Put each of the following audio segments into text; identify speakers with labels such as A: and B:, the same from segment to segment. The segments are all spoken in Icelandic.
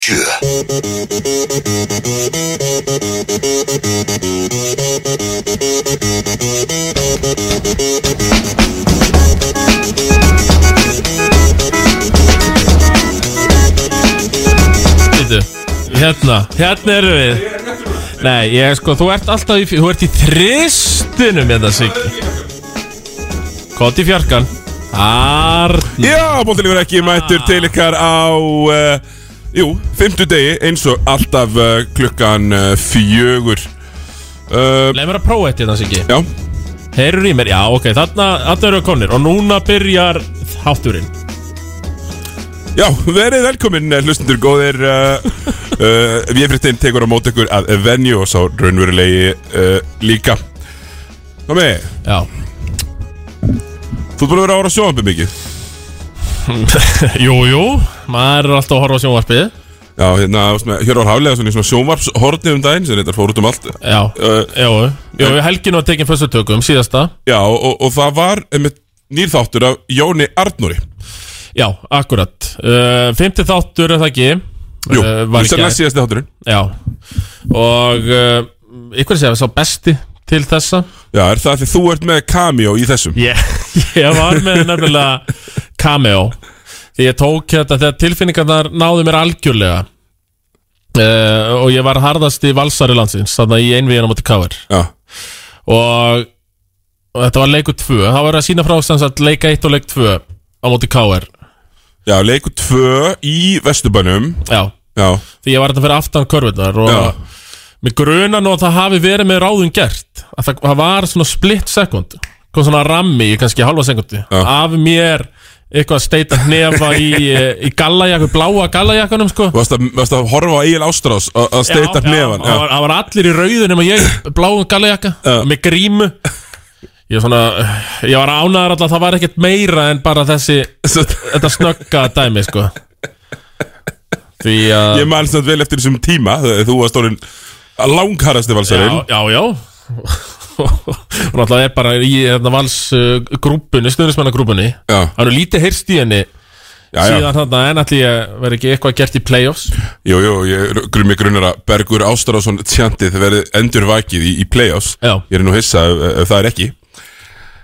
A: sjö
B: Býtu, hérna, hérna erum við Nei, ég sko, þú ert alltaf í, þú ert í þristunum með það, Siggi Koti fjarkan Arn
C: Ah. Já, bóttilíkur ekki mættur til ykkar á uh, Jú, fymtu degi eins og alltaf uh, klukkan uh, fjögur uh,
B: Leif mér að prófa eitt hérna, Siggi
C: Já,
B: Heyrur í mér, já, ok, þarna, þarna eru við konir Og núna byrjar þátturinn
C: já, verið velkomin hlustundur góðir uh, uh, Véfrittin tekur á mót ykkur að venju og sá raunverulegi uh, líka Komi,
B: Já
C: þú ert búin að vera að ára sjóðanbið mikið
B: Jú, jú, maður er alltaf að horfa á sjónvarpið
C: Já, hérna, þú veist með, hér var hálega svona í svona sjónvarpshorni um daginn sem þetta fór út um allt
B: Já,
C: Uh,
B: jú, jú, helgin var tekin fyrstu tökum, síðasta
C: Já, og, og það var einmitt nýrþáttur af Jóni Arnóri
B: Já, akkurat uh, Fymti þáttur, er það ekki
C: Jú,
B: Eh,
C: uh,
B: var í
C: sennilega
B: gær.
C: síðasti þátturinn
B: Já Og uh, ykkur segja sá besti til þessa
C: Já, er það því þú ert með cameo í þessum?
B: yeah. Ég var með nefnilega cameo Því ég tók þetta þegar tilfinningarnar náðu mér algjörlega uh, Og ég var harðast í valsari landsins Þannig að ég einvið hérna múti káir
C: Já,
B: og, og þetta var leikur 2 Það var að sína frá sem sagt leik 1 og leik 2 á móti káir
C: já leikur tvö í Vesturbænum
B: Já
C: Já,
B: Því ég var þetta fyrir aftan körfurnar og
C: Já.
B: Mér gruna nú að það hafi verið með ráðum gert Að það, það var svona split sekund Kom svona rammi í kannski halva sekundi Af mér eitthvað að steita hnefa í, eh, í gallajakku, bláa gallajakkanum sko
C: þú varst að, varst að horfa á Egil Ástrás að að steita hnefan
B: Það
C: já,
B: var, það var allir í rauðunum og ég í bláum gallajakka
C: Já.
B: Með grímu Ég, var svona, eh, ég var ánæður alltaf að það var ekkert meira en bara þessi
C: Svo-
B: Þetta snögga dæmi sko Því að
C: Ég man samt vel eftir þessum tíma þegar Þú varst orðin langharrasti valsarinn
B: Já, já, já Hún alltaf er bara í hérna, vals uh, grúpunni, stöðnismannagrúpunni
C: Já.
B: Það eru lítið heyrst í henni
C: Já, já,
B: síðan þarna en ætli ég verði ekki eitthvað gert í play-offs
C: jú, jú, ég grunni grunar að Bergur Ástrásson tjantið verið endur vakið í, í play-offs
B: Já.
C: Ég er nú hissa ef, ef það er ekki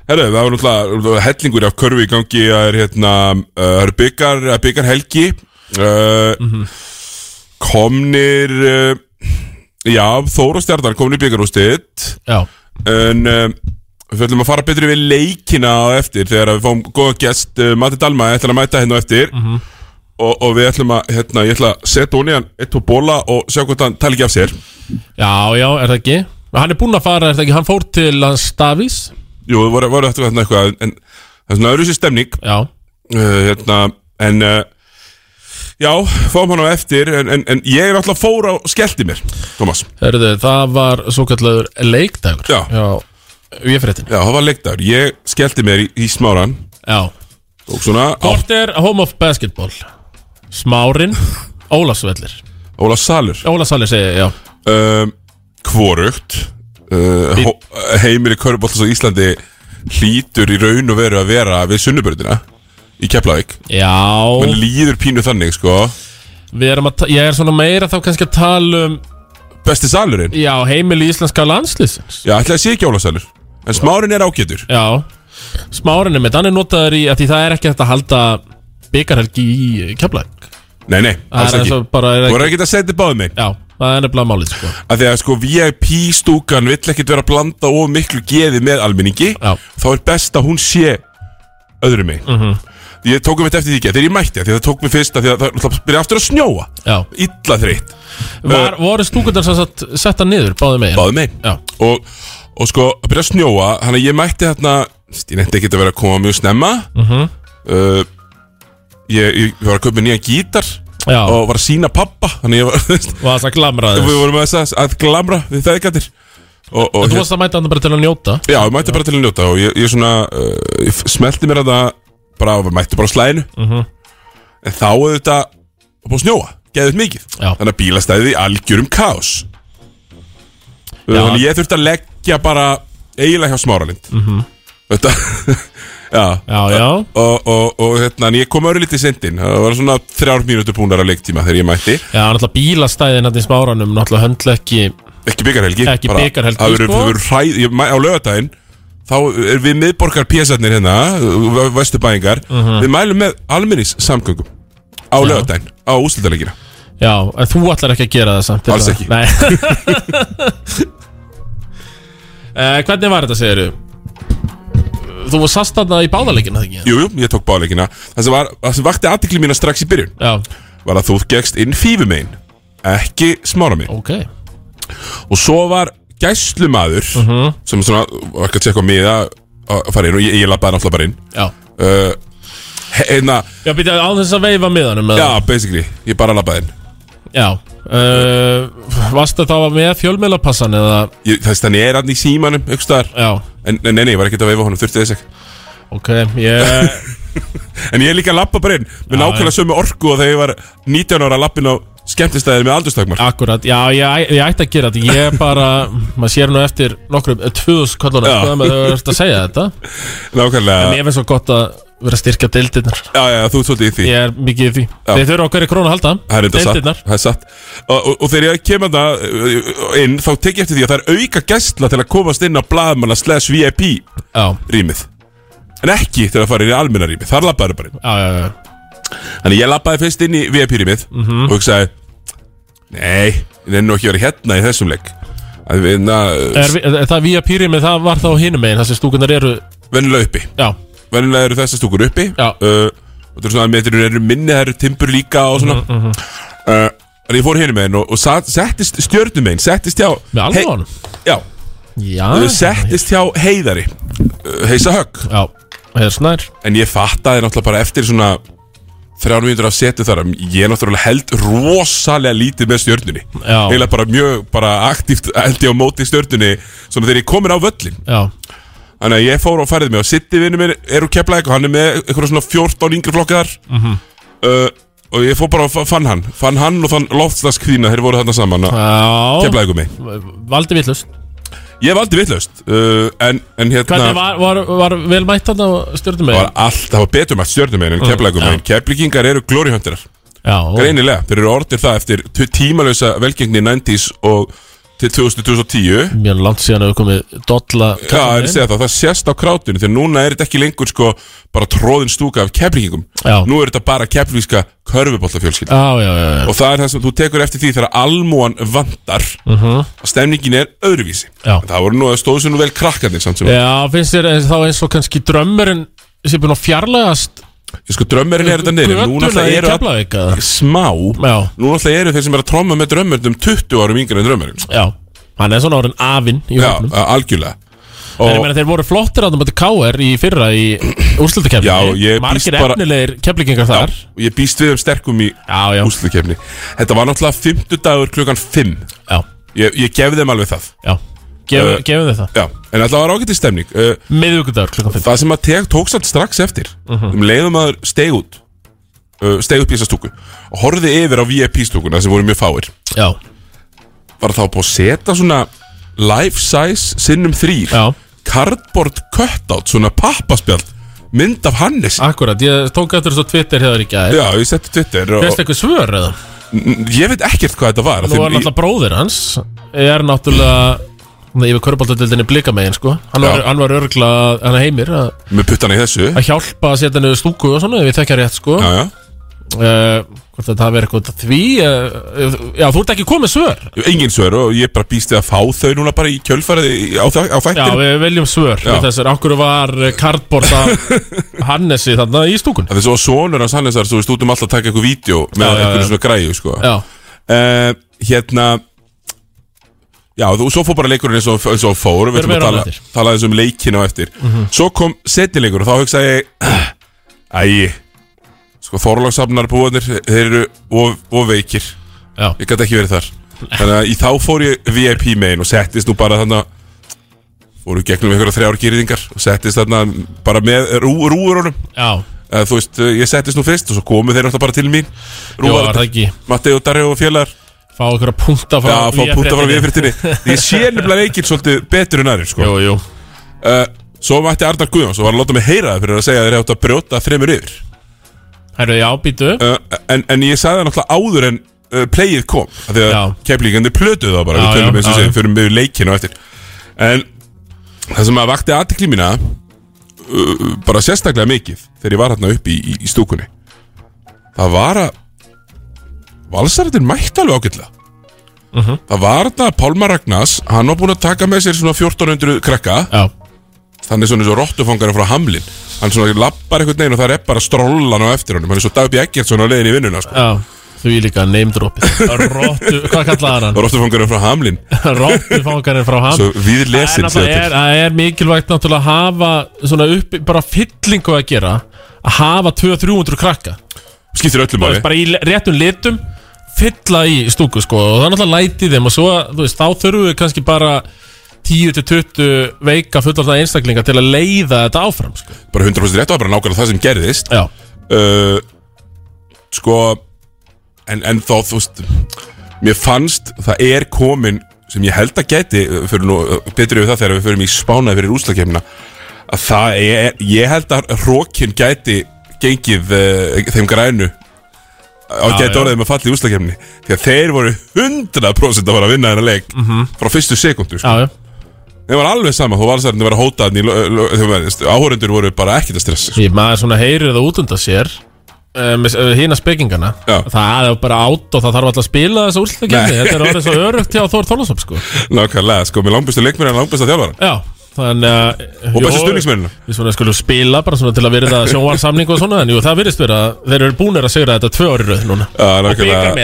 C: Herru, það var náttúrulega hellingur af körfi í gangi Það er hérna, uh, það eru byggar, byggar helgi uh, Komnir, uh, já, Þór og Stjarnar komnir í byggarústitt
B: Já,
C: En uh, við ætlum að fara betur við leikina á eftir Þegar að við fáum góða gest, uh, Mati Dalma, ætlum að mæta hérna á eftir og, og við ætlum að, hérna, ég ætla að setja hún í hann Eitt og bóla og sjá hvort hann tala ekki af sér
B: já, já, er það ekki Hann er búinn að fara, er það ekki, hann fór til hans Davís
C: Jú, það voru, voru eftir hérna eitthvað En það er svona öðru sér stemning
B: Já,
C: uh, hérna, en uh, já, fáum hann á eftir en, en, en ég er alltaf fór á skellti mér Thomas,
B: herðu, það var svo kallaður leikdagur
C: Já.
B: já við fréttin
C: já, það var leikdagur ég skellti mér í, í smáran
B: Já,
C: og svona á,
B: hvort er Home of Basketball Smárin, Ólasvellir
C: Óla Salur
B: Ólasalir segi, ég, já
C: um, kvorugt uh, hó- heimir í Körbóltas á Íslandi hlýtur í raun og veru að vera við sunnubröðina í Keflavík
B: Já,
C: mann líður pínu þannig sko
B: við erum að, ta- ég er svona meira þá kannski að tala um
C: besti salurinn,
B: Já, heimili íslenska landslýsins
C: já, ætlaði að sé ekki Óla Salur en smárin er ágætur
B: Já, smárinu mitt, hann er notaður í að því það er ekki hægt að halda byggarhelgi í keflag
C: nei, nei, alls
B: Það er
C: ekki
B: eins og bara er
C: þú
B: ekki
C: voru ekki að setja báðum mig
B: Já, það er nefnilega málið sko
C: að því að sko VIP stúkan vill ekkert vera að blanda of miklu geði með almenningi
B: Já. Mhm.
C: þá er best að hún sé öðru mig mm -hmm. ég tók um þetta eftir því ekki þegar ég mætti af því að það tók mér fyrst af því að það- það byrja aftur að snjóa
B: Já,
C: illa þreytt
B: Var, voru stúkundar sem sagt setta niður báði megin
C: báðu mig
B: Já,
C: og, og sko að byrja að snjóa hann að ég mætti þarna ég nefndi ekki að vera að koma mjög snemma mm
B: Mhm.
C: uh, ég, ég var að köpa mér nýjan gítar
B: já, og
C: og var að sína pappa þannig að ég var
B: var það
C: við
B: glamraðið
C: vorum að, að, að glamra við það ekki allir og, og,
B: Þú varst að mæta hann bara til að njóta
C: Já, ég mætti bara til að njóta og ég, ég svona, uh, ég f- smelti mér að það bara, mætti bara á slæðinu en þá er þetta búið að snjóa, geðið mikið
B: Já.
C: þannig að bílastæðið í algjörum kaos
B: Já.
C: þannig að ég þurfti að leggja bara eiginlega hjá smáralind mm -hmm. þetta Já,
B: Já, já.
C: Og, og, og hérna, en ég kom öru lítið sendin Það var svona þrjár mínútur búnar að leiktíma þegar ég mætti
B: Já, náttúrulega bílastæðin hann í smáranum Náttúrulega höndla ekki
C: Ekki byggarhelgi
B: Ekki bikarhelgi,
C: Það verður
B: sko.
C: sko? hræð ég, mæ- Á lögadaginn Þá er við miðborgar pjæsarnir hérna Vesturbæingar
B: Mhm.
C: Við mælum með almenningssamgöngum Á lögadaginn, á úslitaðleikina
B: Já, en þú ætlar ekki að gera það samt er
C: Alls
B: það?
C: ekki.
B: Nei uh, Hvernig var þetta, segirðu? Þú var sast þarna í báðarleikina, þegar ekki?
C: Jú, jú, ég tók báleikina Það sem, var, það sem vakti aðtikli mína strax í byrjun
B: Já,
C: Var að þú gegst inn fífumein Ekki smára mig
B: ok
C: Og svo var gæslumaður
B: Mhm.
C: Sem svona, var ekki að tjekka á miða Að fara inn og ég, ég labbaði náttúrulega bara inn
B: Já,
C: uh, he- Hérna,
B: já býtja á þess að veifa miðanum eða?
C: já, basically Ég bara labbaði inn
B: Já uh, Varstu þá með fjölmiðlapassan eða
C: ég, Þess þannig er hann í símanum, ykkur staðar
B: Já,
C: En en nei, nei, ég var ekkert að veifa honum, þurfti þess ekki
B: ok Ég,
C: En ég er líka að labba bara inn Með nákvæmlega sömu orku og þegar ég var 19 ára að labbin á skemmtistæðir með aldurstakmar
B: akkurat, já, ég, ég ætti að gera þetta Ég bara, maður sér nú eftir nokkrum eh, tvöðus kolluna,
C: Já.
B: sko, ef maður er að segja þetta
C: Nákvæmlega,
B: Mér finnst svo gott að vera að styrkja deildirnar
C: já, já, þú ert svolítið í því
B: Ég er mikið í því Þeir þurfa á hverju krónu að halda
C: Það er enda satt,
B: Deildirnar
C: það er satt. Og, og, og þegar ég kem hana inn þá tek ég eftir því að það er auka gæstla til að komast inn á blaðmanna slash VIP
B: Já,
C: rýmið en ekki til að fara inn í almenna rýmið, þar labbaður bara inn
B: já, já, já
C: Þannig ég labbaði fyrst inn í VIP rýmið
B: Mhm.
C: og hugsaði Nei, ég nenni nú ekki að vera hérna í þessum leik að við na,
B: er, vi- er, Það vía pýrið með það var þá hinum megin Þessi stúkunar eru,
C: venjulega uppi
B: já,
C: venjulega eru þessar stúkur uppi
B: Já.
C: uh, og það eru svona að metrur eru minni það eru timbur líka og svona
B: Mhm,
C: mm -hmm. uh, en ég fór hinum einn og, og sat, settist stjörnum einn, settist hjá
B: með alvöðanum
C: já,
B: Já,
C: ah, settist hjá heiðari uh, heisa högg,
B: já, hér snær
C: en ég fattaði náttúrulega bara eftir svona þrjár mínútur af setu þar að ég er náttúrulega held rosalega lítið með stjörnunni
B: Já.
C: eiginlega bara mjög bara aktíft held ég á móti stjörnunni svona þegar ég komin á völlin
B: Já,
C: Þannig að ég fór og færði mig og Sitti vinnu minn er úr Keflæk og hann er með eitthvað svona 14 yngri flokkar mm
B: Mhm.
C: uh, og ég fór bara og fa- fann hann fann hann og fann loftslagskvína þeir voru þarna saman að
B: já
C: Keflæk um mig
B: Valdi villust
C: Ég valdi vitlaust uh, en, en hérna
B: Hvernig var, var, var vel mætt hann á stjórnum
C: var allt það var betur mætt stjörnum meginn en Keflæk um meginn Keflækingar eru glóriöndirar
B: Já,
C: greinilega þeir eru orðir það eftir tu- tímalausa velgengni 90s og til 2010
B: mjög langt síðan hefur komið Dolla
C: Já, en
B: kallinn.
C: segja það, það sést á krátinu því að núna er þetta ekki lengur sko bara tróðin stúka af keflingum
B: Já.
C: Nú er þetta bara keflingska körfuboltafjölskyld
B: Já, já, já, já,
C: Og það er það sem þú tekur eftir því þegar almúan vantar uh
B: Mhm.
C: að stemningin er öðruvísi
B: Já.
C: En Það voru nú, það stóðu sem nú vel krakkarnir samt sem
B: já finnst þér eins- þá eins og kannski drömmurinn sem er búin að fjarlægast
C: Ég sko drömmurinn er þetta niður en Núna
B: göttuna
C: alltaf
B: í
C: eru all-
B: Keflavík eða?
C: smá
B: Já,
C: Núna alltaf eru þeir sem er að tromma með drömmurinn um 20 árum yngri en drömmurinn sko.
B: já, hann er svona orðin afinn í
C: Já,
B: hóknum
C: a- algjörlega
B: En ég
C: Og
B: meina þeir voru flottir á þeim KR í fyrra í
C: Já,
B: úrslutakefni
C: ég býst
B: Margir
C: bara-
B: efnilegir keflingingar þar
C: og ég býst við um sterkum í
B: Já, já,
C: úsluðkefni Þetta var náttúrulega 50 dagur klukkan 5
B: já,
C: Ég, ég gef þeim alveg það
B: já Gef,
C: Eh,
B: Gefum þið það
C: Já, en alltaf var ágætið stemning uh,
B: Miðvíkudagur klukkan 5
C: Það sem að teg tók samt strax eftir
B: Mhm.
C: Um leiðum að steg út uh, Steg upp í þessa stúku Og horfði yfir á VIP stúkuna sem voru mjög fáir
B: Já,
C: Var þá búið að setja svona Life size sinnum þrýr
B: já,
C: Cardboard cutout, svona pappaspjald Mynd af Hannes
B: akkurat Ég tók eftir þessu á Twitter hefur í gær
C: Já, ég setti Twitter og,
B: Fyrst eitthvað svör eða?
C: N- Ég veit ekkert hvað þetta var
B: Nú
C: því-
B: er náttúrulega bróðir hans Er náttúrulega Þannig yfir körbáltadildinni blika megin sko Hann var,
C: Já.
B: hann var örgla, hann er heimir að,
C: Með puttana í þessu
B: að hjálpa að setja niður stúku og svona Ef ég tekja rétt sko
C: Já, já
B: Eh, Hvort þetta hafi verið eitthvað út af því uh, Já, þú ert ekki komið svör
C: Engin svör og ég bara býst við að fá þau núna bara í kjölfærið í- á, þa- á
B: Já,
C: þættinum.
B: við viljum svör
C: Já.
B: við Þessar, okkur var kardborta Hannesi þarna í stúkun
C: Það er svo að sonur hans Hannesar, þú veist, út um alltaf að taka eitthvað vídeo með
B: Já, já,
C: eitthvað
B: já.
C: svona græju, sko.
B: Já,
C: Uh, hérna, já, þú, svo fór bara leikurinn eins og, eins og fór, við
B: Förum
C: ætlum að tala,
B: meira á eftir. Mhm.
C: tala eins um leikinu á eftir. Svo kom setjileikur og þá hugsaði ég, æ, sko, Þorláksafnar búanir, þeir eru of, of veikir,
B: já,
C: ég gæti ekki verið þar. Þannig að í þá fór ég VIP megin og settist nú bara þannig að, fóru gegnum einhverja þrjár gýrðingar og settist þarna bara með rú, rúurunum
B: já
C: Eh, Þú veist, eh, ég settist nú fyrst og svo komu þeir alltaf bara til mín
B: Jú, var það
C: Rúvar,
B: ekki
C: Matti og Darri og félagar
B: Fá okkur að punta frá
C: Já, fá púta frá
B: VF-fréttinni.
C: viðfyrtinni Ég sé nefnilega leikinn svolítið betur en aðrir sko.
B: Jú, jú
C: uh, Svo mætti Arnar Guðjóns og var að láta mig heyra það fyrir að segja að þeir átt að brjóta þremur yfir
B: Herru, já, býtu upp
C: uh, en, en ég sagði það náttúrulega áður en uh, playið kom af Því
B: Já.
C: að keflíkandi plötuðu það bara
B: Já,
C: Við tölum
B: já,
C: eins og
B: já,
C: segja, fyrir með leikinu á eftir En það sem að vakti aðtikli mína uh, Bara sérstaklega mikið Þegar ég var hérna upp í, í, í stúkunni Það var að Valsarðin mætti alveg ágætlega
B: Mhm.
C: Það var þetta að Pálmar Ragnars Hann var búinn að taka með sér svona 1400 krakka
B: Já,
C: Þannig svona eins og rottufangarinn frá Hamlin Hann svona lappar einhvern veginn og það er bara strollan á eftir honum Hann er svo Dabbi Eggertsson á leiðin í vinnuna sko.
B: já Því líka name droppið Rottu, hvað kallaði hann?
C: Rottufangarinn frá Hamlin
B: Rottufangarinn frá ham
C: Svo við
B: Það er
C: lesin
B: náttúrulega- er- Það er mikilvægt náttúrulega að hafa svona upp, bara fyllingu að gera að hafa 200-300 krakka
C: Skiptir öllu
B: Þú
C: máli
B: veist, bara í le- réttum litum fylla í stúku sko og það er náttúrulega læti í þeim og svo þú veist, þá þurfum við kannski bara 10-20 veika fullorðna einstaklinga til að leiða þetta áfram sko.
C: Bara 100% rétt og bara nákvæmlega það sem gerðist
B: Já,
C: uh, Sko En, en þá þú veist Mér fannst það er komin Sem ég held að geti uh, Fyrir nú uh, betri við það þegar við förum í spánaði fyrir úslakefna Að það er Ég held að hrókin gæti Gengið uh, þeim grænu á
B: Já,
C: gæti
B: já.
C: orðið með falli í úslakefni því að þeir voru 100% að fara að vinna þennan leik frá fyrstu sko. sekundu
B: Mhm. já, já,
C: Þeim var alveg sama, þú valsarinn var að hóta hann í lo- lo- þeim var- Áhórendur voru bara ekkert að stressa sko.
B: ég maður svona heyrir það út undan sér eh, með um, hína spekingana
C: Já.
B: það er bara átt og það þarf alltaf að spila þessa úrslutakefni,
C: Nei.
B: þetta er orðið svo örugt hjá Þór Þorlásson sko
C: Nákvæmlega, sko, með langbæstu leikmenn en langbæsta þjálfaran
B: Já, þannig að
C: Og bestu
B: Jú,
C: stuðningsmennina.
B: Við svona skulum spila bara svona til að virða sjónvarsamning og svona En jú, það virðist vera Þeir eru búnir að segra þetta tvö ári röð núna
C: Já,
B: Og byggar
C: nákvæmlega.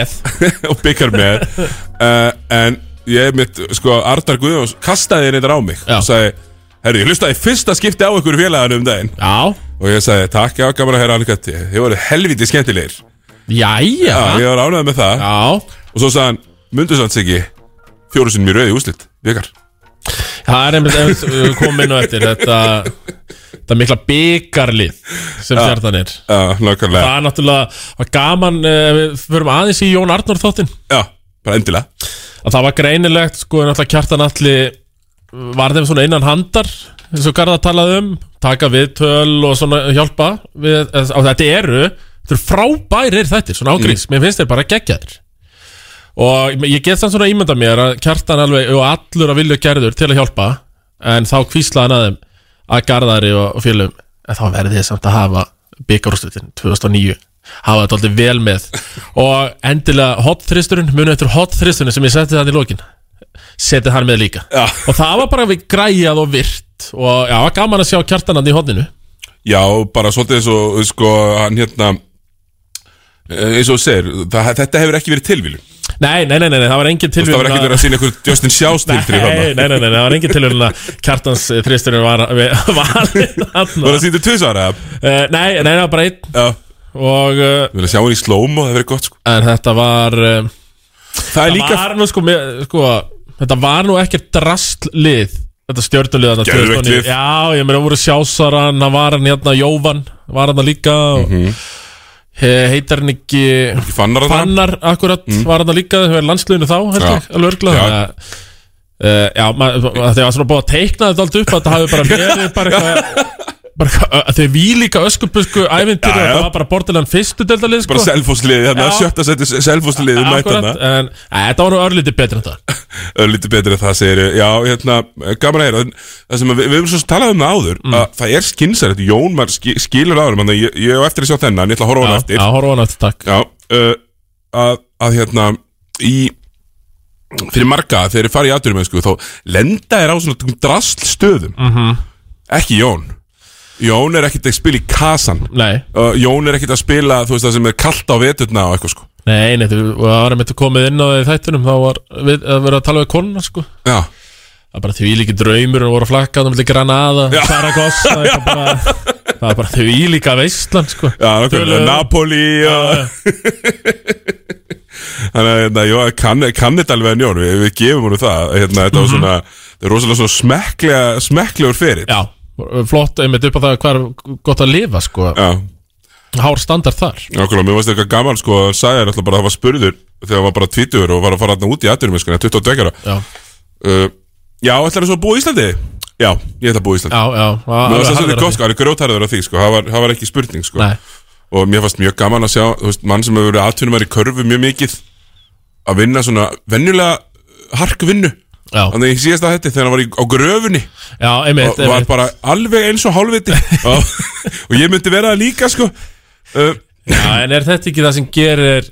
B: með
C: Og byggar með uh, En ég mitt, sko, Arnar Guðjóns kastaði henni þetta á mig
B: Já.
C: og sagði, herru, ég hlustaði í fyrsta skipti á ykkur félagann um daginn
B: Já,
C: og ég sagði, takk, já, gaman að herra alveg gætti Þið voru helviti skemmtilegir
B: jæja
C: Já, ég var ánægð með það
B: Já,
C: Og svo sagði hann, mundu sanns ekki fjóru sinni mér rauði úslit, vikar
B: það er einmitt einmitt, við komum inn á eftir Þetta, þetta mikla byggarlið sem stjartan er
C: Já, nákvæmlega
B: Það er náttúrulega það var gaman eh, Við förum aðeins í Jón Arnór þáttinn
C: Já, bara endilega
B: að það var greinilegt sko en alltaf kjartan allir var þeim svona innan handar eins og Garða talaði um taka viðtöl og svona hjálpa við, eða- á þetta eru þetta eru frábærir þetta, svona ágríns mér finnst þeir bara geggjaðir og ég get þann svona ímynda mér að kjartan alveg og allur að vilja gerður til að hjálpa en þá kvíslaði hann að þeim að Garðari og, og félum en þá verði þið samt að hafa byggarústutin 2009 hafa þetta aldrei vel með og endilega hotþristurinn munið eftir hotþristurinn sem ég setti þannig í lokin setið hann með líka
C: Já.
B: og það var bara við græjað og virt og já, var gaman að sjá kjartanandi í hodninu
C: Já, bara svolítið eins og sko, hann hérna eh, eins og þú segir, það, þetta hefur ekki verið tilvílun
B: nei, nei, nei, nei, nei, það var engin
C: Það var
B: tilvíðun
C: ekki verið að sína ykkur Justin Sjást til fyrir
B: Nei,
C: hann
B: nei, nei, nei, það var engin tilvíðun að kjartans eh, þristurinn var valinn hann
C: Var það sýndið tvisvara?
B: Nei, nei, nei, það var bara einn
C: Já,
B: og, eh,
C: við erum að sjá hann í slóm og það verið gott sko.
B: en þetta var eh,
C: Það er
B: það
C: líka
B: var nú sko, mér, sko þetta var nú ekkert drastlið þetta stjörnulið þarna
C: Geðveikt
B: 2009.
C: lið.
B: já, ég meina það voru sjásaran það var hann hérna Jóvan var hann líka og, mm
C: Mhm.
B: heitar hann ekki
C: f- fannar að það
B: Fannar akkurat var hann líka þau er landsliðinu þá
C: Mm.
B: held
C: Já.
B: ég, alveg örgla
C: Já.
B: já, uh, já maður- það var svona búið að teikna þetta allt upp að það hafi bara verið bara eitthvað bara eitthvað, þau vílíka öskubusku
C: Já,
B: ævintýri og
C: já.
B: það var bara bortilegan fyrstu deltalið sko.
C: Bara um selfosliðið, þannig að
B: Já.
C: sjötta seti selfosliðið mæta
B: Akkurat,
C: hana
B: en að, þetta var nú örlítið betur en það
C: Lítið betri en það segir ég. Já, hérna, gaman að heyra En Það sem að við, við erum svo sem talað um það áður
B: Mm.
C: að Það er skynsar, Jón maður ski- skilur áður Þannig að ég, ég á eftir að sjá þennan, ég ætla að horfa á hann
B: Já,
C: eftir
B: já, horfa á hann eftir, takk
C: Já, uh, að, að hérna í fyrir marga þegar þeir fara í atvinnumennsku þá lenda þeir á svona drasl stöðum -hmm.
B: Mhm.
C: ekki Jón Jón er ekkert að spila í kasan
B: Nei,
C: uh, Jón er ekkert að spila þú veist það sem er kallt á veturna og eitthvað sko
B: nei, nei, þú og það var einmitt komið inn á það í þættunum þá var við, að vera að tala við konuna, sko
C: Já,
B: Það er bara því líki draumur og voru að flakka þannig að Granada,
C: Já.
B: Saragossa það er bara- það er bara því líka veistlan, sko
C: já nákvæmlega
B: Töluðu-
C: Napoli og... Þannig að hérna, Jón kann, kann þetta alveg en Jón við, við gefum honum það hérna, þetta var
B: Mhm.
C: svona þetta er rosalega svona smekklega smekklegur fyrir
B: Já, Eh, flott einmitt upp á það hvað er gott að lifa, sko
C: Já.
B: Hár standard þar
C: Nákvæmlega, mér varst eitthvað gaman sko að sagði hann alltaf bara að það var spurður þegar hann var bara sko, tvítugur og var að fara hann út í aðdurum 22 ára
B: Já,
C: uh, Já, ætlar það svo að búa í Íslandi? Já, ég ætla að búa í Íslandi
B: Já, já
C: Mér var svolítið gott sko, það er grjótarður á því sko, það var, það var ekki spurning sko
B: Nei,
C: Og mér fannst mjög gaman að sjá, þú veist, mann sem hefur verið aðtunumar í körfu mjög mikið Að vinna svona venjulega harkvinnu
B: já,
C: Þannig að ég síðast að þetta þegar hann var í, á gröfunni
B: já, einmitt,
C: Og var
B: einmitt
C: bara alveg eins og hálfviti og, og ég myndi vera það líka sko uh,
B: já, En er þetta ekki það sem gerir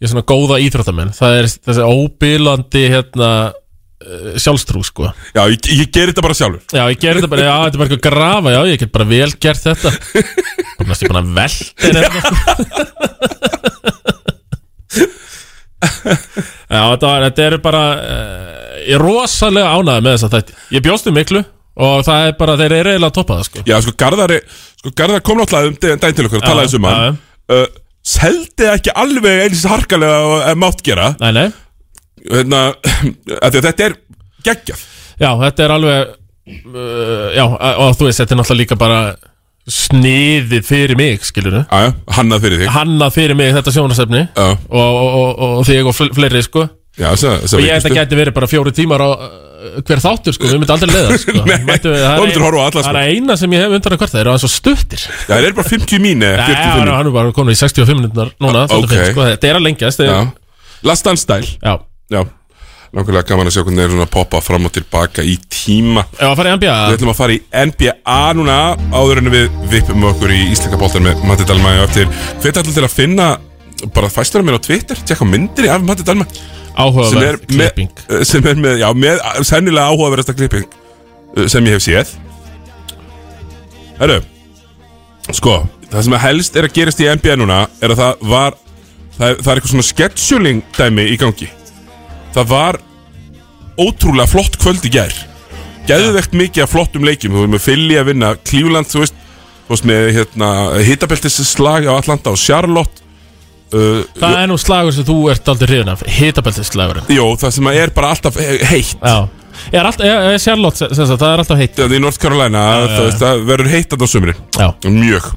B: Ég svona góða íþróttamenn Það er þessi óbílandi hérna eh, sjálfstrú sko
C: Já, ég, ég ger þetta bara sjálfur
B: Já, ég gerði þetta bara, já, þetta er bara eitthvað grafa Já, ég get bara vel gert þetta Bara næstu búin að velta þér hérna. Já, þetta, var, þetta er bara uh, Ég er rosalega ánæði með þess að þetta Ég bjóst um miklu og það er bara, þeir eru eiginlega að toppa það sko.
C: Já, sko, Garðari, sko, Garðar kom náttúrulega um daginn daginn til okkur og talaði
B: Já,
C: þessum mann uh, Seldi ekki alveg eins harkalega og eh, mátt gera
B: Nei, nei,
C: hérna, að að þetta er geggjað
B: já, þetta er alveg uh, Já, og þú veist, þetta er náttúrulega líka bara Sniðið fyrir mig, skilur
C: Aja, hannað fyrir þig
B: Hannað fyrir mig þetta sjónasefni
C: Já,
B: og, og, og, og þig og fl- fleiri, sko
C: já, þess að- þess að
B: Ég held að
C: veikistu.
B: gæti verið bara fjóri tímar á uh, hver þáttur sko, við myndum aldrei leiða sko.
C: Nei,
B: Mættu við-
C: þá
B: það,
C: myndirðu
B: er,
C: horfa á alla, sko.
B: það er eina sem ég hef undan að hvort það eru aðeins og stuttir
C: Já, það er bara 50 mín eða
B: Nei,
C: 45
B: hann
C: mín
B: er bara komin í 65 minútur núna
C: Ah,
B: þetta
C: ok.
B: finnst, sko, Þetta er að lengjast
C: Já,
B: þegar-
C: last dance style
B: Já,
C: Já, langarlega gaman að sjá hvernig er svona að poppa fram og tilbaka í tíma
B: ef að fara í NBA
C: Við ætlum að fara í NBA núna áður en við vippum okkur í Íslenska boltan með Matti Dalma og eftir Hveit ætlum til að finna bara fæstur af mér á Twitter tjekka á myndinni af Matti Dalma sem er, með, eh,
B: áhugaverð klipping
C: sem er með, já, með eh, sennilega áhugaverðasta klipping uh, sem ég hef séð Herru sko, það sem helst er að gerast í NBA núna er að það var það er, það er eitthvað svona scheduling dæmi í gangi það var ótrúlega flott kvöld í gær geðvegt mikið af flottum leikjum þú veist með Philly að vinna, Cleveland þú veist, þú veist með hérna, hitabeltis slag á Atlanta og Charlotte uh,
B: Það er nú slagur sem þú ert aldrei hrifin af Hitabeltisslagurinn
C: Jó, það sem er bara alltaf he- heitt
B: Já Ég er alltaf, ég, ég sérlót, það er alltaf heitt
C: Það í North Carolina, það, veist, það verður heitt þarna á sömurinn
B: Já,
C: Mjög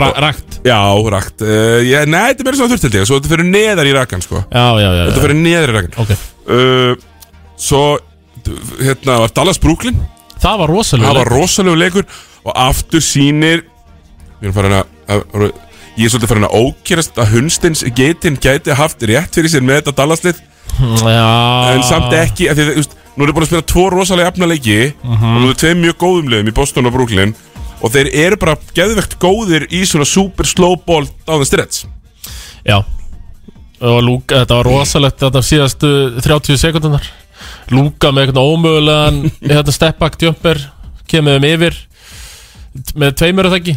B: ra rakt
C: Já, rakt uh, ég, Nei, þetta er meira svona þurft held ég Svo þetta fyrir neðar í rakan, sko
B: Já, já, já,
C: Þetta
B: já.
C: fyrir neðar í rakan
B: Okay.
C: uh, Svo, d- hérna, var Dallas Brooklyn
B: Það var rosalega
C: Það var rosalegu leikur Og aftur sýnir Ég er farin að, að að- Ég er svolítið farin að ókýrast að Hunstins getin gæti haft rétt fyrir sér með þetta Dallaslið
B: Já
C: en samt ekki af því, þú veist, Nú er búin að spila tvo rosalega jafna leiki
B: Mhm.
C: og nú er tveim mjög góðum liðum í Boston og Brooklyn og þeir eru bara geðvegt góðir í svona super slow ball down the stretch
B: Já og Lúka, þetta var rosalegt þetta síðastu 30 sekundunar Lúka með eitthvað ómögulegan hérna stepback jumper kemur um yfir með tveimur að þekki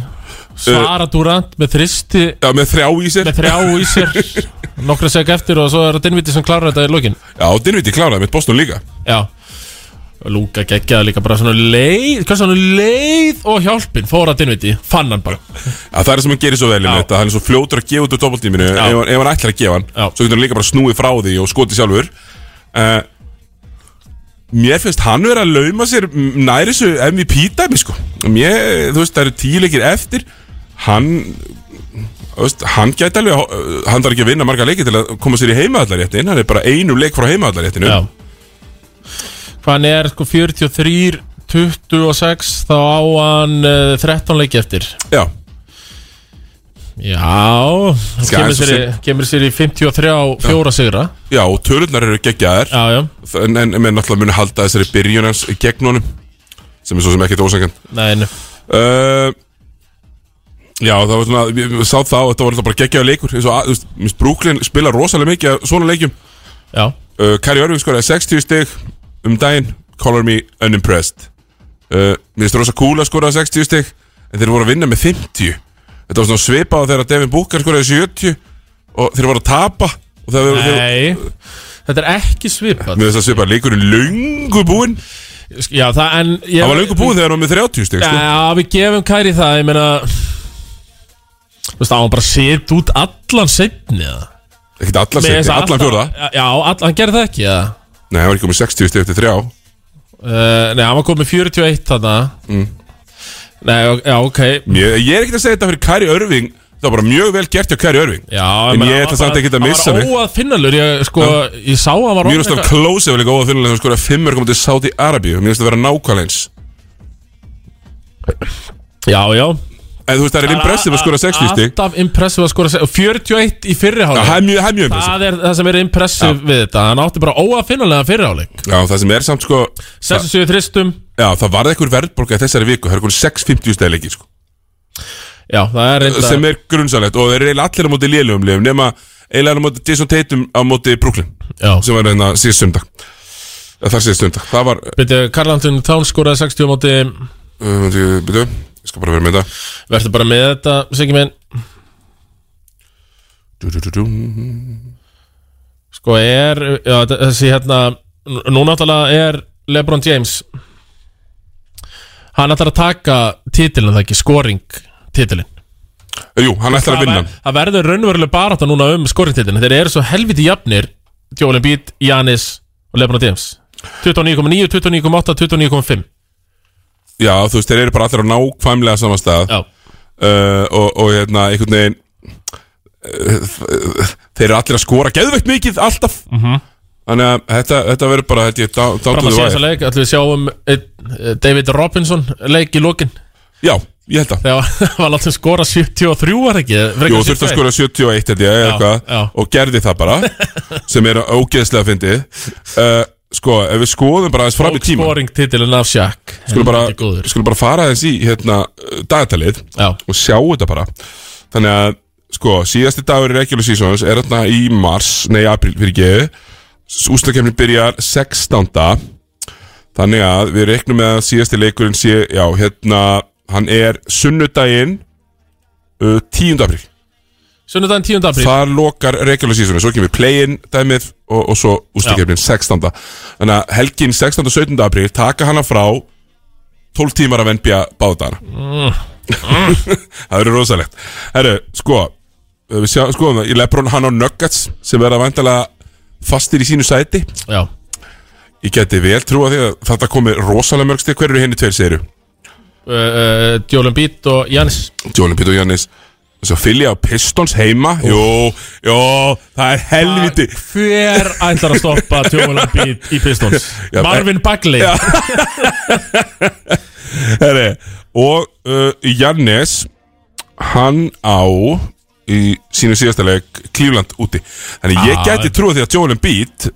B: Sara Durant með þristi
C: Já, með þrjá í sér
B: með þrjá í sér nokkra sek eftir og svo er það Dinviti sem klarar þetta í lokin
C: Já, og Dinviti kláraði með Boston líka
B: Já Lúka geggjaði líka bara svona leið hvað svona leið og hjálpin fóra Dinviti, fann hann bara
C: Já, það er sem hann gerir svo vel í
B: Já.
C: þetta Hann er svo fljótur að gefa út úr doppeltíminu ef, hann- ef hann ætlar að gefa hann
B: Já.
C: Svo getur hann líka bara snúið frá því og skotið sjálfur uh, Mér finnst hann vera að lauma sér m- nær þessu MVP dæmi sko Mér, þú veist, það eru tíu leikir eftir Hann þú veist, Hann gæti alveg að- uh, Hann þarf ekki að vinna marga leiki til að koma sér í heimaðallaréttin Hann er bara einum leik frá heimaðallaréttinu
B: Já um. Hvað hann er sko 43 26 þá á hann uh, 13 leiki eftir
C: Já,
B: Já hann
C: Skal
B: kemur
C: aðeins og
B: sér, í, kemur sér í 53 fjóra sigra
C: já, og tölurnar eru geggjaðar
B: Já, já,
C: En, en menn náttúrulega muni halda þessari byrjun hans gegn honum Sem er svo sem ekkert ósangant
B: nein
C: Uh, Já, það var svona, ég sá þá, þetta var alltaf bara geggjaðu leikur eins og, að- þú veist, minnst Brooklyn spila rosalega mikið af svona leikjum
B: Já,
C: uh, Kari Örving skoraði 60 stig um daginn Color me unimpressed uh, Minnst Rosa Kúla skoraði 60 stig en þeir voru að vinna með 50 Þetta var svona svipað á þegar Devin Booker skoraði 70 og þeir voru að tapa og það var, þeir,
B: nei Þetta er ekki svipað
C: með þess að svipað leikurinn löngu búinn
B: Já, það en ég,
C: Það var löngu búinn þegar hann var með 30 stig sko.
B: Já, við gefum Kæri það, ég meina Þú veist, á hann bara set út allan setni eða
C: Ekkert allar
B: Með
C: seti,
B: þessa
C: allar fjóra
B: Já, all, hann gerði það ekki, eða
C: Nei, hann var ekki komið 60 stig eftir þrjá
B: Uh, nei, hann var komið 41 þarna
C: Mm.
B: Nei, ok- já, ok
C: Ég, ég er ekkert að segja þetta fyrir Kari Örving Það var bara mjög vel gert hjá Kari Örving
B: Já,
C: En
B: meina,
C: ég
B: hann
C: ætla
B: var
C: samt
B: bara-
C: ekkert að missa
B: Hann
C: mig.
B: var óaðfinnalur, ég sko Ég sá að hann var
C: Mjög staf
B: eitthvað-
C: Klose var líka óafinnilega sem skoraði fimmur komandi Saudi Arabíu Mjög staf vera nákvæmleins
B: Já, já
C: En þú veist, það er impressive að skora 60 stík
B: Alltaf impressive að skora 60 og 41 í
C: Já, það
B: fyrirháleik
C: er mjög, það er mjög impressive
B: Það er það sem er impressive við þetta Hann átti bara óafinnulega fyrirháleik
C: Já, það sem er samt sko
B: 67 þristum
C: Já, það varði einhver verðbólga í þessari viku Það er einhver 6.50 stæðleiki sko
B: Já, það er reynda
C: Sem er grunnsalegt Og þeir eru eiginlega allir á móti lélugum liðum Nefna eiginlega á móti Jason Tatum á móti Brooklyn
B: Já
C: Sem var hérna síðast söndag Eh, Þar síðast söndag Það var,
B: Byrju, Karl-Anton Tán skoraði 60 á móti
C: uh, byrju, ég skal bara vera með þetta
B: Vertu bara með þetta, Siggi minn
C: Du, du, du, du.
B: Sko er, já, þetta- þessi hérna nú- Nú náttúrulega er Lebron James Hann ætlar að taka titilin það ekki, skoring titilin
C: Eh, Jú, hann ætlar að vinna hann.
B: Það verður raunverulega barata núna um skoringtitilin Þeir eru svo helviti jafnir Jólin Bít, Janis og Lebron James 29,9, 29,8, 29,5
C: Já, þú veist, þeir eru bara allir á nákvæmlega saman stað
B: Já,
C: uh, og, og hérna einhvern veginn uh, þeir eru allir að skora geðveikt mikið alltaf þannig að þetta, þetta verður bara þetta ég
B: Mhm. fram að
C: dátuðu
B: segja þessa leik Ætlum við sjáum einn, eh, David Robinson leik í lokin
C: já, ég held að
B: Þegar hann var látið skora 73 var ekki
C: Jú, þurfti að skora 71 held ég, eða eitthvað,
B: já.
C: og gerði það bara sem er ógeðslega fyndið uh, sko, ef við skoðum bara aðeins fram í tíma
B: skoringtitilin af Shaq
C: skulum bara,
B: Helviti góður.
C: skulum bara fara aðeins í hérna, uh, dagatalið
B: Já,
C: og sjá þetta bara þannig að sko, síðasti dagur í regular seasons er þarna í mars, nei april fyrir geðu úslakefni byrjar 16. þannig að við reiknum með að síðasti leikurinn sé, já, hérna hann er sunnudaginn uh, 10. april
B: sunnudaginn 10. apríl
C: Þar lokar regular seasonu, svo kemur play-in dæmið og, og svo ústakefnin 16. Þannig að helgin 16. og 17. apríl taka hana frá 12 tímar af NBA báðdana mm. Það eru rosalegt Herru, sko við sjá, skoðum það, í Lebron hann á Nuggets sem verða vandalega fastir í sínu sæti
B: Já, Uh,
C: Ég geti vel trúa því að þetta komi rosalega mörgstir Hver eru henni tveir, segir
B: uh, uh, Jólin Bít og Janis
C: Jólin Pítur Jannis Svo fylgja á Pistons heima Jú, jú, það er helviti
B: Hver ætlar að stoppa Jólin Bít í Pistons?
C: Já,
B: Marvin Bagley Já,
C: Herri, og uh, Jannes hann á í sínu síðasta leik Cleveland úti þannig ég
B: Ah,
C: gæti trúið því að Joel Embiid ef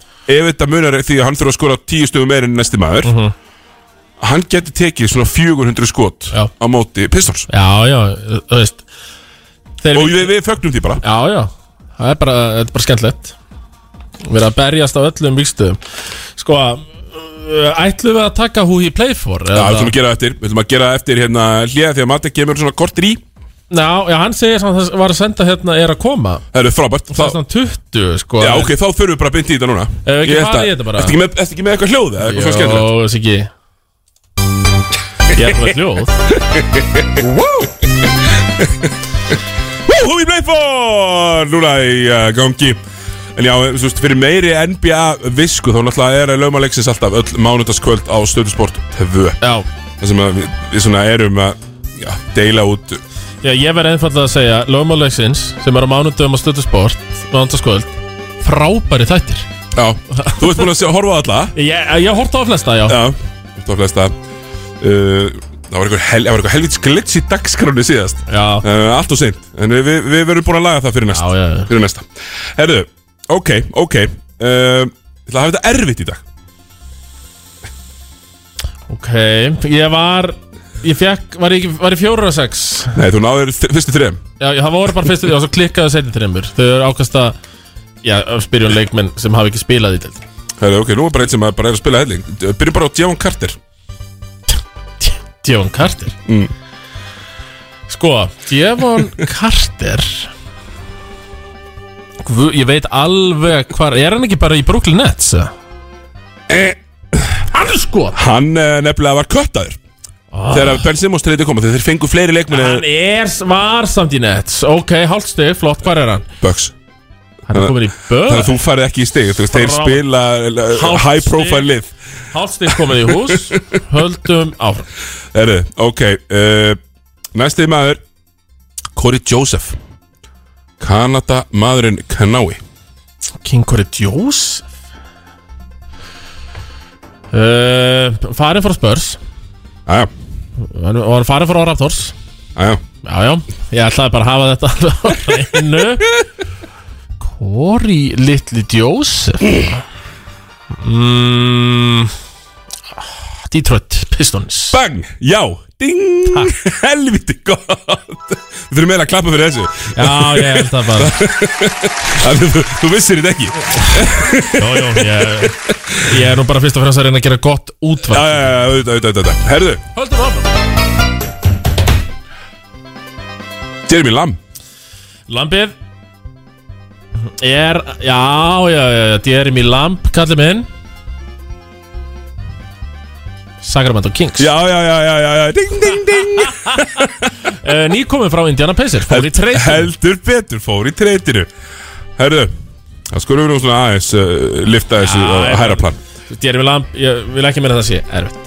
C: þetta munar því að hann þurfa að skora 10 stöðu meir en næsti maður
B: Mhm.
C: hann gæti tekið svona 400 skot
B: Já.
C: á móti Pistons
B: já, þú veist Þeir,
C: og við, við fögnum því bara
B: Já, já, það er bara, þetta er bara skemmtilegt Við erum að berjast á öllum vikstöðum Sko, uh, ætlum við að taka who he play for?
C: Já,
B: eða?
C: við ætlum að gera það eftir, við ætlum að gera það eftir hérna hljæða því að Matti kemur svona kortir í
B: já, já, hann segir sem hann var að senda hérna er að koma
C: Það eru frábært
B: Það
C: Þá-
B: er svona 20, sko
C: Já, ok, þá þurfum við bara að bynda í þetta núna
B: við ekki
C: Ég held
B: farið
C: að-
B: í þetta bara?
C: Ertu ekki með- ertu ekki með eitthvað hljóð eða eitthvað svona skemmtilegt?
B: Jó, Siggi Ég er bara hljóð
C: Hú, hú, ég bleið fór Núna í uh, gangi En já, þú veist, fyrir meiri NBA visku þá náttúrulega er lögmaleiksins alltaf öll mánudagskvöld á Stöðusport 2
B: Já,
C: þar sem að við, við svona erum að já, deila út
B: já ég verð einfallega að segja Lögmáleiksins sem er á mánudöfum á stöðusport Mánudagskvöld Frábæri þættir
C: Já, þú ert búin að sjá, horfa á alla
B: Ég, ég horfði á flesta, já
C: Já, þú ert á flesta uh, Það var eitthvað, hel, það var eitthvað helvits glitch í dagskránu síðast
B: Já, já,
C: uh, Allt og seint En við, við, við verum búin að laga það fyrir næst
B: já, já.
C: Fyrir næsta Herðu, ok, ok uh, Ég ætla að hafa þetta erfitt í dag
B: Ok, ég var Ég fekk, var ég, ekki- var ég fjóra og sex
C: Nei, þú náður þ- fyrstu þrejum
B: Já, já, það voru bara fyrstu Já, svo klikkaðu setjum þreymur Þau eru ákast að Já, spyrjum leikmenn sem hafa ekki spilað í delt
C: Herra, ok, nú er bara einn sem að- bara er að spila helling Byrjum bara á Djavon Carter
B: Djón Carter
C: Mm.
B: Sko, Djón Carter Guð, Ég veit alveg hvar Er hann ekki bara í Brooklyn Nets? eða?
C: eh,
B: Hann sko
C: Hann eh, nefnilega var köttaður Þegar Ben Simmons til þetta koma Þegar þeir fengu fleiri eh,
B: Ah. Hann
C: leikminni
B: er varsamt í Nets Ok, hálfstig, flott, hvar er hann?
C: Bucks
B: Hann er komin í
C: Þannig að
B: böð
C: þú farið ekki í stig Þú veist, þeir
B: Frá-
C: spila eh,
B: Hálft
C: high profile
B: stig.
C: lið
B: Hálfstig komin í hús Höldum áfram
C: Herru, ok uh, Næsti maður Corey Joseph Kanada maðurinn Kanái
B: King Corey Joseph uh, Eh, Farin frá Spurs
C: Aja,
B: hann var að fara frá Raptors
C: Æja,
B: Já, já, ég ætlaði bara að hafa þetta alveg á reynu Corey Little Joseph mm, Detroit Pistons
C: bang, já, ding Helviti gott Við þurfum meira að klappa fyrir þessu
B: Já, ég held það bara
C: Það- Þú, þú vissir þetta ekki Já,
B: Jó, jó, ég, ég er nú bara fyrst og fremst að reyna að gera gott útvart
C: já, já, já, auðvitað, auðvitað, auðvitað Herðu,
B: Höldum áfram
C: Jeremy Lamb
B: Lambið Er, já, já, já, já Jeremy Lamb, kallið minn Sacramento Kings
C: Já, já, já, já, já, já, ding, ding, ding
B: uh, Nýkomin frá Indiana Pacers Fór í treytum
C: Heldur betur, fór í treytinu Herðu, það skulum við nú svona aðeins uh, lifta þessu
B: Já,
C: á
B: já.
C: hæra plan
B: Jeremy Lamb, ég vil ekki meina að það sé erfitt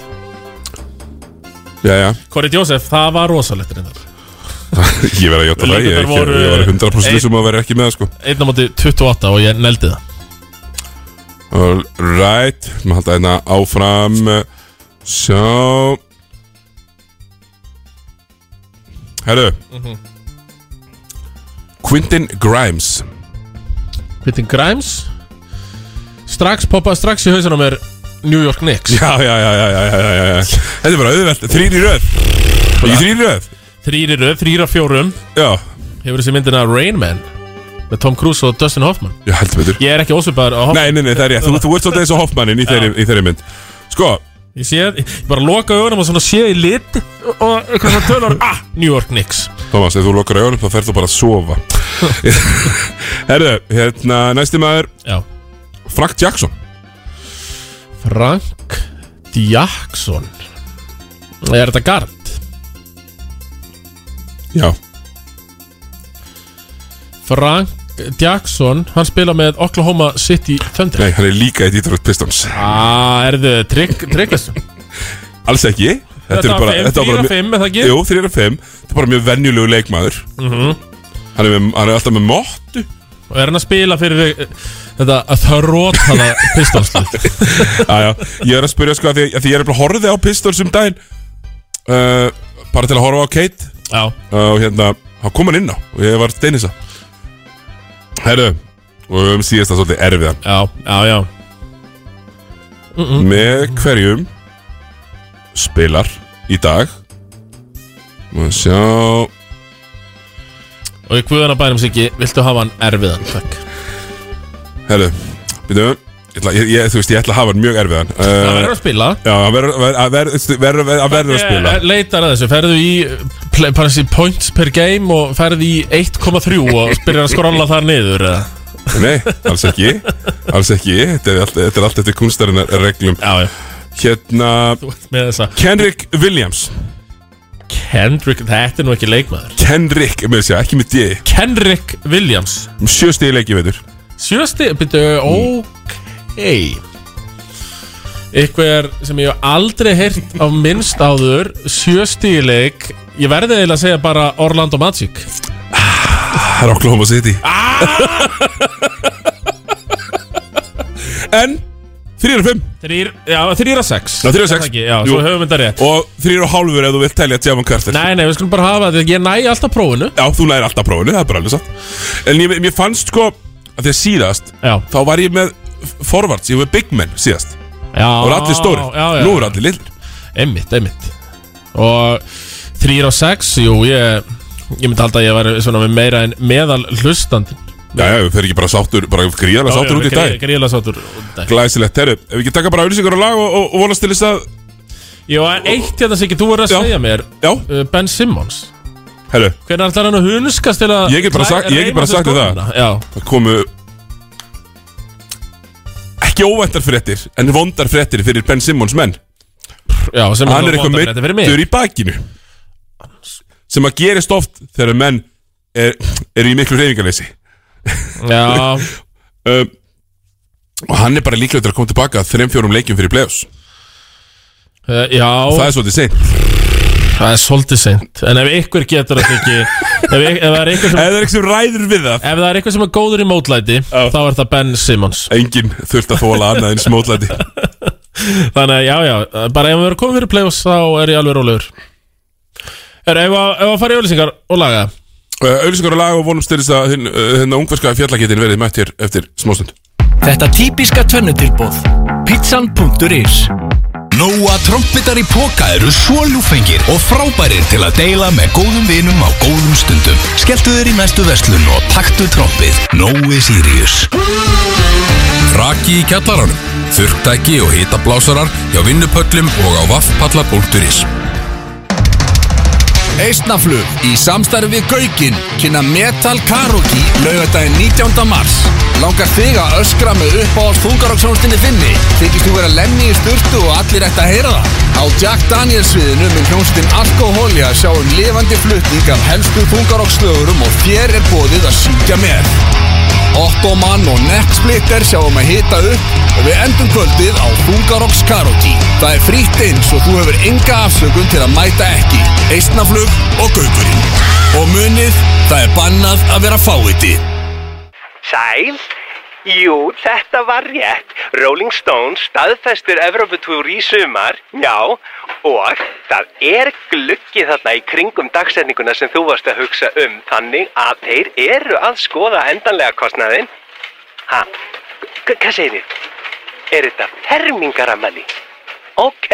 C: Já, já,
B: Corey Joseph, það var rosalegt reyndar
C: ég verði að hjáta það, ég, ég,
B: Línurnar voru,
C: ég var 100%
B: eh,
C: vissum að vera ekki með það sko
B: Einn á móti 28 og ég neldi það
C: Alright, maður halda hérna áfram eh, Sjá Herru Quintin Grimes
B: Quentin Grimes Strax poppaði strax í hausunum er New York Knicks
C: Já, já, já, já, já, já, já, já. Þetta er bara auðvelt, þrýr í röð Ekki þrýr í röð
B: Þrýri röð, þrýra fjórum
C: Já,
B: Hefur þessi myndina Rain Man Með Tom Cruise og Dustin Hoffman
C: já, heldur betur
B: Ég er ekki ósvipaður á Hoffman
C: Nei, nei, nei, það er ég, þú, þú ert svolítið eins og Hoffmannin í þeirri, í þeirri mynd Sko,
B: Ég sé, ég bara loka augunum og svona sé í lit Og eitthvað svona tölar Ah, New York Knicks
C: Thomas, ef þú lokar augunum þá ferð þú bara að sofa Herru, hérna, næsti maður
B: Já
C: Frank Jackson
B: Frank Jackson Er þetta gard?
C: Já,
B: Frank Jackson, hann spila með Oklahoma City Thunder
C: Nei, hann er líka í Detroit Pistons
B: Ah, er þið trygg, tryggast?
C: Alls ekki Þetta, er bara, þetta var bara mjög-
B: 5, er það ekki?
C: Jú, 3 og 5 Þetta er bara mjög venjulegu leikmaður Mhm. hann, er með, hann er alltaf með móttu
B: Og er hann að spila fyrir eh, þetta að það rótaða pistónslið
C: Æja, ég er að spyrja sko að því, að því ég er að horfið á Pistons um daginn uh, Bara til að horfa á Kate
B: Já,
C: uh, Og hérna, hann kom hann inn á Og ég var steinisa Herru, og við höfum síðast að svolítið erfiðan
B: já, já, já
C: Með hverjum spilar í dag Og sjá
B: Og í guðan að bænum sig ekki, viltu hafa hann erfiðan, takk
C: Herru, býtum Ég, ætla- ég, ég, þú veist, ég ætla að hafa hann mjög erfiðan
B: Það
C: uh,
B: verður að spila
C: Já, hann verður ver, ver, ver, ver, ver, að spila
B: Ég leitar að þessu, ferðu í eh, play, bara þessi points per game og ferðu í 1,3 og byrjar að skrolla þar niður eða?
C: Nei, alls ekki Alls ekki, þetta er allt, þetta er allt eftir kunstarinnar reglum
B: Já, já,
C: Hérna,
B: þú ert með þessa
C: Kenrick Williams
B: Kendrick, þetta er nú ekki leikmaður
C: Kenrick, með þess að segja, ekki með D
B: Kendrick Williams
C: Sjö stegi leiki veitur
B: Sjösti, byrju, ok Eitthvað sem ég hef aldrei heyrt á minnst áður Sjöstileik Ég verði eiginlega að segja bara Orlando Magic
C: Það er Oklahoma City
B: Ah!
C: En 3 og 5
B: Þrýr, já, þrýr að sex
C: Já, þrír að
B: Er það
C: sex.
B: ekki? Já,
C: Jú.
B: svo höfum við þetta rétt
C: Og 3 og hálfur ef þú vilt telja Tjafan Carter
B: Nei, nei, við skulum bara hafa þetta Ég næ alltaf prófinu
C: Já, þú lærir alltaf prófinu, það er bara alveg satt En ég, mér fannst sko að því að síðast
B: Já,
C: Þá var ég með forvarts, ég var með big men síðast Það
B: já
C: voru allir stórir,
B: Ah, Já, já,
C: nú eru allir lillir
B: Einmitt, einmitt Og þrýr á sex, jú, ég Ég myndi halda að ég væri svona með meira en meðal hlustandi
C: Já, já, við fyrir ekki bara sáttur, bara gríðarlega sáttur út í dag
B: Gríðlega sáttur út í dag
C: Glæsilegt, herru, ef við ekki taka bara auðlýsingar á lag og, og, og vonast til þess að
B: Jó, en eitt hérna Siggi, þú voru að
C: Já.
B: segja mér
C: Já,
B: uh, Ben Simmons
C: herru,
B: Hvernig ætlar hann að hunskast til að
C: Ég get bara
B: klæ-
C: sagt- ég get bara
B: reima sig
C: sagt þér það.
B: skóna? Já,
C: það komu Ekki óvæntar fréttir, en vondar fréttir fyrir Ben Simmons menn
B: já, sem
C: Hann er eitthvað
B: svona votarfréttir fyrir mig
C: meittur í bakinu Sem að gerist oft þegar menn er, er í miklu reyfingarleysi
B: Já,
C: um, Og hann er bara líklega til að koma tilbaka Þreim fjórum leikjum fyrir playoffs
B: uh, já,
C: Það
B: það er,
C: er svolítið seint
B: svolítið seint En ef ykkur getur þetta ekki ef, ef, ef, það er ykkur
C: Ef
B: sem,
C: það er ekki sem ræður við það
B: ef það er ykkur sem er góður í mótlæti Þá er það Ben Simmons
C: Enginn þurft að þóla annað en smótlæti
B: eh, Þannig að já, já, bara ef við erum komin fyrir playoffs Þá er ég alveg rólegur Er, ef að, ef að fara í auðlýsingar og laga það?
C: Auðlýsingar og lag og vonumst til þess að hinn, eh, hérna ungverska fjallakitin verið mætt hér eftir smástund
A: Þetta típiska tvennutilbóð Pizzan.is
D: Nóa trombitar í póka eru svo ljúfengir og frábærir til að deila með góðum vinum á góðum stundum. Skelltu þér í næstu verslun og taktu trombið. Nói Sirius. Raki í kjallaranum, þurrtæki og hitablásarar hjá vinnupöllum og á vaffpallar.is. Eistnaflug í samstarfi við Gaukin kynna Metal Karaoke laugardaginn 19. mars. Langar þig að öskra með uppáhald þungarokkslónstinni þinni? Þykist þú vera lemni í sturtu og allir ætti að heyra það? Á Jack Daniels sviðinu mun hljómsveitin Alkoholia sjá um lifandi flutning af helstu þungarokkslögurum og þér er bóðið að syngja með. Ottoman og Netsplitter sjáum að hita upp og við endum kvöldið á Þungarokks Karaoke. Það er frítt eins og þú hefur enga afslökun til að mæta ekki. Eistnaflug og gaukurinn. Og munið, það er bannað að vera fáviti.
E: Sæl? Jú, þetta var rétt. Rolling Stones staðfestir Evropatúr í sumar, já, og það er gluggi þarna í kringum dagsetninguna sem þú varst að hugsa um, þannig að þeir eru að skoða endanlega kostnaðinn. Ha, h- hvað segir þið? Er þetta fermingaramæli? Ok.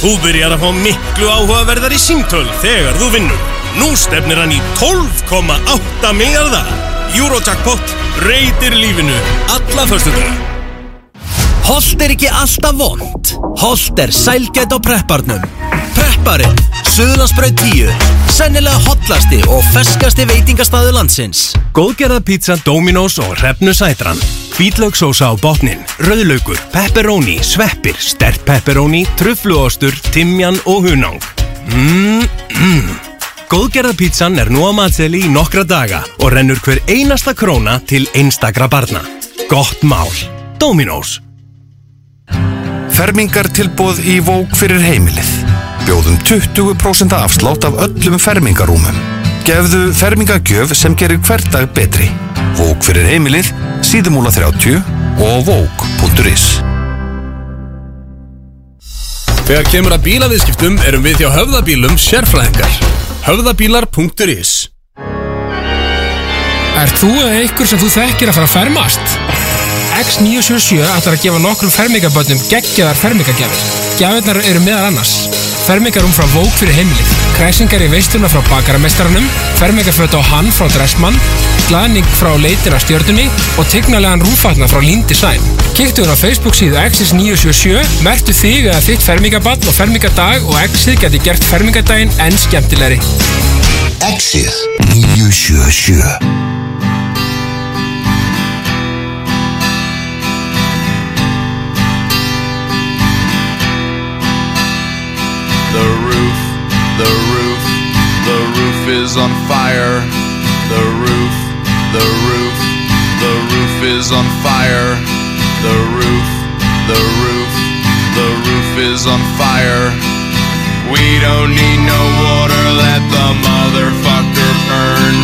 F: Þú byrjar að fá miklu áhugaverðar í símtöl þegar þú vinnur. Nú stefnir hann í 12,8 miljardar. Eurojackpot reytir lífinu alla föstudara.
A: Holt er ekki alltaf vond Holt er sælgætt á prepparnum Prepparinn, Suðlandsbröð 10 Sennilega hotlasti og feskasti veitingastæðu landsins
F: Góðgerða pizza Dominos og hrefnu sætran. Hvítlaugsósa á botnin, rauðlaukur, pepperoni, sveppir, stert pepperoni, trufluostur, timjan og hunang. Mmm, mmm. Góðgerða pizzan er nú á matseli í nokkra daga og rennur hver einasta króna til einstakra barna. Gott mál. Dominos.
G: Fermingartilbóð í Vók fyrir heimilið. Bjóðum 20% afslátt af öllum fermingarúmum. Gefðu fermingagjöf sem gerir hver dag betri. Vók fyrir heimilið, síðumúla 30 og vók.is.
D: Þegar kemur að bílaviðskiptum erum við hjá höfðabílum sérfræðingar. Höfðabílar.is
H: Er þú eða einhver sem þú þekkir að fara að fermast? X977 ætlar að gefa nokkrum fermingaböndum geggjaðar fermingagjafir. Gjafirnar eru meðal annars. Fermingarum frá Vók fyrir heimilið, kræsingar í veistluna frá bakaramestaranum, fermingaföt á hann frá Dressmann, glæðning frá leitin að stjörnunni og tignalegan rúfatna frá Lean Design. Kíktu hún á Facebook síðu X977, mertu þig eða þitt fermingaband og fermingadag og X-ið geti gert fermingadaginn enn skemmtilegri.
D: Exið 977
I: The roof, the roof, the roof is on fire. The roof, the roof, the roof is on fire. The roof, the roof, the roof is on fire. We don't need no water, let the motherfucker burn.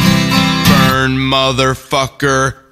I: Burn, motherfucker.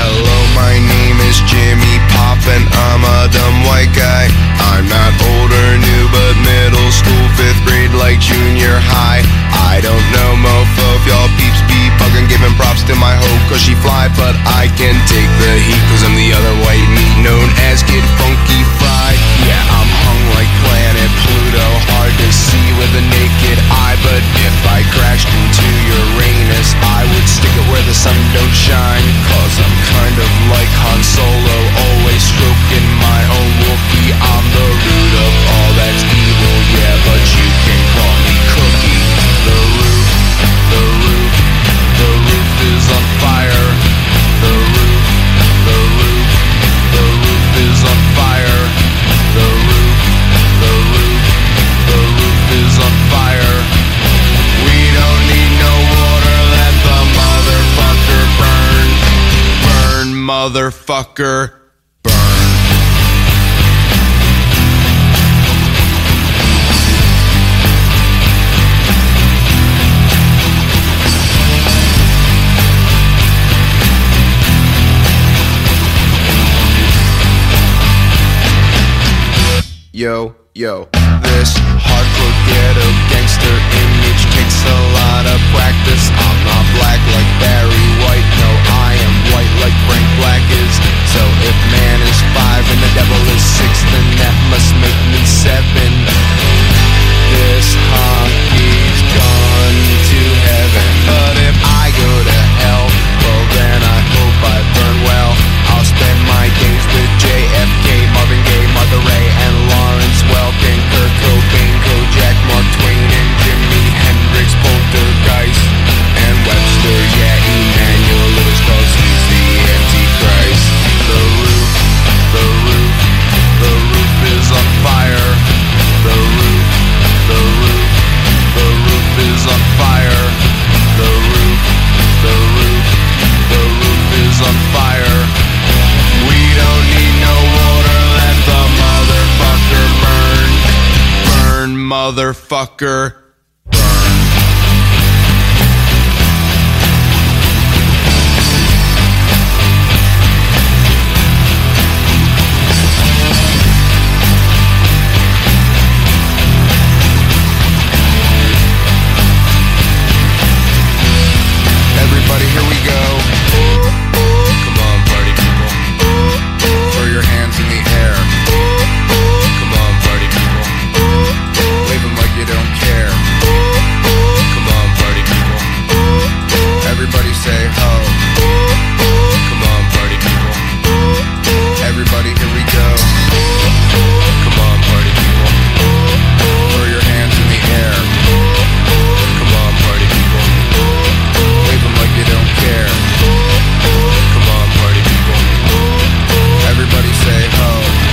I: Hello, my name is Jimmy Pop and I'm a dumb white guy. I'm not old or new, but middle school, fifth grade, like junior high. I don't know, mofo, if y'all peeps be fucking giving props to my hoe, cause she fly, but I can take the heat, cause I'm the other white meat known as Kid Funky Fry. Yeah, I'm hung like planet Pluto, hard to see with a naked eye, but if I crashed into Uranus, I would stick it where the sun don't shine. Cause I'm kind of like Han Solo, always stroking my own Wookiee. I'm the root of all that's evil, yeah, but you can call me Cookie. The roof, the roof, the roof is on fire. The roof, the roof, the roof is on fire. The roof, the roof, the roof is on fire. We don't need no water, let the motherfucker burn. Burn, motherfucker, burn. yo, yo. This hardcore ghetto gangster image takes a lot of practice. I'm not black like Barry White, no, I am white like Frank Black is. So if man is five and the devil is six, then that must make me seven. This hockey's gone to heaven, but if I go to hell, well then I hope I burn well. I'll spend my days with JFK, Marvin Gaye, Mother Ray, and Lawrence Welkin, Kurt Cobain, Kojak, Mark Twain, and Jimi Hendrix, Poltergeist, and Webster. Yeah, Emmanuel Lewis Strauss, he's the Antichrist. The roof, the roof, the roof is on fire. The roof, the roof, the roof is on fire. The roof, the roof, the roof is on fire. We don't need no water, let the motherfucker burn. Burn, motherfucker. Everybody, here we go. Come on, party people. Throw your hands in the air. Come on, party people. Wave 'em like you don't care. Come on, party people. Everybody say ho. Come on, party people. Everybody, here we go. Come on, party people. Throw your hands in the air. Come on, party people. Wave 'em like you don't care. Come on, party people. Everybody say ho.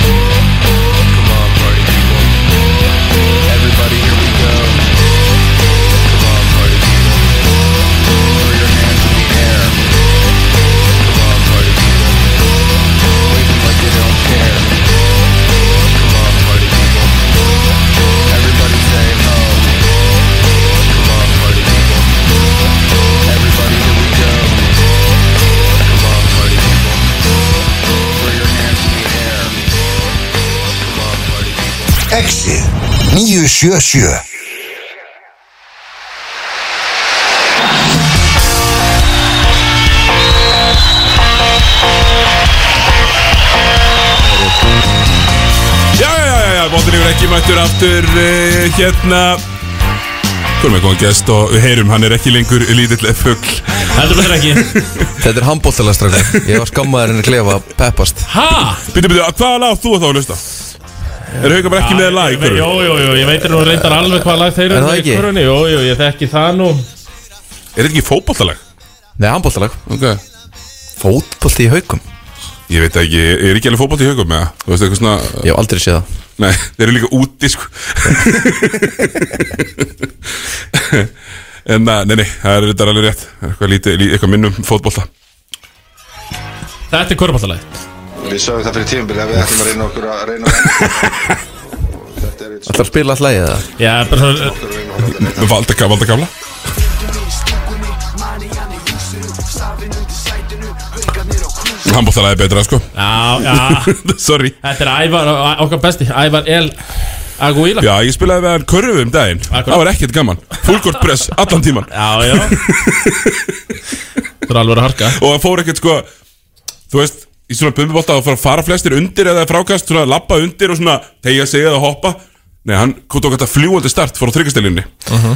I: Come on, party people. Everybody, here we go. Come on, party people. Throw your hands in the air. Come on, party people. Wave 'em like you don't care. Come on, party people. Everybody say ho. Come on, party people. Everybody, here we go. Come on, party people. Throw your hands in the air. Come on, party people.
G: Exi 977
C: Já, já, já, já, Bóttinlegur ekki mættur aftur uh, hérna Hvað er með góðan gest og við heyrum, hann er ekki lengur lítill fugl
B: Heldur betur ekki
D: Þetta er handbóltalega strafni Ég var skammaður henni að klefa peppast
B: Ha?
C: Býtu, býtu, hvað lag átt þú að þá að hlusta? Er Hauka bara ekki með lag í
B: Jó,
C: hverju?
B: jó, jó, ég veitir nú reyndar alveg hvað lag þeir
D: Er
B: eru
D: það
B: í
D: ekki?
B: körunni Jó, jó, ég þekki það nú
C: Er þetta ekki fótballtalag?
D: Nei, handbóltalega
C: Ok
D: Fótbólti í haukum
C: Ég veit ekki, ég er ekki alveg fótballt í haugum með það Þú veist eitthvað svona,
D: Ég hef aldrei séð það
C: nei, þeir eru líka úti sko En na, nei, nei, það er þetta alveg rétt Það er Eitthvað lítið, lítið, eitthvað minnum fótballta
B: Þetta er körpallalæg
J: Við sögum það fyrir tímbil að við ætlum að reyna okkur að reyna að Þetta er eitt
D: Það er að spila alltaf lægið það
B: Já, bara svona
C: Um Valda kafla, valda kafla Handbóltalag er betra sko
B: Já, já
C: Sorry
B: Þetta er Ævar, okkar besti Ævar El Aguila
C: Já, ég spilaði við hann körfu um daginn
B: Akkurat.
C: Það var ekkert gaman Fullkort press, allan tíman
B: Já, já Þetta er alveg að harka
C: og það fór ekkert sko þú veist, í svona bumbibólta þá fara, fara flestir undir eða frákast, svona lappa undir og svona tegja sig eða hoppa nei, hann kom tók þetta fljúandi start fór á þryggjastelinni
B: Mhm.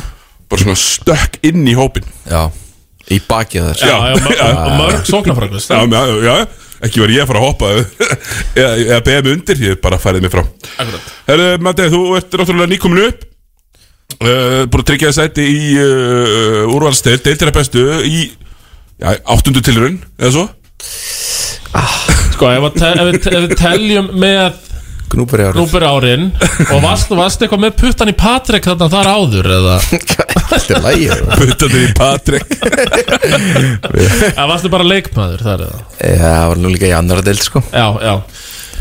C: bara svona stökk inn í hópin
D: Já Í bakið þar
B: Já, já, mörg-
C: Já.
B: og mörg sóknarfrækust
C: já, já, já, ekki var ég að fara að hoppa eða, eða beða mig undir, ég bara færið mig frá
B: Akkurat
C: Herru, Matti, þú ert náttúrulega nýkomin upp uh, búin að tryggja þér sæti í uh, úrvalstegl, deildir að bestu í já, áttundu tilraun eða svo
B: Sko, ef, að te- ef, við- ef við teljum með
D: Gnúpari árið
B: Núber árin Og varst, varst eitthvað með puttan í Patrik þarna þar áður eða
D: Þetta er lægið það
C: Butandir í Patrik
B: Eða varstu bara leikmaður þar eða
D: Já, það var nú líka í annara deild sko
B: Já, já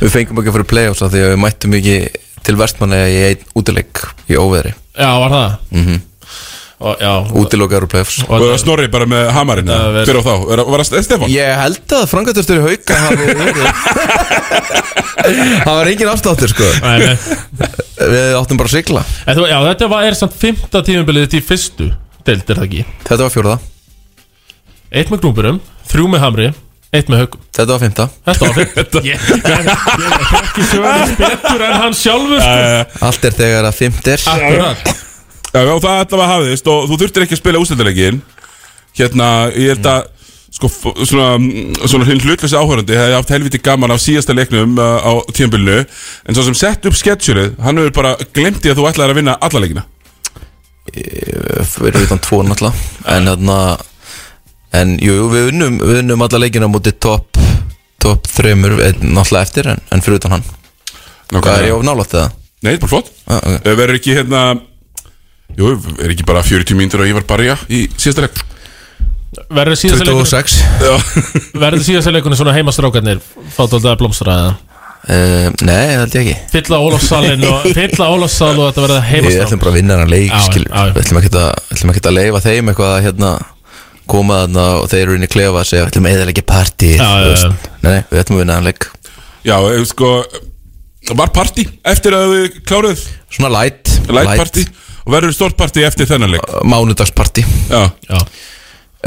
D: Við fengum ekki að fara í play-offs af því að við mættum ekki til vestmanni í einn útileik í óveðri Mhm.
B: Já, var það mm -hmm. og, já,
K: útilokaður úr play-offs
C: Og það
B: og,
C: er snorri bara með hamarinn
B: Það er-
C: Fyrir og þá, er, var það Stefán?
K: Ég held að frangatörstjóri hauka hafi verið Það var engin afsláttur sko
B: Nei, nei.
K: Við áttum bara að sigla
B: En þú- Já, þetta var, er samt fymta tímubilið til í fyrstu deild, er það ekki?
K: Þetta var fjórða,
B: Eitt með grúmburum, þrjú með hamri, eitt með haugum
K: þetta var fymta
B: Þetta var fyrst Ég ekki sögur betur en hann sjálfur sko.
K: Allt er þegar að fymta er
B: Akkurat
C: Eh, Já, já, það allavega hafiðist og sko, þú þurftir ekki að spila ústildarleikin Hérna, ég held að Sko, f- svona, mm, svona hinn hlutlösi áhörandi hefði haft helviti gaman af síðasta leiknum uh, á tímabilinu en svo sem sett upp sketsjurið, hann hefur bara glemt í að þú ætlaðir að vinna alla leikina
K: Við erum utan tvo náttúrulega En þarna En jú, jú, við unnum, við unnum alla leikina mútið topp Topp þreymur náttúrulega eftir en, en fyrir utan hann Hvað er ég of nálætt eða?
C: Eh, Nei, bara flott
K: Ah, ok.
C: okay. Verður ekki hérna Jú, er ekki bara 40 mínútur og ég var barja í síðasta leik
B: Verður síðasta leikunum
K: 26
C: Já,
B: Verður síðasta leikunum svona heimastrákarnir Fátóldaði blómstra eða
K: uh, Nei, held ég ekki
B: Fylla Ólafssalinn og Fylla Ólafssal og þetta verða
K: Við
B: heimastrák
K: ætlum bara að vinna hann leik
B: Já, já,
K: skilur.
B: já, já.
K: Við ætlum ekkert að, ætlum ekkert að leifa þeim eitthvað að hérna koma þarna og þeir eru inn í klefa að segja við ætlum að eðalega partí
B: Já, já, já.
K: Nei, nei, við ætlum að vinna hann leik
C: já eh, sko Það var partí eftir að við kláruð
K: Svona light
C: Light partí Og verður stort partí eftir þennan leik
K: Mánudagspartí
C: Já,
B: Já,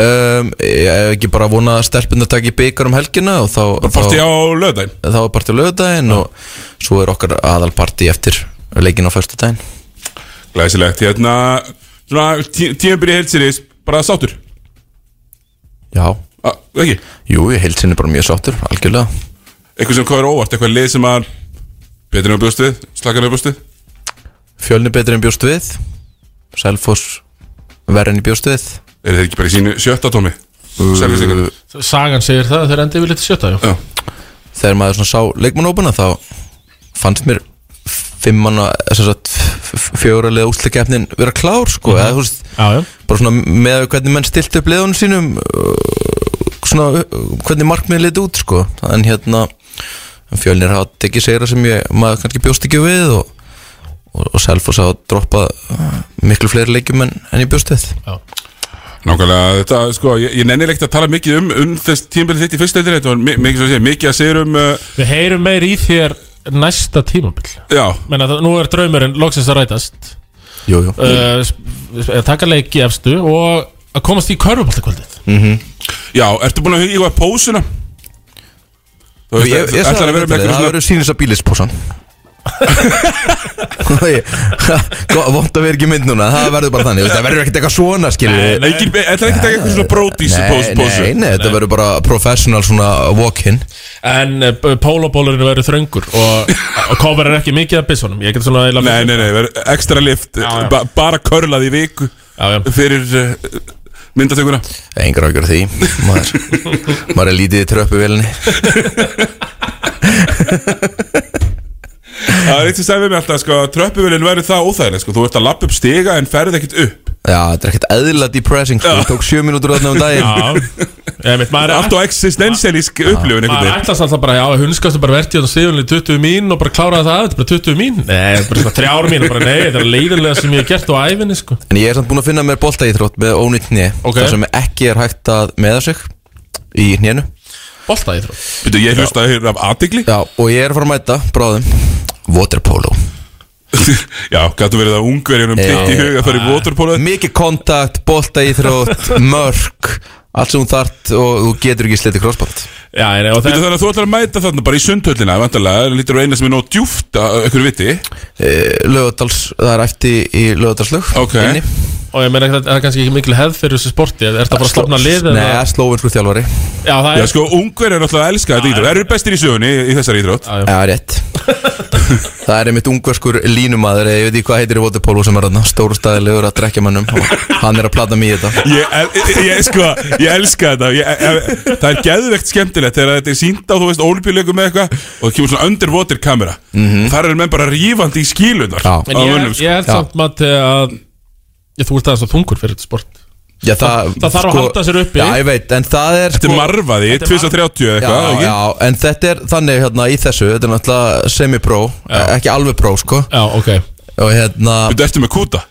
K: um, Ég hef ekki bara vonað að stelpunna taki byggar um helgina og þá,
C: partí
K: þá,
C: á löðdæn
K: þá er partí á lögudaginn og svo er okkar aðalpartí eftir leikin á föstudaginn
C: Glæsilegt, hérna Svona tí tímabili heilsiris Bara sáttur,
K: Já,
C: A, ekki
K: jú, ég heilt sinni bara mjög sáttur, algjörlega
C: Eitthvað sem komur óvart, eitthvað lið sem að Betur en að bjóst við, slakar en að bjóst við
K: Fjölni betri en bjóst við Selfoss verri en ég bjóst við
C: Er þetta ekki bara í sínu sjötta tómi? Selvisingar
B: sagan segir það þegar endið við litið sjötta já.
C: Já,
K: þegar maður svona sá leikmannópana þá fannst mér fimm manna, sem sagt fjóralega úsleikefnin vera klár sko, eða þú veist,
B: Já, já.
K: bara svona með að hvernig menn stilt upp leðunum sínum uh, svona uh, hvernig markmið liti út sko, en hérna fjölnir hafa tekið segra sem ég maður kannski bjóst ekki við og, og, og Selfoss hafa droppað uh, miklu fleiri leikjum en, en ég bjóst við
C: Nákvæmlega, þetta, sko, ég, ég nenni ekkert að tala mikið um, um þess tímabilið þitt í fyrst deildinni, þetta var mi- mikið, svo að segja, mikið að segja um, uh,
B: Við heyrum meir í þér næsta tímabil
C: já,
B: Menna, það, nú er draumurinn loksins að rætast
K: Jú, jú,
B: uh, sp- að Taka leik í efstu og að komast í körfuboltakvöldið
C: já, ertu búin að huga í pósuna? Þú veist,
K: Ég, ég
C: ætlar
K: sagði
C: að vera með eitthvað
K: það
C: svona,
K: verður sínins að bílispósan Vont að vera ekki í mynd núna Það verður bara þannig þú veist, Það verður ekkert eitthvað svona skilur
C: nei, ekki, ætlar ekki að taka eitthvað svona brótís í pós, pósu?
K: nei, nei, þetta verður bara professional svona walk-in
B: En uh, pólabólurinn verður þröngur og, og kofar er ekki mikið að byssunum Ég get svona eiginlega-
C: Nei, nei, nei, verður ekstra lift,
B: já.
C: ba bara körlað í viku
B: Já, já.
C: fyrir uh, myndatökuna.
K: Engar ágjör því Maður, maður er lítið í tröppu velinni
C: Það er eitt sem sagði við mig alltaf, sko, tröppuvölinn verður það óþægileg, sko, þú ert að lappa upp stiga en ferð ekkert upp.
K: Já, þetta er ekkert eðla depressing sko. Ég tók sjö mínútur þarna um daginn
B: Já, ég veit, maður
C: Allt
B: er
C: og existensialísk upplifun einhvern
B: Maður
C: veginn.
B: ætlast alltaf bara, já, hundskastu bara verti hérna og síðanlega 20 mín og bara kláraði það af, þetta er bara 20 mín Nei, bara svona 3 ár mín og bara nei, þetta er leiðilega sem ég hef gert á æfinni, sko
K: En ég er samt búin að finna mér boltaíþrótt með ónýtt hné
B: Ok.
K: Það sem ekki er hægt að meða sig Í hnénu
B: Bolta, ég þrjóð
C: Býttu, ég hlusta hér af aðdegli.
K: Já, og ég er að fara að mæta bráðum Waterpolo
C: Já, gætu verið að ungverjunum
K: Já.
C: ditt í huga að fara í waterpolo
K: Mikið kontakt, boltaíþrótt, mörk Allt sem hún þart og þú getur ekki slitið krossband
B: Já, nei, og
C: Þetta
B: það,
C: þannig að þú ætlar að mæta þarna bara í sundhöllina vantarlega, en lítur á eina sem er nóg djúft að ykkur viti
K: Lögadals, Eh, það er eftir í lögadalslög
C: Ok.
B: og ég meina, það það er kannski ekki mikil hefð fyrir þessu sporti Er það bara að stofna lið eða-
K: Nei, slóvinskur þjálfari
B: Já, það
C: Já
B: er,
C: sko, ungverjur er náttúrulega að elska þetta íþrótt Það eru bestir í sögunni í, í þessari íþrótt
B: Já.
K: Já, rétt Það er einmitt ungverskur línumadur eða Ég veit ekki hvað heitir í Waterpolo sem er hann Stórstæðilegur að drekja mannum og Hann er að plata mig í þetta
C: Ég, el- ég, ég, sko, ég elska þetta ég, ég, Það er geðvegt skemmtilegt þegar þetta er sínt á, þú veist, ólpíuleikum með eitthvað og það kemur svona underwater kamera mm Þar eru menn bara rífandi í skílunar
K: Já.
C: á
B: en ég,
C: mönnum, sko.
B: ég held samt mati að ég, Þú ert aðeins að þungur fyrir þetta sport
K: Já, það, sko-
B: Það þarf að halda sér uppi.
K: Já, ég veit, en það er sko-
C: Þetta er marfaði, 230 eða eitthvað
K: Já,
C: ekki?
K: já, en þetta er þannig hérna í þessu Þetta er náttúrulega semi-pro Ekki alveg pro, sko
B: Já, ok
K: Og hérna
C: Þetta ertu með kúta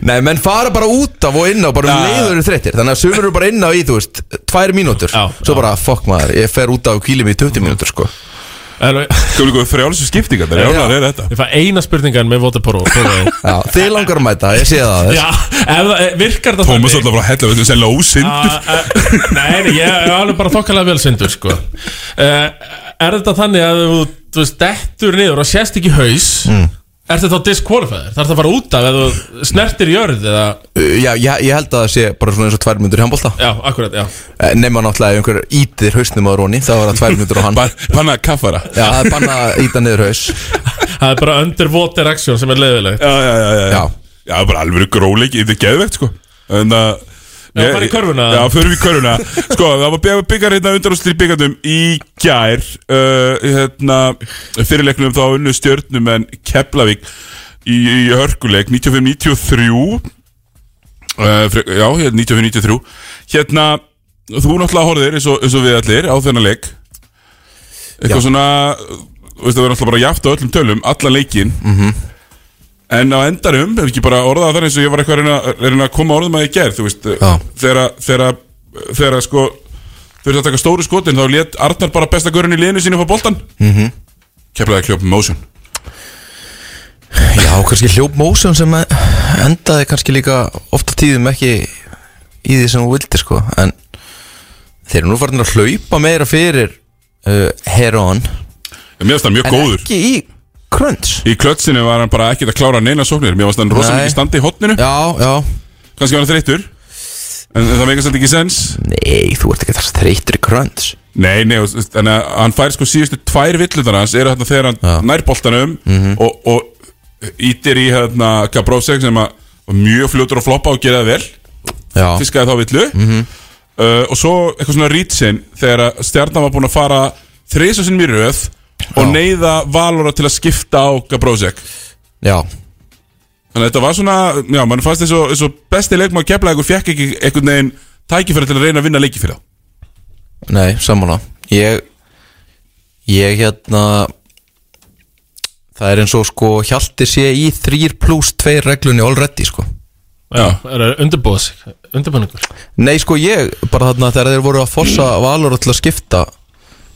K: Nei, menn fara bara út af og inn á bara um leiður eru þreyttir Þannig að sumur eru bara inn á í, þú veist, tvær mínútur Svo bara, fuck maður, ég fer út af og kýli mig í 20 mínútur, sko
C: Skulum við frjálsum skiptingar Það er jálfar er þetta
B: Ég fæ eina spurningan með Votaporó
K: Já, þið langar að mæta, ég sé það
B: Já, ef það eh, virkar það
C: Thomas alltaf bara hella Þetta er lósindur
B: Ah, eh, Nei, nei, ég er alveg bara þokkalega vel sindur sko. uh, Er þetta þannig að þú, þú veist, dettur niður og sést ekki haus mm. Er þetta þá disqualifier? Þarf það að fara út af eða þú snertir jörð eða,
K: Eh, Já, ég, ég held að það sé bara svona eins og tvær mínútur í handbólta
B: Já, akkurat, já
K: Nefna náttúrulega ef einhver ítir hausnum á Róni Þá var það tvær mínútur á hann
C: Banna kaffara
K: Já, það er banna að íta niður haus
B: Það er bara underwater action sem er leiðilegt
C: Já, já, já, já, já.
K: Já.
C: já bara alveg gróleik Þetta er geðvegt sko En að
B: Já, fara í körfuna.
C: Já, förum í körfuna Sko, það var byggar hérna undan og slýr byggandum í gær uh, Hérna, fyrirleiknum þá unnu stjörnum en Keflavík í, í hörkuleik 95-93 Uh, fre- já, hérna 95-93 Hérna, þú náttúrulega horfðir eins og, eins og við allir á þennan leik Eitthvað svona þú veist, Það verður náttúrulega bara jaft á öllum tölum Alla leikin -hmm. En á endarum, ef ekki bara orðað það eins og ég var eitthvað að reyna, að reyna að koma orðum að ég gerð Þú veist,
K: Já.
C: þegar að- þegar að- þegar að sko Þegar að taka stóru skotin þá lét Arnar bara besta görun í liðinu sínu fá boltan mm
K: Mhm.
C: -hmm. Keflaði kljóp motion
K: Já, kannski hljóp mósum sem endaði kannski líka ofta tíðum ekki í því sem hún vildi sko en þeir eru nú farin að hlaupa meira fyrir uh, Heron
C: En Mér finnst það mjög
K: en
C: góður
K: ekki í Crunch
C: Í klötsinu var hann bara ekkert að klára neina sóknir Mér finnst hann rosa
K: Nei.
C: mikið standi í hotninu
K: Já, já
C: kannski var hann þreyttur en það meikast þetta ekki sens
K: Nei, þú ert ekki þar þreytur í Crunch
C: nei, nei, og- þannig að hann fær sko síðustu tvær villunar hans eru þarna þegar hann
K: Já. Mhm.
C: nær boltanum og, og ítir í hérna Gabrovsek sem að var mjög fljótur að floppa og gera það vel
K: Já, Mhm.
C: fiskaði þá villu uh, og svo eitthvað svona rýtsin þegar að stjarnan var búin að fara þreysa sinn mér röð og neyða Valora til að skipta á Gabrovsek
K: já
C: Þannig að þetta var svona, já, mann fannst eins og, eins og besti leikmaður keflaði fekk ekki einhvern veginn tækifæri til að reyna að vinna leiki fyrir það.
K: Nei, sammála Ég Ég hérna Það er eins og sko Hjalti sé í 3 pluss 2 reglunni already sko
B: Já, er það undirbúið sig, undirbúningur
K: Nei sko ég, bara þarna þegar þeir voru að fossa Valur til að skipta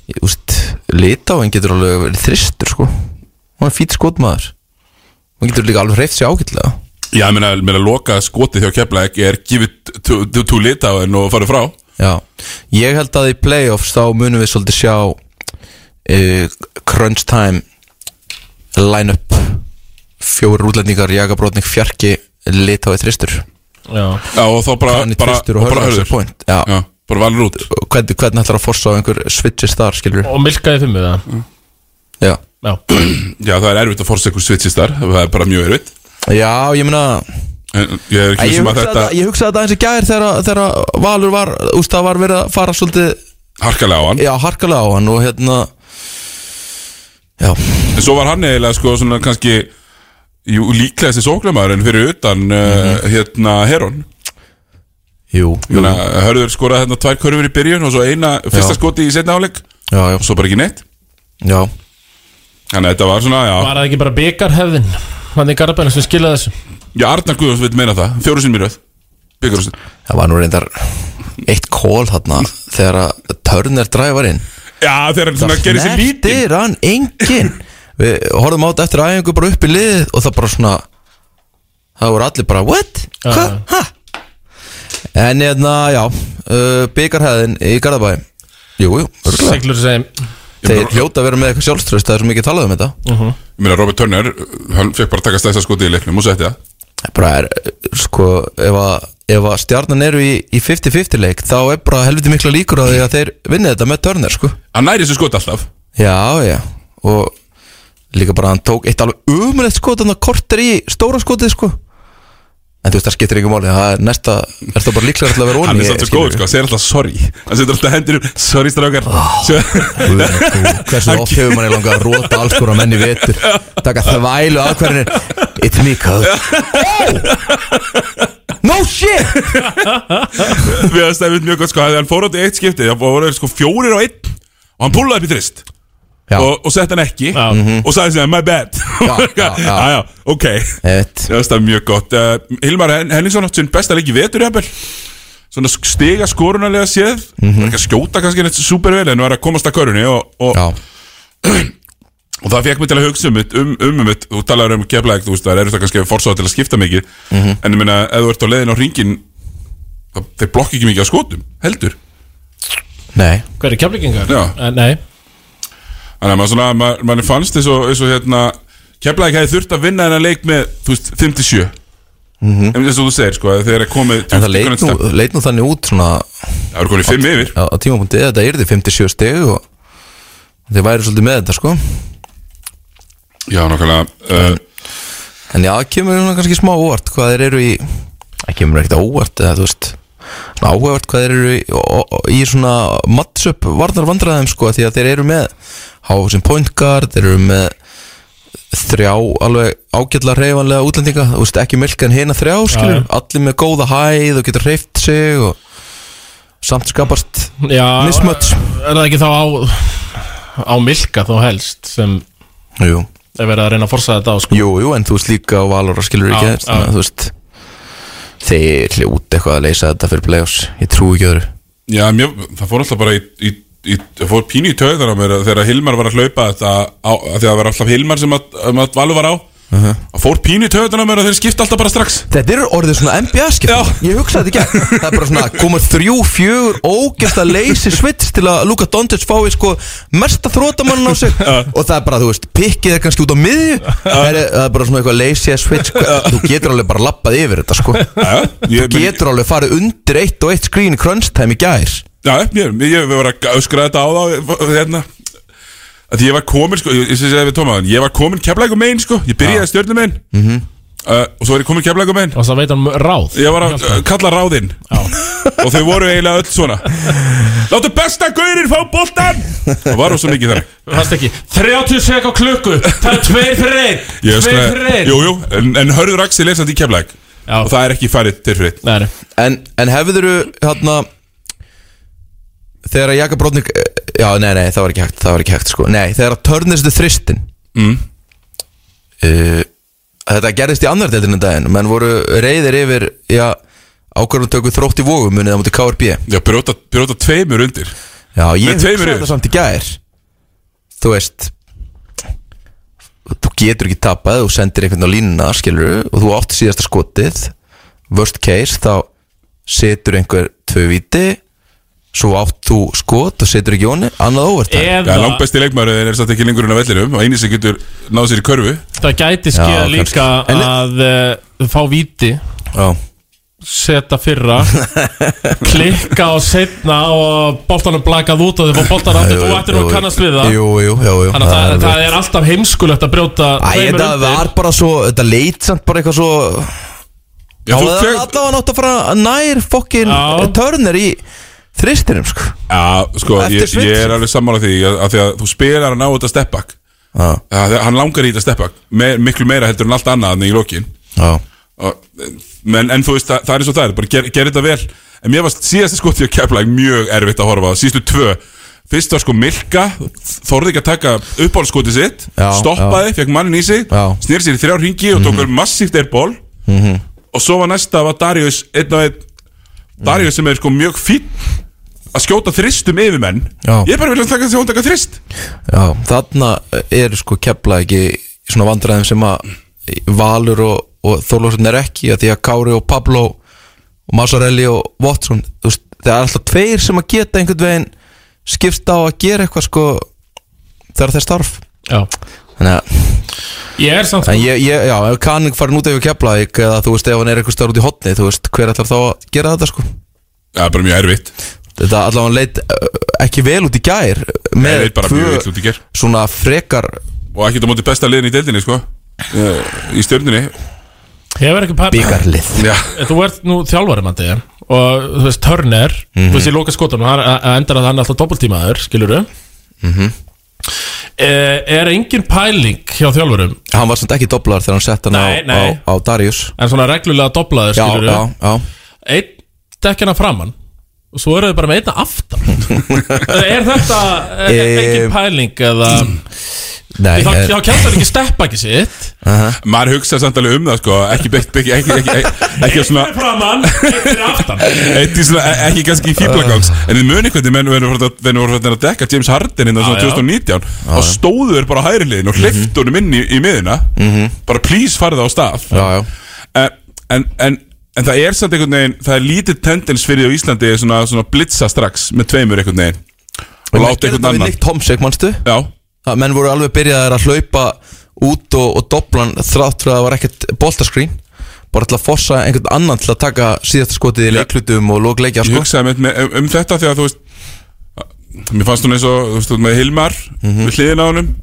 K: Ég úst, lita og hann getur alveg verið þristur sko Hann er fýt skotmaður Hann getur líka alveg hreift sér ágætlega
C: Já, ég meina, meina loka skotið hjá Keflæk er gefið tú lita á henn og farið frá
K: Já, ég held að í playoffs þá munum við svolítið sjá uh, crunch time line-up fjóri útlendingar, jagabrótning, fjarki litái þristur
B: Já,
C: Já, og þá bara,
K: Þannig
C: bara,
K: þristur og hörður sér point Já,
C: Já, bara valur út
K: Og hvernig, hvernig ætlar að forsa á einhver switches þar, skilur
B: og milkaði fimm við það
K: Já,
B: Já,
C: Já, það er erfitt að forsa einhver switchist þar Það er bara mjög erfitt
K: Já ég meina
C: En ég er ekki
K: Ég
C: vissum að
K: hugsaði
C: þetta
K: þetta... hugsa þetta eins og gær þegar, að- þegar að Valur var, úst, það var verið að fara svolítið,
C: harkalega á hann
K: já, harkalega á hann og hérna Já,
C: En svo var hann eiginlega sko svona kannski Jú, líklegasti sóklamæður en fyrir utan
K: Mhm.
C: uh, hérna Heron
K: jú, jú
C: Þannig að hörður skoraði hérna tvær körfur í byrjun og svo eina fyrsta
K: Já.
C: skoti í setna áleik og
K: Já, já,
C: svo bara ekki neitt
K: já
C: Þannig að þetta var svona, já,
B: var það ekki bara byggarhefðin Þannig í Garabæna sem skilaði þessu
C: já Arnar Guðjóns vil meina það, fjóru sinni mér öð Byggarúsin
K: Það var nú reyndar eitt kól þarna þegar að Turner drævar inn
C: Já, þegar hann svona gerir sér lítið
K: Snertir hann engin Við horfum á þetta eftir æfingu bara upp í liðið og það bara svona það voru allir bara what? Hva? Ha? En hérna, já uh, byggarhæðin í Garðabæ Jú, jú, örugglega.
B: Siglur sem
K: þeir hljóta að vera með eitthvað sjálfströst það er svo mikið talað um þetta
C: Ég meina Robert Turner, hann fekk bara að taka stæðsa skoti í leiknum og setti það
K: Það bara er, uh, sko, ef að, ef að stjarnan eru í í 50-50 leik þá er bara helviti mikla líkur að því að þeir vinni þetta með Turner, sko
C: Hann næri þessu skoti alltaf
K: Já, já Og líka bara hann tók eitt alveg umrætt skot Þannig að kortir í stóra skotið sko En þú veist það skiptir ekki máli Það er næsta, er það bara líklega til að vera
C: Hann
K: onni
C: er svolítið góð, sko, hann segir alltaf sorry Hann setur alltaf hendur upp, sorry strákar Svo-
K: Hversu oft hefur manni langað að róta alls konar menn í vetur Taka þvælu aðkværinir It's me, cuz Oh! No shit
C: Við hafum stæðið mjög gott, sko, hann fór átt í eitt skipti Það voru sko fjórir og einn Og hann púlaði upp í trist
K: Já.
C: og, og sett hann ekki og sagði sem my bad já, já, já. ok
K: Einmitt.
C: Já, það er mjög gott uh, Hilmar Hen- Henningsson átt sinn besta leik í vetur jafnvel. svona stiga skorunarlega séð
K: Mhm.
C: mm -hmm. ekki að skjóta kannski neitt supervel en var að komast að körunni og, og,
K: Já,
C: og það fekk mig til að hugsa um mitt, um, um, um mitt þú talar um keflaðið, þú veist það er það kannski forsáð til að skipta mikið
K: Mhm.
C: en ég meina, ef þú ert á leiðin á ringin þeir blokki ekki mikið af skotum, heldur
K: nei
B: Hver er keflingingar?
C: Já.
B: Nei,
C: Þannig að maður, svona, maður, maður fannst eins og, eins og hérna, Keflæk hefði þurft að vinna þennan leik með, þú veist, 5-7 mm -hmm. eins og þú segir, sko, þegar er komið
K: Mhm. En það leit nú, leit nú þannig út svona
C: það er komið 5 yfir
K: á, á tímapunktið að þetta yrði 57 steg og þið væri svolítið með þetta sko
C: Já, nákvæmlega uh,
K: En já, það kemur svona kannski smá óvart hvað þeir eru í Það kemur ekkert á óvart eða þú veist svona áhugavert hvað þeir eru í, ó- ó- í svona matchup varnar vandræðum sko því að þeir eru með há sem point guard, þeir eru með þrjá alveg ágætla reyfanlega útlendinga, þú veist ekki milk en hina þrjá skilur, allir með góða hæð og getur hreift sig og samt skapast
B: já
K: mismöts
B: Er það ekki þá á, á Milka þá helst sem
K: Jú,
B: er verið að reyna að forsa þetta á sko
K: jú, jú, en þú veist líka á Valora skilur
B: Já,
K: ekki þess,
B: já.
K: þannig að þú veist þeir hljóti eitthvað að leysa þetta fyrir playoffs, ég trúi ekki öðru
C: Já, mjö, það fór alltaf bara í, í, í það fór pínu í töðan á mér að þegar Hilmar var að hlaupa þetta á, að því að það var alltaf Hilmar sem að, um að Valur var á
K: Uh-huh.
C: það fór pínu í töðan á mér að þeir skipta alltaf bara strax
K: Þetta eru orðið svona NBA-skipt Ég hugsaði þetta ekki Það er bara svona koma þrjú, fjögur ógæsta leysi svits til að Luka Doncic fái sko mesta þrótamann á sig og það er bara, þú veist, pikkið er kannski út á miðju það er, það er bara svona eitthvað leysi að svits Þú getur alveg bara lappað yfir þetta sko
C: Já, ég,
K: Þú getur alveg farið undir eitt og eitt skrín í crunch time í gær
C: Já, ég, ég, ég var að öskra þetta á þá hérna að því ég var komin sko, ég, ég sé að við tóma þann ég var komin keflækum megin sko, ég byrjaði stjörnum megin
K: Mhm.
C: uh, og svo var ég komin keflækum megin
B: Og það veit hann ráð
C: ég var að uh, kalla ráðinn og þau voru eiginlega öll svona Láttu besta gaurinn fá boltan það var svo mikið þannig
B: Fast ekki 30 sek á klukku Það er tveir fyrir einn
C: Ég
B: Tveir fyrir
C: öskraði-
B: einn
C: Jú, jú, en, en hörður Axel er samt í keflæk
B: Já.
C: og það er ekki farið til fyrir einn.
B: Nei, nei.
K: En, en hefðuru hérna Þegar að Jakob Brodnik Já, nei, nei, það var ekki hægt, það var ekki hægt sko. Nei, þegar að törnistu þristin mm. Þetta gerðist í annar deildinu daginn Menn voru reyðir yfir Já, ákvörðum tökur þrótt í vógum Munið á múti KRB Já,
C: Já, brjóta, brjóta tveimur undir
K: ég
C: Með tveimur
K: hugsaði
C: yfir.
K: þetta samt í gær Þú veist Þú getur ekki tapað Þú sendir einhvern á línuna, skilur Og þú átt síðasta skotið Worst case, þá setur einhver Tvö viti Svo átt þú skot og setur ekki honi Annað óvert
C: Já,
B: Eða
C: langbesti leikmaður er samt ekki lengur en að vellinum og eini sem getur náð sér í körfu
B: það gæti
K: Já,
B: skeið
K: kannski.
B: líka
K: En-
B: að uh, fá víti
K: Já,
B: Seta fyrra Klikka og setna og boltanum blakað út og þau fá boltan aftur Þú ættir nú að kannast við það
K: Jú, jú, jú, jú
B: Þannig að það,
K: alveg-
B: það er alltaf heimskulegt að brjóta
K: Æ,
B: tveimur
K: þetta
B: undir.
K: var bara svo Þetta leit samt bara eitthvað svo
C: Já,
K: Það
C: þú
K: var
C: fegst-
K: allavega nátt að fara nær fokkin
B: Já.
K: törnir í þristinum sko.
C: Já, sko,
K: Eftir
C: ég,
K: svindl.
C: ég er alveg sammála því að, að því að þú spilar að ná þetta steppbak
K: Já,
C: Hann langar í þetta steppbak Me, Miklu meira heldur en allt annað en í lokin
K: já
C: og, en, en þú veist, það, það er eins og það er Bara ger, ger þetta vel En mér varst síðasta skotið að kepla mjög erfitt að horfa á Síðustu tvö Fyrst var sko Milka, þorði ekki að taka uppáhaldskotið sitt
K: Já,
C: Stoppaði, fekk mannin í sig
K: Já. Mhm.
C: Snýr sér í þrjár hringi og tók mm massíft airball Og svo var næsta var Darius Einn og einn Darius sem er sko mjög fínn Að skjóta þristum yfir menn
K: Já.
C: Ég er bara vilja að taka því að hún taka þrist
K: Já, þarna eru sko kepla ekki svona vandræðum sem að Valur og, og Þorlósson er ekki að því að Kári og Pablo og Massarelli og Watson þú veist, það er alltaf tveir sem að geta einhvern veginn skipst á að gera eitthvað sko þegar þeir starf
B: Já.
K: þannig að
B: Ég er samt
K: en ég, ég, já, ef kanning farin út yfir kepla eða þú veist ef hann er eitthvað starf út í hotni þú veist hver ætlar þá að gera þetta sko
C: Það er bara mjög erfitt
K: þetta allavega leit uh, ekki vel út í gær
C: Ég
K: með
C: veit bara mjög vill út í ger
K: svona frekar
C: Og ekki á móti besta liðin í deildinni sko Eh, Í stjörninni
B: Hefur ekki pæl
K: byggarlið
C: Já,
B: Þú ert nú þjálfari mandi Og þú veist, Turner Þú
K: Mhm.
B: veist, ég lóka skotunum Hann hann- hann endar að hann er alltaf doppeltímaður Skilurðu mm
K: Mhm.
B: Er engin pæling hjá þjálfurum
K: Hann var samt ekki doblar þegar hann sett hann
B: Nei,
K: á,
B: nei.
K: á, á Darius
B: En svona reglulega doblaður
K: Já,
B: skilurðu
K: já, já
B: Einn dekkjana framann Og svo eru þau bara með einna aftan Er þetta eh, engin pæling eða
K: Nei,
B: Þá
K: ég-
B: þá kemst það ekki steppa ekki sitt
C: Maður hugsa samt alveg um það sko Ekki, ekki, ekki, ekki, ekki, ekki, ekki svona
B: Framan, fyrir aftan
C: Eitt í svona, e- ekki kannski í fíblagangs En þið muni hvernig menn voru farin að- þeir voru farin að dekka James Harden innan svona
B: Já, já.
C: 2019 Og stóðu þeir bara á hægri
K: Mhm.
C: liðin og hleyftu honum inn í, í miðina Bara please farið á stað
K: Já, já
C: en, en, en, en það er samt einhvern veginn Það er lítið tendens fyrir því á Íslandi Svona, svona blitza strax með tveimur einhvern veginn Og láta einhvern
K: Við
C: annan
K: Nick Tomsek, manstu?
C: Já,
K: að menn voru alveg byrjaðir að hlaupa út og, og doblan þrátt fyrir að það var ekkert boltaskrín bara til að fossa einhvern annan til að taka síðasta skotið í leiklutum og lókleikja
C: ég
K: sko.
C: hugsaði með, með, um, um þetta Þegar þú veist Mér fannst hún eins og, þú veist, þú veist, með Hilmar
B: Mhm.
C: Við hliðin á honum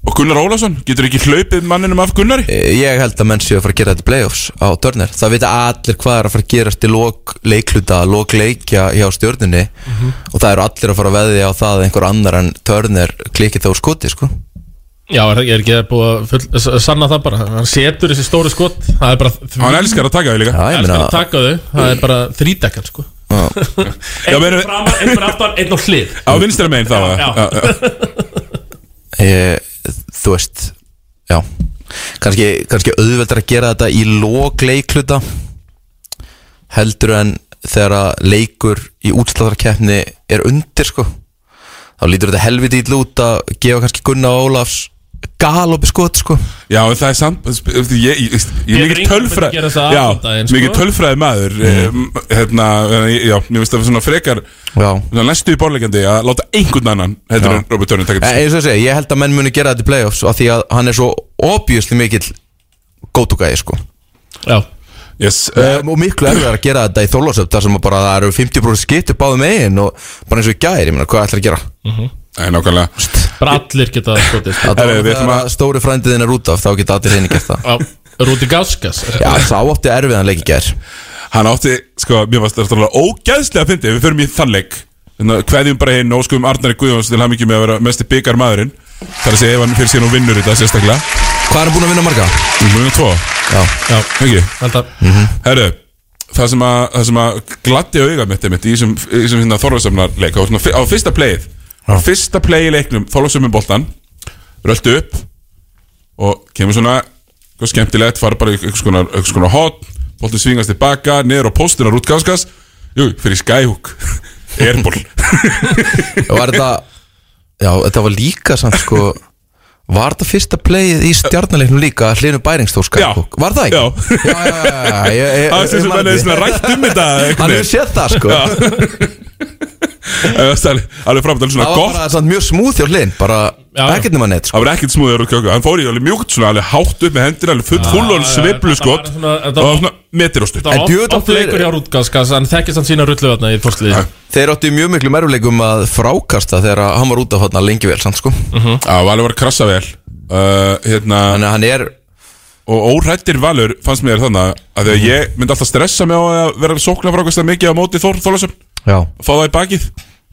C: Og Gunnar Ólafsson, getur ekki hlaupið manninum af Gunnari?
K: Eh, ég held að menn séu að fara að gera þetta í playoffs á Turner, það vita allir hvað er að fara að gerast í lok leikluta, lok leikja hjá stjórninni
C: Mhm.
K: og það eru allir að fara að veðja á það að einhver annar en Turner klikið þá úr skoti sko.
B: Já, er, er ekki búið að full, s- sanna það bara Hann setur þessi stóru skot Það er bara því
C: Hann elskar að taka því líka
K: Já, ég
B: elskar
K: meina,
B: að taka þau Það er bara þrítekkan sko Einn
C: meina-
B: fyrir framan, einn fyrir aftan, einn á hlið
C: Á vinstra megin það var
B: Já,
C: það.
B: já.
C: Já, já.
K: ég, þú veist já, kannski, kannski auðveldar að gera þetta í lók leikluta heldur en þegar að leikur í útslátarkeppni er undir sko þá lítur þetta helviti í lút að gefa kannski Gunnar Ólafs galopi skot sko
C: Já, en það er samt Ég, ég, ég, ég er mikið
B: Getur enginn að
C: tölfræð
B: gera það
C: Já,
B: allan daginn, sko. Mhm.
C: mikið tölfræði maður mm. Hérna, eh, já, mér finnst það svona frekar
K: já
C: svona Næstu í borlegjandi að láta einhvern annan Heldur
K: Já.
C: en Robert Turner taka
B: Eh,
K: En
C: þetta
K: eins og ég segi, ég held að menn muni gera þetta í playoffs af því að hann er svo obviously mikill góttugæði sko
B: Já,
C: Yes, eh,
K: um, og miklu erfiðar að gera þetta í þólasöp þar sem að bara það eru 50% skittu báðum megin og bara eins og í gæri, ég meina, hvað ætlar að gera?
C: Eh, það er nákvæmlega
B: bara allir geta skotið sko.
K: Það
C: Herri,
K: er
C: við ætlum
K: það að stóri frændiðin er út af þá geta allir henni gert það
B: Já, Rúti Gáskas
K: Já, sá átti erfiðan leik í gær
C: Hann átti, sko, mér varst þetta alveg ógæðslega fyndið Við förum í þannleik Hverjum bara hinn óskum Arnari Guðjóns til hann með að vera mesti byggar maðurinn Það er að segja ef hann fyrir síðan og vinnur þetta sérstaklega
K: Hvað er hann búin að vinna marga?
C: Við munum tvo,
K: Já,
B: Já,
C: ekki?
B: þetta
C: Herru, það sem að, það sem að gladdi auga mitt einmitt í þessum, í þessum hérna Þorlóksamnarleik á, svona fi- á fyrsta playið á fyrsta playið í leiknum Þorlóksamnum boltan röldu upp og kemur svona eitthvað skemmtilegt fara bara í einhvers konar, einhvers konar hot boltin svingast tilbaka, niður á póstuna Rút Gáskas, jú, fyrir Skyhook Airball
K: E, og var þetta Já, þetta var líka samt sko Var þetta fyrsta playið í stjarnaleiknum líka að hlinu
C: Já.
K: bæringstóskakók? Var það ekki?
C: Já.
K: já, já, já, já, já ég, ég,
C: Það er sem
K: ég
C: sem
K: man
C: hann er
K: því.
C: svona rætt um þetta
K: e, Hann
C: einhvern
K: hefur
C: veginn.
K: sétt það sko
C: Já. Það er Alveg framtalið svona
K: Það var
C: gott
K: bara samt mjög smúð hjá hlinn Bara
B: Já, já.
K: ekkert nema neitt sko
C: Það var ekkert smúður og kjöku Hann fór í alveg mjúkt svona Alveg hátt upp með hendur Alveg full fullon
B: já,
C: sviblu
B: þetta
C: skot
B: var
C: Og
B: svona- þetta
C: það
B: var-
C: var svona metir og stutt
B: Það
K: En
B: var
K: djöfull
B: oft, oft
K: áttu þeir-
B: leikur hjá Rút Gáskas Hann þekkist hann sína rullu þarna í fórslið
C: Já.
K: Þeir áttu í mjög miklu merfuleikum að frákasta þegar að hann var út af hann lengi vel samt sko
B: Mhm.
C: Það var alveg var að krassa vel uh, hérna,
K: Þannig að hann er
C: Og órættir valur fannst mér þannig Að þegar ég myndi alltaf stressa mig á að vera Sókna frákast mikið á móti Þór Þólasum
K: Já
C: Fá það í bakið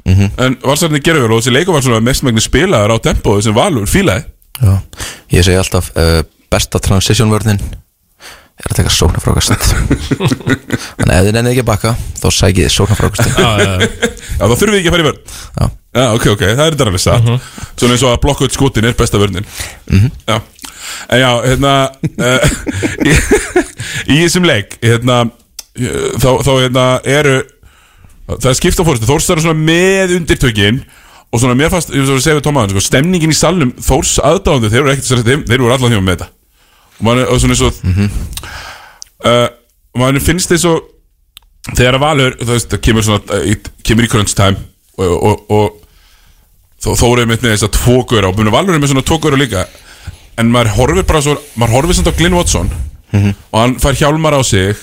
C: En valsarnir gerir vel Og þessi leikum var svona mestmægni spilaður á tempóðu Sem valur fílaði
K: Já Ég segi alltaf uh, besta transition vörðin er að taka sóknarfrákast Þannig að ef þið nennið ekki að bakka þá sækið þið sóknarfrákast
C: Já það þurfum við ekki að fara í vörn
K: Já.
C: Já, ok, ok, það er þetta alveg satt Svona eins og að blokka út skotin er besta vörnin Já, en já, hérna uh, í, í þessum leik hérna, eh, þá, þá hérna eru það er skipta fórstu, Þórs er svona með undirtökin og svona mér fast, ég svo að segja við Tómaðan sko, stemningin í salnum, Þórs aðdáðandi þeir eru ekkert sér þeim, þeir eru allan hjá með þetta og, man, og svona eins og mm og mann finnst eins og þegar að Valur þú veist, það kemur svona eh, í- kemur í crunch time og, og, og, og þóruðum mitt með þess að tvo góra og muni Valur er með svona tvo góra líka en maður horfir bara svo maður horfir samt á Glyn Watson
K: Mhm.
C: og hann fær hjálmar á sig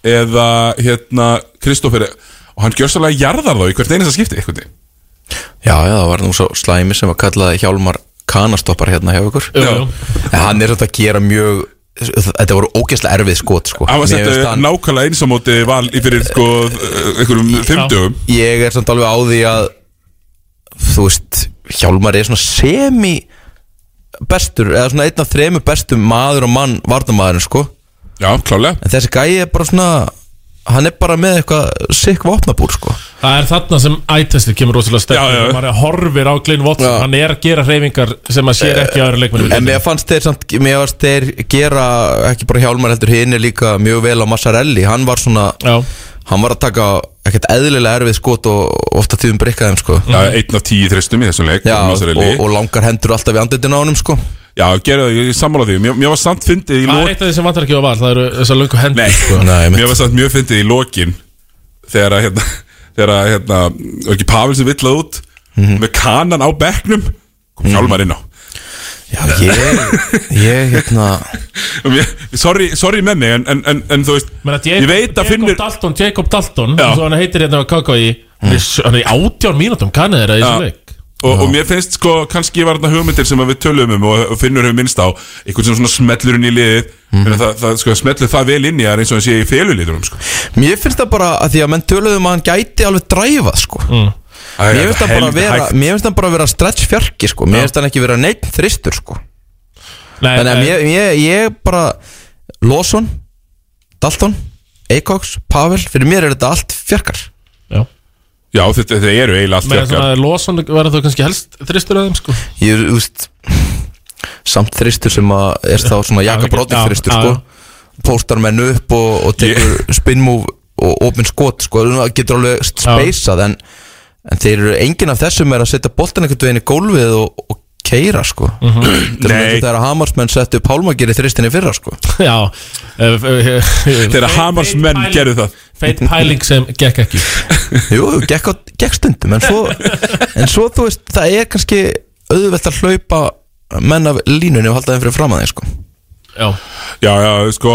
C: eða hérna Kristoffer og hann gjör svolítið að jarðar þá í hvert einasta skipti einhvern veginn
K: Já, já, það var nú svo slæmi sem var kallaði Hjálmar Kanastoppar hérna hjá ykkur
B: Jú, jú.
K: En hann er þetta að gera mjög Þetta voru ógeðslega erfið skot sko
C: hann var
K: Mér finnst
C: settu
K: hann-
C: nákvæmlega eins á móti val í fyrir sko eh, einhverjum fimmtugum
K: ég er samt alveg á því að þú veist, Hjálmar er svona semi bestur, eða svona einn af þremur bestum maður og mann varnamaðurinn sko,
C: já, klálega
K: en þessi gæi er bara svona hann er bara með eitthvað sikk vopnabúr sko
B: Það er þarna sem ætestið kemur rosalega
C: Já, já, já.
B: sterkur Man er horfir á Glyn Watson
K: Já.
B: Hann er að gera hreyfingar sem að sér ekki aðra leikmennu
K: En mér fannst þeir samt, mér fannst þeir gera ekki bara hjálmar heldur hinn líka mjög vel á Massarelli, hann var svona
B: Já,
K: hann var að taka ekkert eðlilega erfið skot og ofta tíðum breykaðum sko
C: Já,
B: Mhm.
C: einn af tíu þristum í þessum leik
K: Já, og,
C: Mazzarelli.
K: og langar hendur alltaf í andlutin á honum sko
C: Já, gerðu það, ég er sammála því Mér, mér var samt fyndið í
B: það er
C: lokin
B: eitt af því sem vantar ekki á val Það eru þessar löngu hendur
C: Nei,
K: Sko, nei, mitt.
C: mér var samt mjög fyndið í lokin Þegar að, hérna Þegar að, hérna, var ekki Pavel sem villað út
K: Mhm.
C: Með kanan á bekknum Kom hjálmar inn á
K: Já, ég, ég hérna
C: Og mér- Sorry, sorry með mig, en, en, en, en þú veist
B: Menna, Jacob,
C: Ég veit að
B: Jacob
C: finnur
B: Dalton, Jacob Dalton,
C: Já.
B: eins og hann heitir hérna á KKI mm. Hann er í átján mínútum, kannið þeirra í
C: Já.
B: þessum leik
C: Og, og mér finnst sko, kannski var þarna hugmyndir sem að við tölum um og, og finnur hefur minnst á einhvern sem svona smellur inn í liðið
K: Mhm.
C: mm það, það, sko, smellur það vel inn í það eins og hann sé í felulitunum sko.
K: Mér finnst það bara að því að menn töluðum að hann gæti alveg dræfað sko
B: Mm.
C: Æ,
K: Mér finnst það bara
C: helviti
K: vera,
C: hægt.
K: mér finnst það bara vera stretch fjarki sko Mér finnst það ekki vera neitt þristur sko
B: Nei,
K: Þannig að
B: en-
K: mér, ég, ég bara Lawson, Dalton, Eikoks, Pavel Fyrir mér er þetta allt fjarkar
B: Já.
C: Já, þetta, þetta eru eiginlega allt
B: Meðan
C: fjarkar
B: svona Lawson verður þú kannski helst þristur af þeim sko
K: Ég er, úst, samt þristur sem að er þá svona Jaka
B: Já,
K: Brodnik
B: já,
K: þristur
B: já,
K: sko Póstar menn upp og, og tekur spin move og opin skot sko Það getur alveg speysað en, en þeir eru enginn af þessum er að setja boltan einhvern veginn í gólfið og, og keira sko mm
B: Mhm.
K: -hmm.
C: Nei.
K: Þegar að Hamarsmenn settu pálmagir í þristinni fyrra sko
B: Já
C: Þegar
B: Þegar
C: Hamarsmenn gerðu það
B: Feit pæling sem gekk ekki
K: Jú, jú, gekk, á, gekk stundum en svo, en svo þú veist, það er kannski auðvelt að hlaupa menn af línunni og halda þeim fyrir fram að þeim sko.
B: Já,
C: Já, já, sko,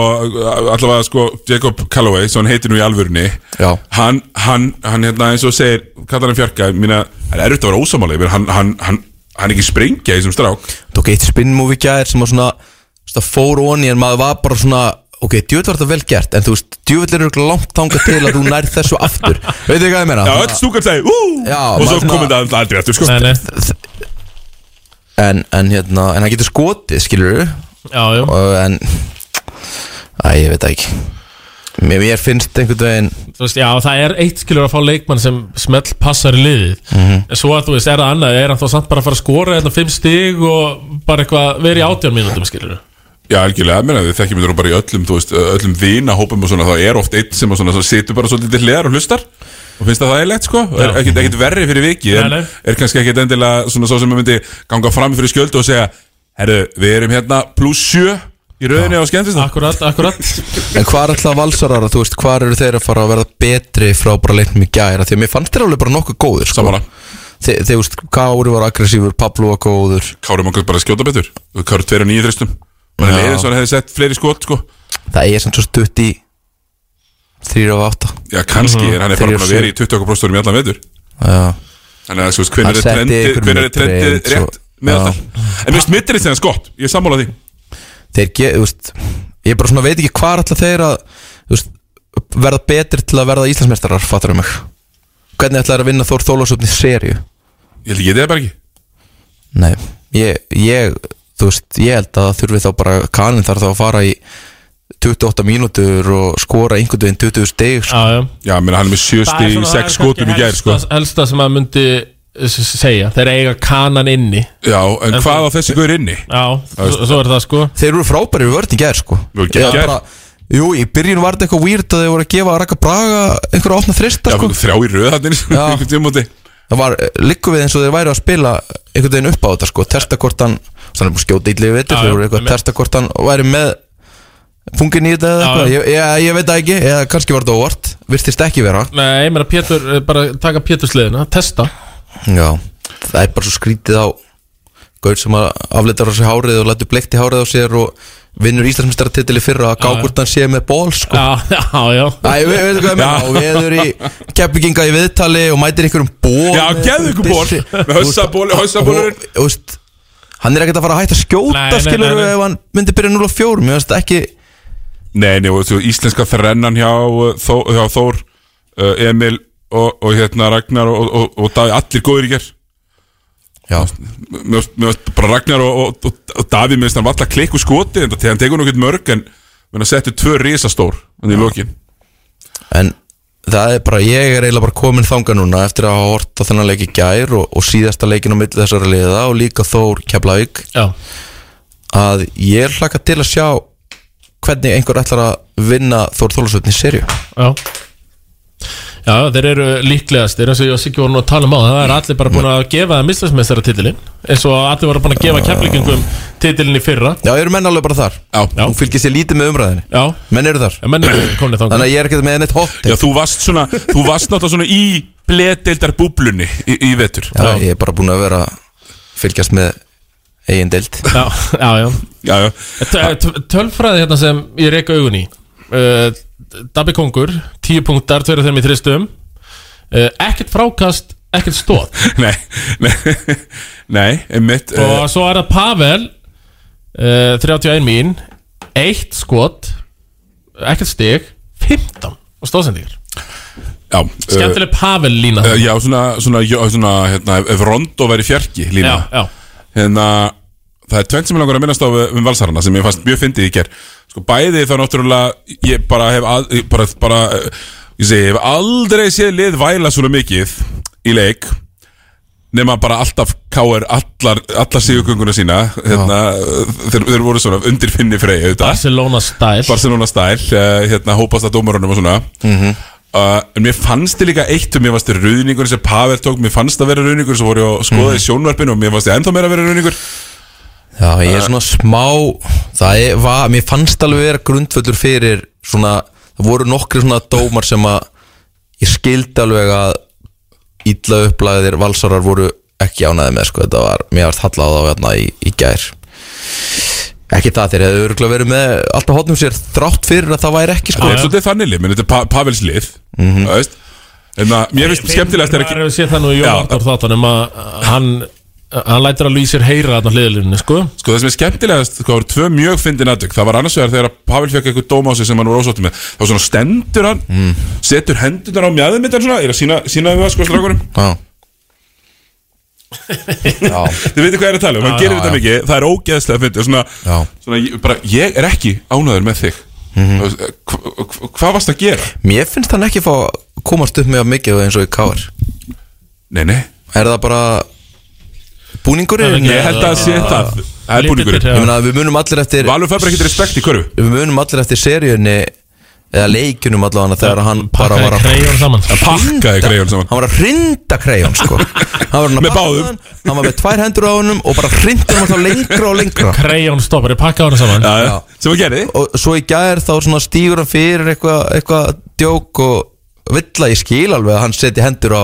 C: allavega sko Jacob Calloway, svo hann heitir nú í alvörunni
K: Já.
C: Hann, hann, hann hérna eins og segir Kallar hann fjarka, mína Það er erut að vera ósamálega hann, hann, hann, hann er ekki sprengja í þessum strák
K: Tók eitt spinnmúfi gæðir sem var svona svona fór onni en maður var bara svona ok, djúvill var þetta vel gert en þú veist, djúvill er örugglega langt þangað til að þú nær þessu aftur veitu þið hvað ég meina?
C: Já, öll stúkan segi, ú
K: Já,
C: Og svo
K: maður svona-
C: komið það aldrei eftir, sko
B: nei, nei
K: en, en hérna, en hann getur skotið, skilur við
B: Já, já
K: en æ, ég veit það ekki mér, mér finnst einhvern veginn
B: Þú veist, já, það er eitt skilur að fá leikmann sem smell passar í liðið
C: Mhm.
B: En svo að þú veist, er það annað Er hann þá samt bara að fara að skora hérna fimm stig Og bara eitthvað, verið í átján mínútum skilur
C: Já, algjörlega, menna, við þekkjum þetta nú bara í öllum, þú veist, öllum vina hópum og svona, þá er oft einn sem að svona, svo situr bara svolítið til hliðar og hlustar og finnst það þægilegt, sko, og er
B: Já.
C: ekkit, ekkit verri fyrir viki, en
B: Nei, nei.
C: er kannski ekkit endilega svona svo sem maður myndi ganga fram fyrir skjöldu og segja, herru, við erum hérna pluss sjö í rauninni á skemmtist
B: Akkurat, akkurat
K: En hvað er alltaf valsarar að þú veist, hvað eru þeir að fara að verða betri frá bara leiknum í gæra því að mér fannst þeir alveg bara nokkuð góður sko.
C: Sammála.
K: Þe, Þeir veist, Kári var aggressífur, Pablo var góður
C: Kárum okkur bara að skjóta betur, við kárum tveir og nýju þristum, mann er
K: Já.
C: leiðin svo hann hefði sett fleiri skot, sko,
K: Það er samt svo stutt í 3 og 8
C: já, kannski,
B: Mhm.
C: en hann er bara
K: Þeir
C: búin að
K: eru
C: vera í 20 okkur í allan vetur.
K: Já,
C: Þannig að þú veist, hvernig
K: Hann
C: er
K: setti
C: trendið,
K: ykkur
C: hvernig er
K: mitt
C: trendið
K: reynd, svo-
C: rétt með
K: Já.
C: þetta En mjög smittir í þess gott, ég er sammála því
K: þeir ge, þú veist Ég bara svona veit ekki hvað er alltaf þeir að þú veist, verða betri til að verða Íslandsmeistarar, fattur um mig Hvernig ætlaði að vinna Þór Þólasöfni seríu?
C: Ég held ekki það bara ekki
K: Nei, ég, ég þú veist, ég held að það þurfi þá bara kaninn þarf þá að fara í 28 mínútur og skora einhvern veginn 20 stig sko.
B: Já, já
C: Já, menn hann er með sjö
B: Það er
C: stig í sex
B: svona- það er kannski
C: skotum í gær sko.
B: helsta- helsta sem að myndi s- s- segja þeir eiga kanan inni
C: Já, en
B: En
C: hvað á þessi gaur inni?
B: já, svo, svo er það sko
K: Þeir eru frábæri við vörðin gær sko
C: Við vorum geggjaðir.
K: Ég bara- Jú, í byrjun var þetta eitthvað weird að þeir voru að gefa Raka Braga einhverja opna þrista
C: Já,
K: sko
C: sko? þrjá í röð hann
K: Já.
C: einhvern tímóti
K: Það var líku við eins og þeir væri að spila einhvern veginn upp á þetta sko Testa hvort hann, þannig er búin að skjóta ítlið við
B: Já,
K: þetta Þeir
B: já,
K: voru eitthvað
B: einmitt.
K: að testa hvort hann væri með fungin í þetta eða
B: Já,
K: eitthvað
B: já.
K: ég, ég, ég veit það ekki, eða kannski var þetta óvart Virtist ekki vera
B: Nei, ég meina Pétur, eh, bara taka Pétursliðina, testa
K: Já, það er bara svo skrítið á Gaur sem að afleitar á sér hárið og lætur bleikt í hárið á sér og vinnur Íslandsmestartitli fyrra að gá hvort hann sé með ból sko.
B: Já, já, já
K: Æ, við veitum hvað ég meina og við erum í keppiginga í viðtali og mætir einhverjum ból
C: Já, gefðu ykkur ból. Með hausaból- hausabolurinn.
K: Úst, hann er ekkert að fara að hætta að skjóta
B: Nei,
K: nei,
B: nei,
K: skilur
B: nei,
K: við
B: nei.
K: ef hann myndi byrja 0 og 4 mér finnst ekki
C: Nei, nei, og þú, íslenska þrennan hjá, uh, Þó, hjá Þór, uh, Emil og, og hérna Ragnar og, og, og, og Davíð, allir góður í gær
K: Já,
C: Mér mér varst bara Ragnar og, og, og, og Davíð, mér finnst hann valla klikku skoti en það hann tekur nú ekkert mörg en menn að setja tvö risastór en í lokin
K: en það er bara, ég er eiginlega bara komin þanga núna eftir að hafa hort á þennan leik í gær og, og síðasta leikin á milli þessara liða og líka Þór Keflavík
B: Já.
K: að ég hlaka til að sjá hvernig einhver ætlar að vinna Þór Þólasöfni serju
B: Já Já, þeir eru líklegastir eins og ég og Siggi voru nú að tala um á það er allir bara búin að gefa það mislæsmeistara titilin eins og allir voru búin að gefa keflingum titilin í fyrra
K: Já, eru menn alveg bara þar Já, Nú fylgist ég lítið með umræðinni
B: Já
K: Menn eru þar Já,
B: menn eru komin þangað
K: Þannig að ég er ekkert með neitt hot
C: Já, þú varst svona, þú varst náttúrulega svona í bledeildar búblunni í, í vetur
K: Já, ég er bara búin að vera að fylgjast með eigin deild
B: Já, já, já,
C: já, já.
B: T- eh, t- Tölfræði hérna sem ég reyka augun í uh, Dabbi Kongur 10 punktar, 2 þeim í þristum uh, Ekkert frákast, ekkert stóð
C: Nei, nei, nei, einmitt eh,
K: Eh,
B: Og svo er það Pavel uh, 31 mín Eitt skot Ekkert stig 15 og stóðsendingar
K: Eh,
C: Já,
B: Skemmtileg Pavel lína
C: uh, Já, svona, svona, já, svona hérna, ef- ef Rondo væri fjarki lína
B: Já, já.
C: Hérna, það er tvennt sem ég langar að minnast á við- um valsarana sem ég fannst mjög fyndið í ger Sko bæði þá náttúrulega ég bara hef að, ég bara, bara, eh, ég segi, hef aldrei séð lið væla svona mikið í leik nema bara alltaf káir allar, allar sigurgönguna sína hérna, þeir, þeir voru svona undir finni frey auðvitað.
B: Barcelona style
C: Barcelona style, eh, hérna, hópast að dómarunum og svona
K: Mhm.
C: Uh, en mér fannst þið líka eitt og mér fannst þið ruðningur sem Pavel tók, mér fannst það vera ruðningur sem voru ég að skoða í sjónvarpinu og mér fannst þið ennþá meira að vera ruðningur
K: Já, ég er svona smá Það er, va, mér fannst alveg vera grundvöldur fyrir svona, það voru nokkri svona dómar sem að ég skildi alveg að illa upplæðir valsarar voru ekki ánæði með sko, þetta var, mér varst hallað á þá hérna í, í gær ekki það þeir hefðu örgulega verið með alltaf hotnum sér þrátt fyrir að það væri ekki
C: Þetta
K: sko
C: er svolítið þannig lið, menn þetta er pa Pavels lið mm -hmm. En að mér finnst skemmtilegast er
B: Maður hefur séð það nú í Jónardór þáttanum að hann, hann lætur að lýsir heyra þarna hliðalínu sko
C: Sko það sem er skemmtilegast, sko, það voru tvö mjög fyndin aðdök Það var annars vegar þegar að Pavel fekk eitthvað dóm á sig sem hann var ósóttum með Þá svona stendur hann, setur hendunar á mjæðum mitt svona, er að sína, sína við það sko slagunum
K: Já Já
C: Þið veitir hvað ég er að tala um, hann
K: Já,
C: gerir
K: já,
C: þetta
K: já.
C: mikið, það er ógeðslega fyndið og svona,
K: Já.
C: svona ég, bara, ég er ekki ánæður með þig mm Hvað varst að gera?
K: Mér finnst hann ekki fá að komast upp með að mikið eins og í káar
C: Nei, nei
K: Er það bara búningurinn?
C: Ég held að það sé
K: eða-
C: það. Það er búningurinn.
K: Ég meina að við munum allir eftir
C: Valur fær bara ekkert respekt í körfu
K: Við munum allir eftir seríunni eða leikjunum allavega þegar hann bara
B: Pakkaði
K: var að
B: kreyjón saman
C: Hann pakkaði kreyjón saman
K: Hann var að hrinda kreyjón sko Hann var hann að
C: Með
K: pakka
C: báðum.
K: hann, Hann var með tvær hendur á honum og bara hrinda hann alltaf lengra og lengra
B: Kreyjón stoppar, ég pakkaði hann saman
C: Já, já. sem að gerði
K: og svo í gær þá svona stígur hann fyrir eitthvað eitthva djók og vill að ég skil alveg að hann setja hendur á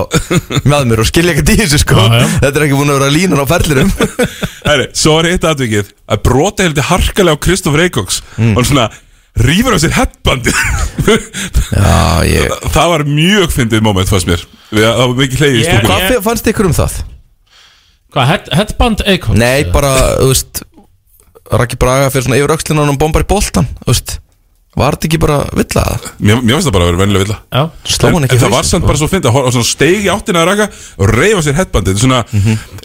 K: með mér og skilja ekkert í þessu sko
B: Já, já.
K: þetta er ekki búin að vera línan á ferlinum
C: Herri, svo er eitt atvikið að brota heldur harkalega á Kristof Reykjóks
K: Mm.
C: og svona rýfur á sér hettbandi
K: já ég
C: það var mjög fyndið moment fannst mér Við- það var mikið hleyið í
B: Ég-
C: stúkunum
K: hvað fi- fannst ykkur um það?
B: Hvað, head- headband Eikons?
K: nei bara þú veist Raki Braga fyrir svona yfir öxlina og bombar í boltan þú veist var þetta ekki bara vill að það?
C: mér, mér fannst það bara að vera vennilega vilja
B: Já,
K: sló hann
C: en,
K: ekki sko?
C: en það var samt bara svo fyndið að horfa á svona steig í áttina að raka og reyfa sér hettbandi svona,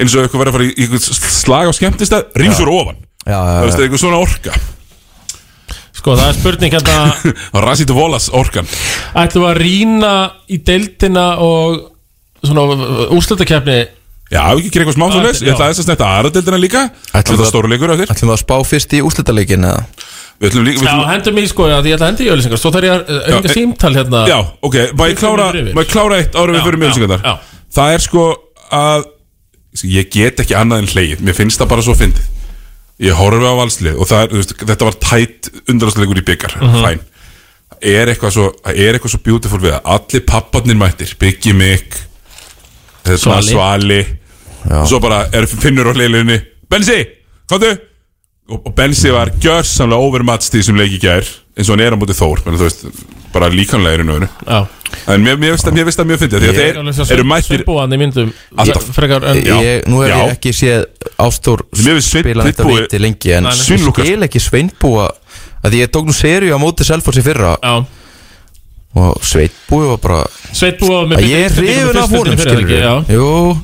C: eins og eitthvað verið að fara í, í einhvern slag á skemmtistað rýfur ofan
K: Mhm. já,
C: það
K: já,
C: er eitthvað svona orka
B: sko það er spurning hérna
C: Rasit Volas orkan
B: Ætlum við að rýna í deildina og svona úrslutakefni
C: já, ef ekki gera eitthvað smá svo leis ég
B: Já.
C: ætla þess að snetta aðradildina líka
K: Ætlum
C: þetta
K: það-
C: stóru leikur á þér
K: ætlum við að spá fyrst í úrslitaleikin eða?
C: við ætlum líka við
B: Já,
L: Mhm.
C: ætlum-
B: hendum í sko, já, því ég ætla að henda í öllisingar Svo þarf ég að
C: Já,
B: auðvitað
C: e-
B: símtal hérna
C: Já, ok, má ég
B: Við
C: klára,
B: förum yfir.
C: má ég klára eitt ára
B: Já,
C: við fyrir
B: já,
C: mjöðsingundar
B: já.
C: Það er sko að Ég get ekki annað en hlegið Mér finnst það bara svo fyndið Ég horfi á valslið og það er, þú veist, þetta var tætt undanastleikur í byggar,
B: Mhm.
C: fæn Það er eitthvað svo, það er eitthvað svo beautiful við það Allir papparnir mættir, byggi mig Þetta
B: Svali.
C: svali
K: Já.
C: Svo bara er finnur á hliðinni Bensi, komdu og, og Bensi var gjörsamlega overmatst í þessum leik í gær eins og hann er á móti Þór menn, þú veist, bara líkanlega er í nöðinu
B: Já.
C: en mér, mér, veist, mér veist það mjög fyndið því að þeir eru mættir
B: Svipúan í myndum
C: Alltaf.
B: Ég- Frekar en
C: Já.
K: ég, nú hef
C: Já.
K: ég ekki séð Ástór
C: Mér finnst Sveinn
K: spila þetta
C: Sveinbúi-
K: viti lengi en
B: Nei, nei.
K: ég
C: Sveinlúkast.
K: skil ekki sveinbúa að ég tók nú serið á móti Selfoss í fyrra
B: Já,
K: og sveinbúi var bara
B: Sveitbúa með
K: að ég er
B: byggingu
K: hrifin af
B: fyrstu
K: honum
B: deildinni fyrir
K: skilur
B: ekki, Já,
K: Jú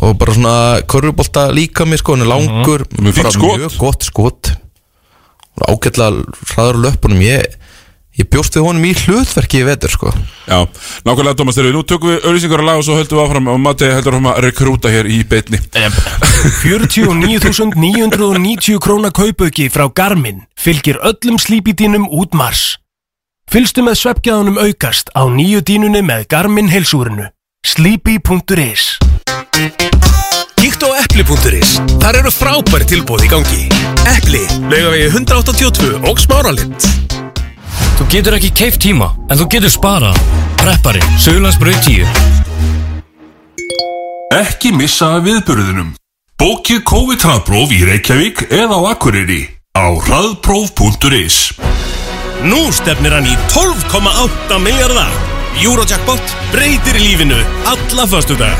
K: og bara svona körfubolta líka mér sko hann er langur
C: Mhm. Mjög fínt
K: bara
C: skot.
K: mjög gott skot ágætlega hraður á löpunum ég ég bjóst við honum í hlutverki í vetur sko
C: Já, nákvæmlega Thomas Derfi, nú tökum við öllisingar að laga og svo höldum við áfram og Matti heldur áfram að rekrúta hér í beitni
M: 49.990 króna kaupauki frá Garmin fylgir öllum slípidínum út mars. Fylgstu með sveppgæðunum aukast á nýju dínunni með Garmin heilsúrinu. Sleepy.is
F: Kíktu á epli.is Þar eru frábær tilbúð í gangi Epli, laugavegi 182 og smáralind
L: Þú getur ekki keift tíma, en þú getur sparað. Preppari, Suðlandsbröð 10.
N: Ekki missa af viðburðunum. Bókið COVID-hraðpróf í Reykjavík eða á Akureyri á hraðpróf.is
F: Nú stefnir hann í 12,8 miljardar Eurojackpot breytir lífinu alla föstu dag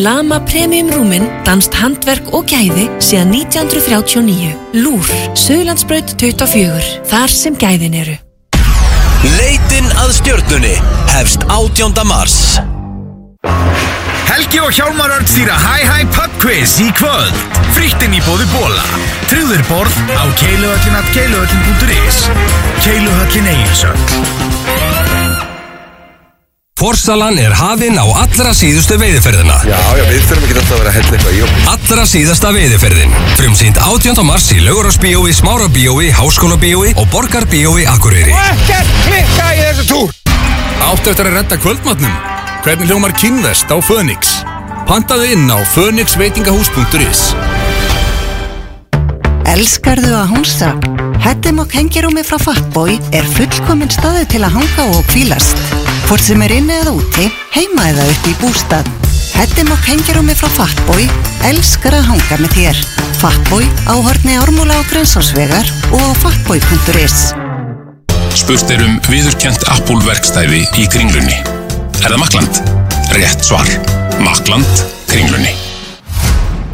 O: Lama Premium Rúmin, danst handverk og gæði síðan 1939. Lúr, Suðlandsbraut 24, þar sem gæðin eru.
F: Leitin að stjörnunni hefst 18. mars
P: Helgi og Hjálmar Örn stýra Hi Hi Pub Quiz í kvöld. Frittinn í bóði bóla. Tryggður borð á keiluhöllinat keiluhöllin.is Keiluhöllin Egilsöld.
Q: Forsalan er hafinn á allra síðustu veiðiferðina.
R: Já, já, við þurfum ekki alltaf að vera að hella eitthvað í okkur.
Q: Allra síðasta veiðiferðin. Frumsýnd 18. mars í Laugurásbíói, Smárabíói, Háskólabíói og Borgarbíói Akureyri.
P: Ekkert klikka í þessu túr!
D: Áttu eftir að redda kvöldmatnum? Hvernig hljómar kynvest á Fönix? Pantaðu inn á fönixveitingahús.is
S: Elskarðu að húnsa? Hættum og hengirúmi frá Fatboy er fullkominn staðu til að hanga og kvílast. Hvort sem er inni eða úti, heima eða upp í bústað. Hættum og hengirúmi frá Fatboy elskar að hanga með þér. Fatboy á horni ármúla og grensásvegar og á fatboy.is
H: Spurt er um viðurkjönt Apple-verkstæði í kringlunni. Er það Makland? Rétt svar. Makland, kringlunni.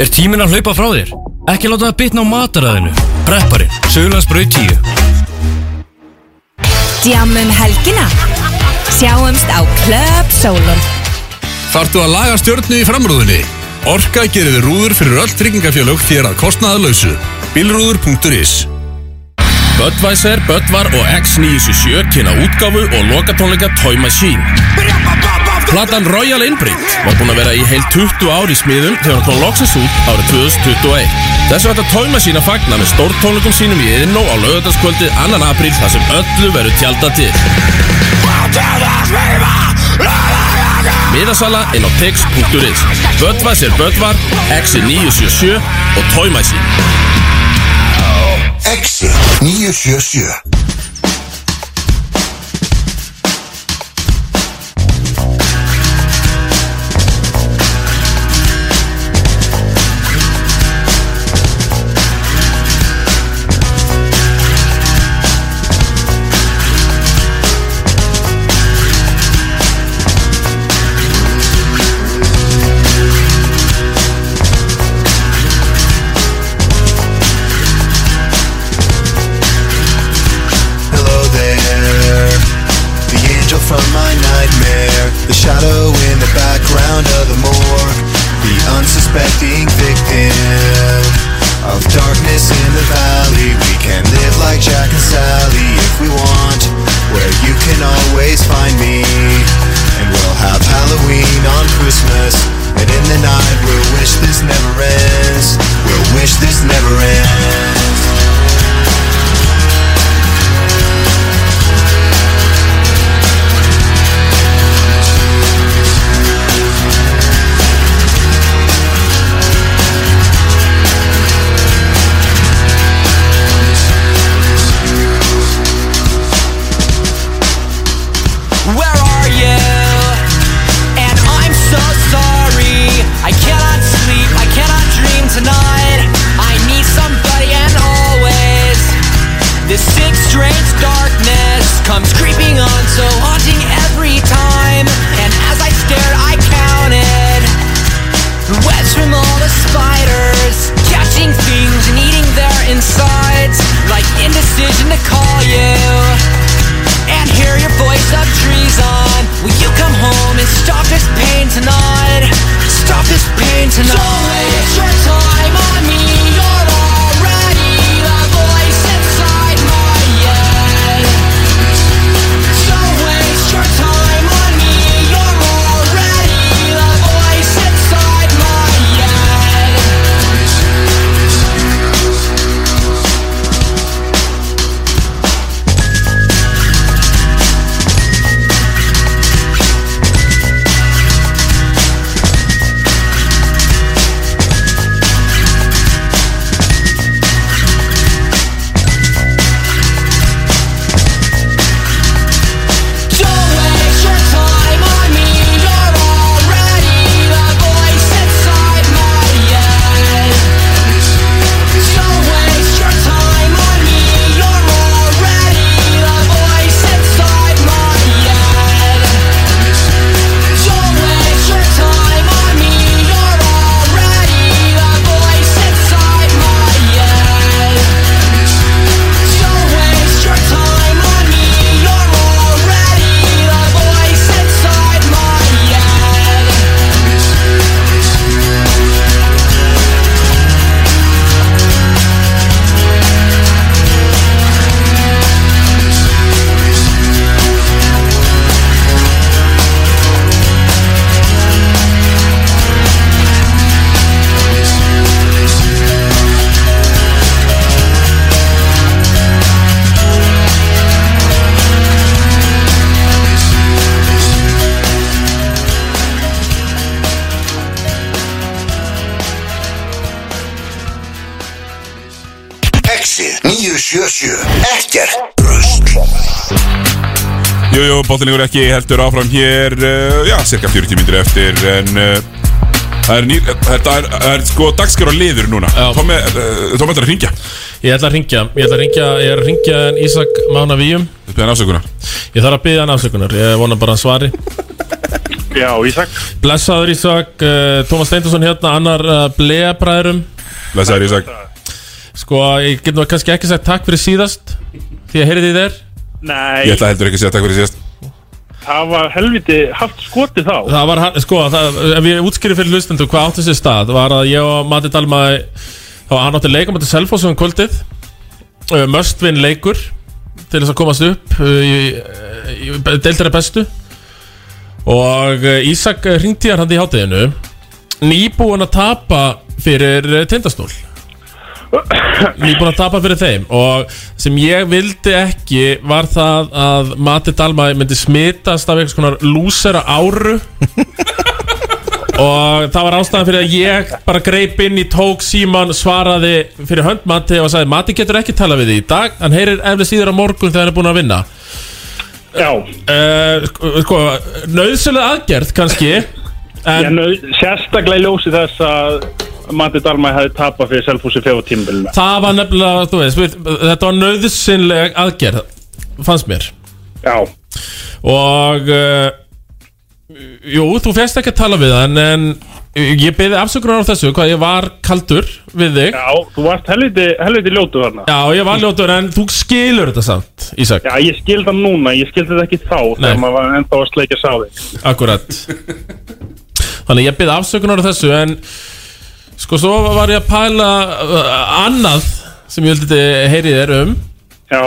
L: Er tíminn að hlaupa frá þér? Ekki láta það bitna á mataræðinu. Preppari, Suðlandsbröð 10.
T: Djammum helgina Sjáumst á Club Solon
D: Þartu að laga stjörnu í framrúðinni? Orka gerir þið rúður fyrir öll tryggingafjölög þér að kostnaðalausu. Bilrúður.is
B: Budweiser, Budvar og X977 kynna útgáfu og lokatónleika Toy Machine. Platan Royal Inbreed var búin að vera í heil 20 ár í smiðum þegar hann kom loksast út árið 2021. Þessu ætta Toy Machine að fagna með stórtónleikum sínum í Eðinó á laugardagskvöldið 2. apríl þar sem öllu verður tjaldað til. Miðasala inn á tix.is Budweiser, Budvar, X977 og Toy Machine.
U: Exit 977
V: Hello there, the angel from my nightmare, the shadow in the background of the morgue, the unsuspecting victim of darkness in the valley. We can live like Jack and Sally if we want, where you can always find me, and we'll have Halloween on Christmas. And in the night we'll wish this never ends We'll wish this never ends
W: Where are you? And I'm so sorry. I cannot sleep, I cannot dream tonight. I need somebody and always. This sick, strange darkness comes creeping on, so haunting every time. And as I stared, I counted webs from all the spiders, catching things and eating their insides. Like indecision to call you and hear your voice of treason. Will you come home and stop this pain tonight? Stop this pain tonight. Don't waste your time on me. You're already the voice inside my head.
U: 977 Ekkert Röst
C: Jújú, jú, bóttilegur ekki heldur áfram hér uh, Já, cirka 40 mínútur eftir En uh, það er, nýr, þetta er, það er sko dagskar á liður núna Tómi, uh, Tómi ætlar að ringja
B: Ég ætla að ringja, ég ætla að ringja, ég er að ringja en Ísak Mána Víum
C: Þú beðan afsökunar
B: Ég þarf að byggja hann afsökunar, ég vona bara að hann svari
E: Já, Ísak
B: Blessaður Ísak, uh, Tómas Steindursson hérna, annar uh, bleabræðurum
C: Blessaður Ísak
B: Sko, ég get nú kannski ekki sagt takk fyrir síðast Því að heyrið þið þér
E: Nei,
C: Ég ætla heldur ekki að segja takk fyrir síðast
E: það var helviti haft skoti þá
B: Það var, hann- sko, það, ef ég útskýri fyrir hlustendur hvað átti sér stað var að ég og Matti Dalma þá hann átti leikum átti Selfoss um kvöldið Möstvin leikur til þess að komast upp uh, í, í, í deildara bestu og uh, Ísak ringdi hann hann í hátíðinu nýbúin að tapa fyrir uh, tindastól nýbúin að tapa fyrir þeim og sem ég vildi ekki var það að Matti Dalma myndi smitast af einhvers konar lúsera áru og það var ástæðan fyrir að ég bara greip inn í tók síman svaraði fyrir hönd Matti og sagði Matti getur ekki tala við því í dag hann heyrir eflið síður á morgun þegar hann er búin að vinna
E: Já
B: uh, sko, sko, Nauðsynlega aðgerð kannski
E: Ég nöð, sérstaklega í ljósi þess að Matti Dalmæ hefði tapað fyrir Selfossi fjóðu tímbilina
B: Það var nefnilega, þú veist, við, þetta var nöðsynleg aðgerð, fannst mér
E: Já
B: Og, uh, jú, þú férst ekki að tala við hann En ég beði afsökunar á þessu, hvað ég var kaldur við þig
E: Já, þú varst helviti, helviti ljótu þarna
B: Já, ég var ljótur, en þú skilur þetta samt, Ísak
E: Já, ég skildi það núna, ég skildi þetta ekki þá
B: Nei.
E: þegar maður var ennþá að sleikja sáði
B: Akkurat Þannig ég byrði afsökunar á þessu En sko svo var ég að pæla uh, Annað sem ég vildi heyri þér um
E: Já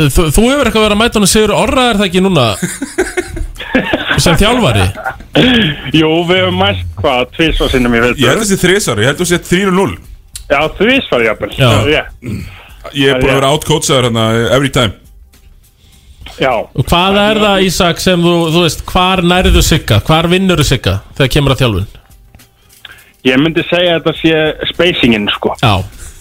B: Þú, þú hefur eitthvað verið að mæta hann og segur orra er það ekki núna Sem þjálfari
E: Jú, við höfum mæst hvað, tvísvar sinnum ég veit
C: Ég held þessi þrisar, ég held þessi 3-0
E: Já, tvísvar jafnvel
C: Já.
E: Það er rétt.
C: Ég er búin að vera outcoachaður hérna every time
E: Já
B: Og hvað er það Ísak sem þú, þú veist Hvar nærðu sigga, hvar vinnurðu sigga Þegar kemur að þjálfun
E: Ég myndi segja að þetta sé spacingin, sko
B: Já,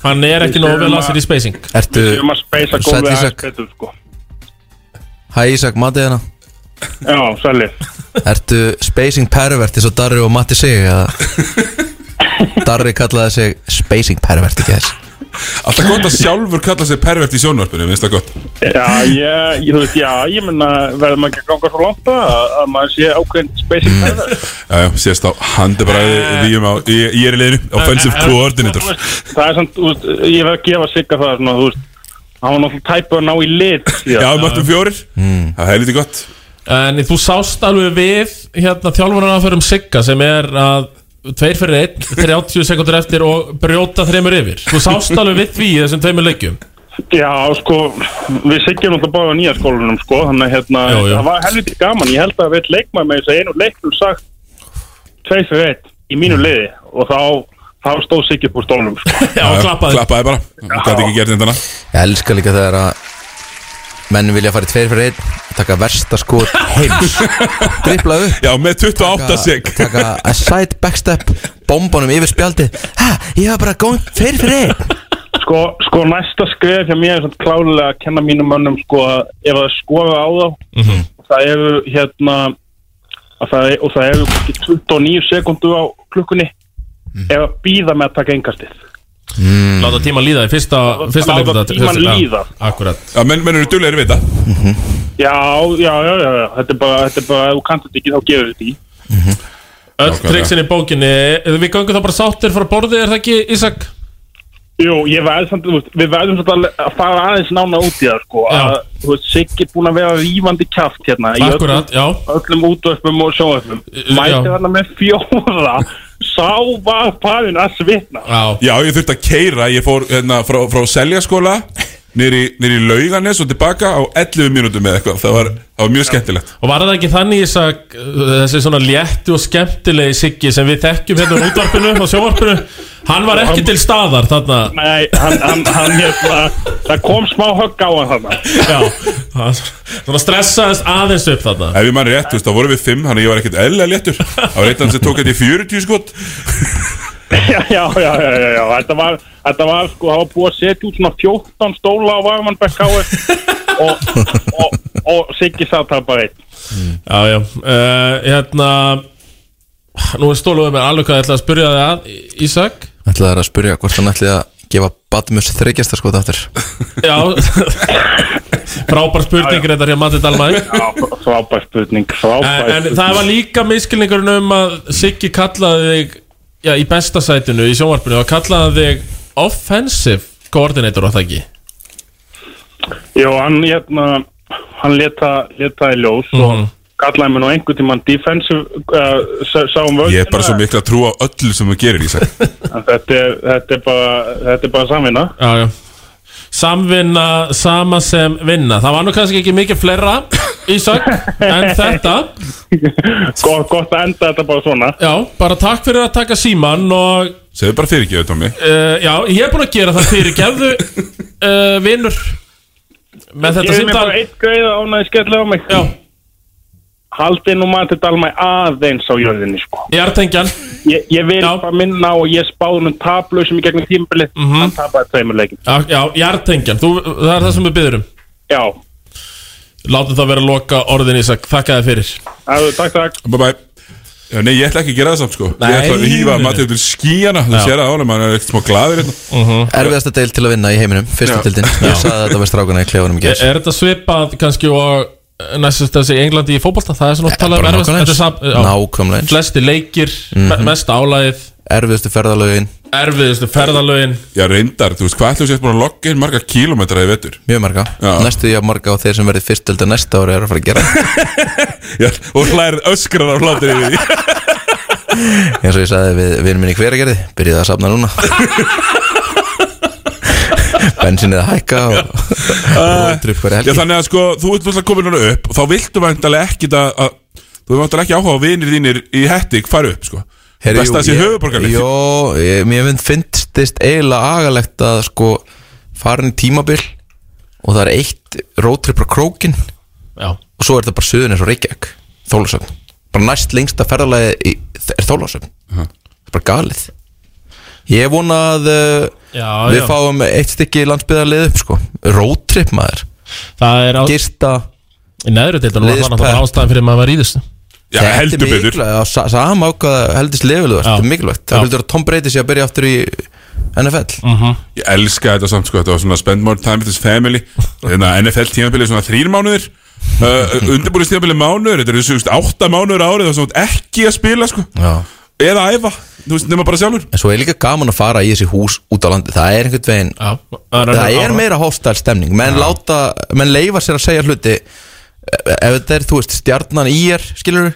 B: hann er ekki nógu vel að sér í spacing
K: Ertu
E: Við höfum að spacea
K: sæll
E: góðið aðeins
K: Ísak?
E: betur, sko
K: Hæ Ísak, Matti hérna
E: Já, sælir
K: Ertu spacing pervert eins og Darri og Matti sig eða? Darri kallaði sig spacing pervert ekki þess
C: Alltaf gott að sjálfur kalla sig pervert í sjónvarpinu, minnst það gott
E: Já, ég, ég, þú veist, já, ég menna verður maður ekki að ganga svo langt að, að maður sé ákveðin spacing pervert
C: Já, já, sést á handabræði við um á, ég, ég er í leiðinu, offensive
E: En- en-
C: coordinator
E: þú veist, Það er samt, þú veist, ég verð að gefa sigga það svona, þú veist Hann var náttúrulega tæpur að ná í lit síðan.
C: Já, við mættum fjórir, það er lítið gott
B: En þú sást alveg við hérna þjálfunan að fyrir um sigga sem er að tveir fyrir einn, 30 sekundur eftir og brjóta þreymur yfir. Þú sást alveg við því í þessum tveimur leikjum.
E: Já, sko, við siggjum náttúrulega báða nýja skólanum, sko Þannig að hérna,
B: Já, já.
E: það var helviti gaman Ég held að við leikmaður með þess að einu leiknum sagt Tvei fyrir eitt í mínu liði Og þá, þá stóð siggjum úr stólnum, sko
B: Já, klappaði
C: Klappaði bara, hún gæti ekki gert þetta
K: Ég elska líka þegar að menn vilja fara í tveir fyrir einn taka versta skot heims dripla upp
C: Já, með 28 sig.
K: taka a side backstep bombanum yfir spjaldi ha, ég var bara góð tveir fyrir einn
E: Sko, sko næsta skrif hjá mér er svona klálega að kenna mínum mönnum sko að ef það skora á þá það eru hérna að það, og það eru kannski 29 sekundu á klukkunni ef að býða með að taka engastið
B: Láta tíma líða í fyrsta, fyrsta
E: Láta
B: leikum.
E: tímann líða.
B: Akkurat.
C: Já, menn, menn eru duglegir við þetta
E: Já, já, já, já, já, þetta er bara, þetta er bara, ef þú kannt þetta ekki þá gefur þetta í
B: Öll triksin í bókinni. eh, Við göngum þá bara sáttir frá borðið, er það ekki, Ísak?
E: Jú, ég verð samt, þú veist, við verðum samt að að fara aðeins nána út í það sko að, þú veist, Siggi er búin að vera rífandi kjaft hérna í
B: Akkurat, já.
E: öllum útvörpum og sjónvörpum mæti
B: já.
E: þarna með fjóra sá var parinn að svitna
B: Já,
C: ég þurfti að keira, ég fór hérna frá, frá seljaskóla Nýri, nýri lauganes og tilbaka á 11 mínútum með eitthvað, það var, það var mjög skemmtilegt
B: Og var það ekki þannig Ísak, eh, þessi svona léttu og skemmtilegi siggi sem við þekkjum hérna úr útvarpinu og sjóvarpinu, hann var ekki til staðar þarna.
E: Nei, hann, hann, hann hérna, það kom smá högg á hann þarna
B: Já, hann svona stressaðist aðeins upp þarna
C: Ef ég mann rétt, þú veist, þá vorum við 5, þannig að ég var ekkert eðlilega léttur Það var eitt hann sem tók þetta í 40 skot
E: já, já, já, já, já, já. Þetta, var, þetta var sko, það var búið að setja út svona 14 stóla á Varmannbæk HF og, og, og Siggi satt það bara einn
B: Já, já uh, Hérna Nú er stóluðið mér alveg hvað ég ætla að spyrja þig að Ísak
K: Ætlaði þær að spyrja hvort hann ætlaði að gefa Badmus þryggjasta skot aftur
B: Já Frábær spurning reyndar hér Matti Dalmæk
E: Frábær spurning,
B: En,
E: frábær
B: en það var líka miskilningurinn um að Siggi kallaði þig já, í besta sætinu í sjónvarpinu og kallaði þig offensive coordinator á það ekki
E: Jó, hann hérna hann leta, leta í ljós
B: Mhm.
C: Mhm.
E: og kallaði mig nú einhvern tímann defensive uh, sá- sáum völdina
C: Ég er bara svo mikla trú á öllu sem þú gerir í sig
E: En þetta, er, þetta, er bara, þetta er bara samvinna
B: Já, já Samvinna, sama sem vinna Það var nú kannski ekki mikið fleira Ísak, en þetta
E: gott, gott að enda þetta bara svona
B: Já, bara takk fyrir að taka síman og
C: Segðu bara fyrirgjöðu, Tommy
B: uh, Já, ég er búin að gera það fyrir Gefðu uh, vinnur Með
E: Ég er
B: þetta
E: mér bara
B: símtal
E: eitt gauð að ánæði skella á mig
B: Já
E: Haldið nú maður til dalma aðeins á jörðinni sko
B: Ég er tengjan
E: Ég, ég vil bara minna á og ég spáði nú taplausum í gegnum tímbili
C: Mhm.
E: mm -hmm. Hann tapaði tveimur leikin
B: Já, já jartengjan, þú, það er það sem við byrðum
E: Já
B: Látum það vera að loka orðin Ísak, þakka þið fyrir
E: Æðu, takk, takk
C: Bye bye Já, nei, ég ætla ekki að gera það samt sko
B: Nei,
C: Ég ætla að hýfa
B: nei, nei.
C: Matti til skíjana Þú
K: Já.
C: sér það ánum, hann er ekkert smá glaður hérna
K: Erfiðasta deil til að vinna í heiminum, fyrsta
C: Já.
K: deildin
C: Já.
K: Ég sagði þetta við strákuna í klefunum
B: Er,
K: í gerð
B: er þetta svipað kannski og næstast þessi Englandi í fótbolta? Það er svona oft talað um erfiðast- þetta er sam- já.
K: Nákvæmlega eins.
B: Flesti leikir, mm
K: Mhm.
B: mest álæðið
K: Erfiðustu ferðalögin
B: Erfiðustu ferðalögin
C: Já, reyndar, þú veist, hvað ætlum sér búin að logga inn marga kílómetra í vettur?
K: Mjög marga Næstu ég að marga og þeir sem verði fyrst deilda næsta ára er að fara að gera
C: Já, og hlæðir öskrar af hlátur yfir því
K: eins og ég sagði við vinnum minni hveragerði byrjaði að safna núna bensinnið að hækka og rótur upp hverja
C: Ah. Já,
K: helgi
C: þannig að sko, þú ert náttúrulega komin núna upp og þá viltu væntalega ekki það að þú ert væntalega ekki áhuga á vinir þínir í Hettig fara upp, sko
K: Heyrðu,
C: Best
K: jú,
C: að sé
K: ég-
C: höfuborgarlið
K: Jó, ég, mér finn finnstist eiginlega agalegt að sko farin í tímabil og það er eitt rótrip á krókin
B: Já.
K: og svo er þetta bara söðun eins og Reykjavík Þólasöfn, bara næst lengsta ferðalagi í, er Þólasöfn það er bara galið ég vona að uh,
B: Já,
K: við
B: já.
K: fáum eitt stykki landsbyðarlið upp sko, rótrip maður
B: Það er á
K: Gista
B: Í neðru deildunum var það
K: Liðspep.
B: náttúrulega ástæðan fyrir að maður var í þessu
C: Já,
K: Þetta er
C: heldur betur.
K: mikilvægt, á sa- Sama ákvaða heldist lefilu þetta er mikilvægt Það
C: Já. Mm.
K: heldur að Tom Brady sé að byrja aftur í NFL
C: Ég elska þetta samt sko, þetta var svona spend more time with his family Hérna, Þannig að NFL tímabilið er svona þrýr mánuðir uh, Undirbúrið tímabilið mánuður, þetta eru þú veist átta mánuður á árið og svona ekki að spila sko
K: Já.
C: Eða æfa, þú veist, nema bara sjálfur
K: En svo er líka gaman að fara í þessi hús út á landi Það er einhvern veginn
B: Já,
K: Það
B: er-
K: er meira hóstæl stemning Menn, láta, menn leifa sér að segja hluti Ef þetta er, þú veist, stjarnan í er Skilur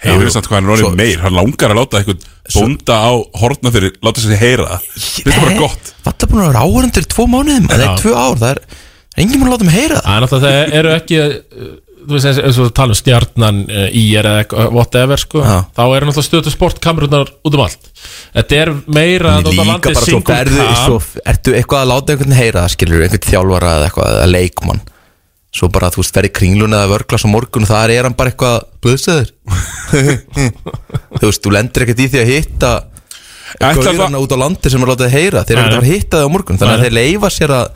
C: Hefur þess að hvað hann er orðið meir, hann langar að láta eitthvað bónda á hortna fyrir, láta sér heyra það Þetta er bara gott
K: Þetta er búin að vera áhörendur í tvo mánuðum Það
B: Já.
K: er tvö ár, það er, það er engin búin að láta mig heyra
B: Það er náttúrulega, það eru ekki uh, Þú veist, eins- eins og við tala um stjarnan uh, í er eða eitthvað, whatever sko
K: Já.
B: Þá eru náttúrulega stöðu sportkamerunar út um allt Þetta er meira
K: En líka bara svo berðu svo, Ertu eitthvað að láta einhvern heyra það skilur Einhvern þjálfara eða eitthvað eða leikmann Svo bara þú veist ferði kringlun eða vörglas á morgun og þar er hann bara eitthvað Blöðsæður Þú veist, þú lendir ekkert í því að hitta
C: Ætlar það-
K: Gaurana út á landi sem er látið að heyra Þeir eru
C: Nei,
K: ekkert að
C: nei.
K: fara að hitta þau á morgun Þannig
C: Nei,
K: að þeir leifa sér að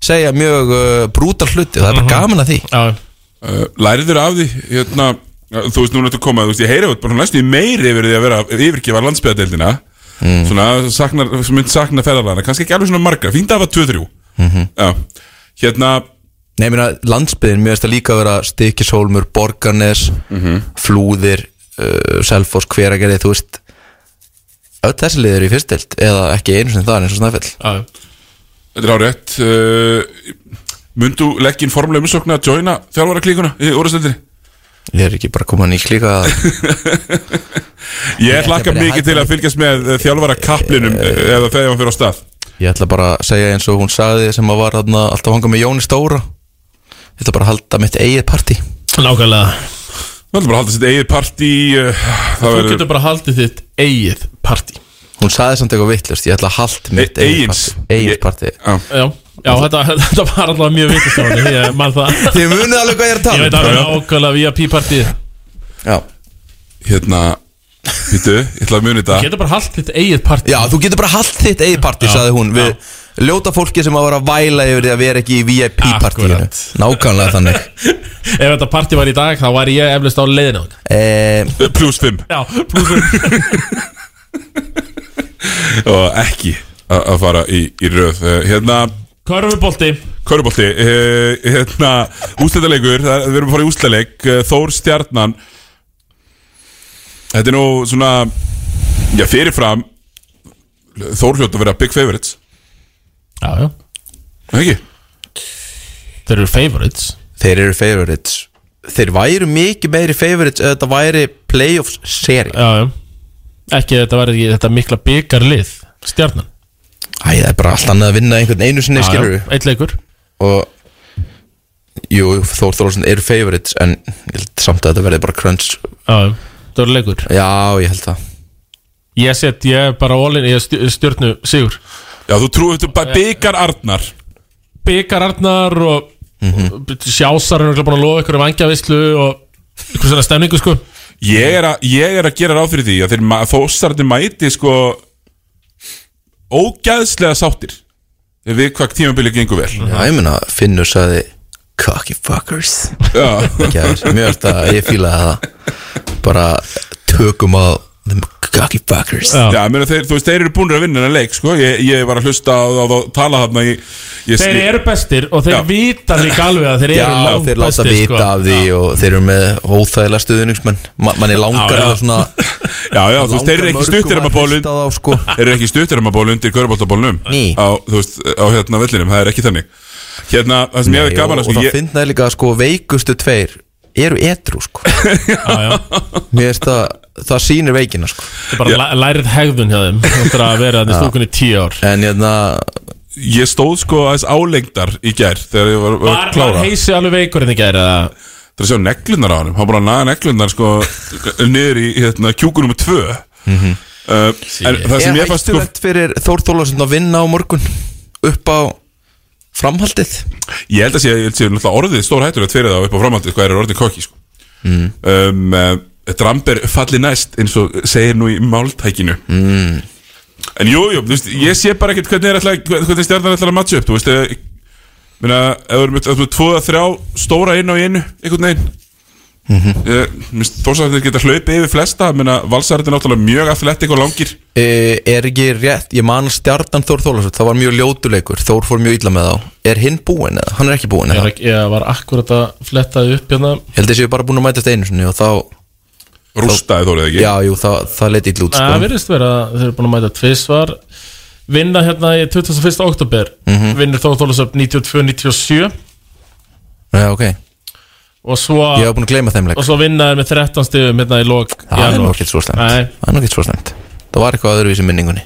K: segja mjög uh, brútal hluti Það er
C: Mhm.
K: bara gaman að því
C: uh, Læriður af því, hérna uh, Þú veist, núna ertu komað, þú veist, ég heyri þetta bara næstu í meiri yfir því að vera yfirgefa landsbyðadeildina Svona, saknar, mynd sakna ferðarlana, kannski ekki alveg svona marga Fínt að hafa 2-3 Já, hérna
K: Nei, ég meina, landsbyðin, mér finnst það líka að vera Stikisólmur, Borgarnes Flúðir, uh, Selfoss Hveragerði, þú veist öll þessi liður í fyrstild, eða ekki einu sem það er eins og snæfell
C: Þetta er árétt uh, Mundu leggja inn formulega umsókn að joina þjálfara klíkuna í úrstældinni?
K: Ég er ekki bara komin í klíka
C: Ég hlakka mikið til að fylgjast með eh, þjálfara kaplinum eh, eða þegar hann fyrir á stað
K: Ég ætla bara að segja eins og hún sagði sem að var þarna alltaf hanga með Jóni Stóra Ég ætla bara að halda mitt eigið partí
B: Nákvæmlega
C: Það er bara að halda sitt eigið partí uh,
B: Þú getur bara haldið þitt eigið partí
K: Hún sagði samt eitthvað vittlust, ég ætla að halda mitt
B: E-
K: eigið
B: eigins.
K: partí Eigið partí
B: Já, já þetta, þetta var allavega mjög vitið Sjóni, ég man það
K: Þið munið alveg hvað ég er að tala
B: Ég veit alveg
K: um. Já, já.
B: nákvæmlega VIP partíð
K: Já
C: Hérna Býtu, ég ætla að muni þetta
B: Þú getur bara haldt þitt eigið partí
K: Já, þú getur bara haldt þitt eigið partí, saði hún Við ljóta fólki sem að vera að væla yfir því að vera ekki í VIP-partíinu Nákvæmlega þannig
B: Ef þetta partí var í dag, þá væri ég eflust á leiðin á þetta
K: eh,
C: Plus 5
B: Já, plus 5
C: og ekki a- að fara í, í röð Eh, hérna
B: Körfubolti
C: Körfubolti, eh, hérna úslitaleikur, það- við erum að fara í úslitaleik eh, Þór Stjarnan Þetta er nú svona já, fyrirfram Þór hljótt að vera big favorites
B: Já, já
C: Ekki?
B: Þeir eru favorites
K: Þeir eru favorites Þeir væru mikið meiri favorites ef þetta væri playoffs seri
B: Já, já Ekki að þetta væri ekki þetta mikla byggarlið Stjarnan
K: Æ, það er bara allt annað að vinna einhvern einu sinni,
B: Já, já,
K: skilur
B: Eitt leikur
K: Og Jú, Þór Þórðarsson eru favorites En ég held samt að þetta verði bara crunch
B: Já, það eru leikur
K: Já, ég held það
B: Ég set, ég er bara all-in, ég stj- stjörnu sigur
C: Já, þú trúið þetta bara byggar Arnar
B: Byggar Arnar og mm
K: Mhm.
B: -hmm. Sjásar er örugglega búin að lofa ykkur um angjavislu og ykkur svona stemningu sko
C: Ég er, að, ég er að gera ráð fyrir því að þeir ma- þósarnir mæti sko ógæðslega sáttir ef við hvað tímabilið gengur vel
K: Já, ég meina, Finnur sagði Cocky fuckers
C: Já.
K: Gær, Mjög eftir að ég fílaði það Bara tökum á Them cocky fuckers
C: Já, ég meina þeir, þú veist, þeir eru búinir að vinna þennan leik, sko Ég, ég var að hlusta á þá þá tala þarna í ég,
B: Þeir eru bestir og þeir
C: Já.
B: vita líka alveg að þeir
K: Já,
B: eru
K: þeir láta
B: langbestir sko.
C: sko.
K: vita af því og þeir eru með óþægilega stuðningsmenn Ma, manni langar
C: Já, já.
K: það svona
C: Já, já, þú veist, þeir eru
K: langar
C: ekki
K: mörgum
C: stuttir um
K: að
C: að bólun
K: hlusta á þá, sko.
C: Þeir eru ekki stuttir um að bólun undir körbóltabólunum
K: Ný.
C: Á, þú veist, á hérna vellinum, það er ekki þannig Hérna, það sem ég hefði
K: Nei,
C: gaman að
K: og, og
C: sko
K: það
C: ég,
K: finnaði líka að sko veikustu tveir eru etru sko Mér veist að það sýnir veikina sko
B: Þetta er bara yeah. lærið hegðun hjá þeim Þetta að vera þannig stúkunni tíu ár
K: En hérna
C: ég stóð sko aðeins álengdar í gær Þegar ég var, var
B: Var-
C: að klára
B: var heisi alveg veikur en í gær eða
C: Það er að sjá neglunar á hann Hann búin að naga neglunar sko Niður í hérna, kjúku nummer tvö
K: Mhm.
C: uh, En það sem ég fannst sko
K: hættulegt fyrir Þór Þólasund að vinna á morgun upp á framhaldið
C: Ég held að sé, ég held að sé náttúrulega orðið stór hættulegt fyrir það upp á framhaldið hvað er orðið kokki sko.
K: Mm.
C: um, uh, Dramber falli næst eins og segir nú í máltækinu mm. En jú, jú, þú veist, ég sé bara ekkert hvernig, er ætla, hvernig stjarnar ætlar að matcha upp Þú veist, eh, ég meina, ef þú erum með tvoða þrjá stóra inn á í einu, einhvern veginn
K: Mhm.
C: -hmm. Þórsarðin geta hlaupið yfir flesta meina, Valsarðin er náttúrulega mjög athletic og langir
K: e, Er ekki rétt, ég man að stjartan Þór Þólasund, það var mjög ljótuleikur Þór fór mjög illa með þá Er hinn búinn eða? Hann er ekki búinn
B: Ég var
K: eða?
B: ekki- Ég var akkurat að flettaði upp hérna
K: Ég held að séu bara búin að mætast einu sinni og þá
C: Rústaði Þórið ekki?
K: Já, jú, það, það leti illa út
B: Nei, Það
K: sko.
B: virðist vera að þeir eru búin að mæta tvisvar Vinna hérna í 21. oktober
K: Mhm.
B: Vinnur Þór Þólasöfn 92-97
K: Já, ok Ég
B: Og svo
K: hef búin að gleyma þeim leik
B: Og svo vinna þeir með 13 stigum hérna í lok
K: Það er nú
B: janúar.
K: ekkert svo slemt
B: Nei.
K: Það er nú ekkert svo slemt Það var eitthvað öðruvísi minningunni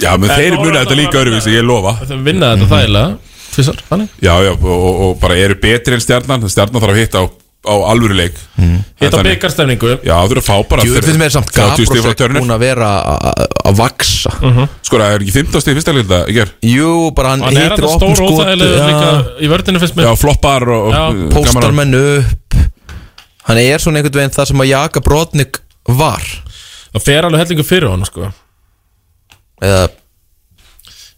C: Já, menn
B: En
C: þeir
B: Þór
C: muna þetta
B: náttúrulega-
C: líka öruvísi, ég lofa
B: Þeir vinna
K: Mhm.
B: þetta þægilega Tvisvar, þannig
C: Já, já, og, og bara eru betri en stjarnan Stjarnan þarf að hitta á, á alvöru leik mm.
B: Hitta byggarstæfningu
C: Já, þú eru að fá bara
K: Hmm. Jú, finnst mér samt
C: 30 stig frá
K: Gabrosek
C: Turner.
K: búin að vera að- að að vaksa
C: Sko, það er ekki 15 stíð fyrsta leikta, ekki er?
K: Jú, bara hann
B: Mhm. Hann er
K: hittir
B: þetta
K: opn
B: stór
K: skot
B: óþægilega líka
K: já,
B: Í vördinu finnst mér
C: Já, floppar og,
B: Já.
C: og
K: Póstar menn upp Hann er svona einhvern veginn það sem að Jaka Brotnik var
B: Það fer alveg hellingu fyrir honum sko
K: eða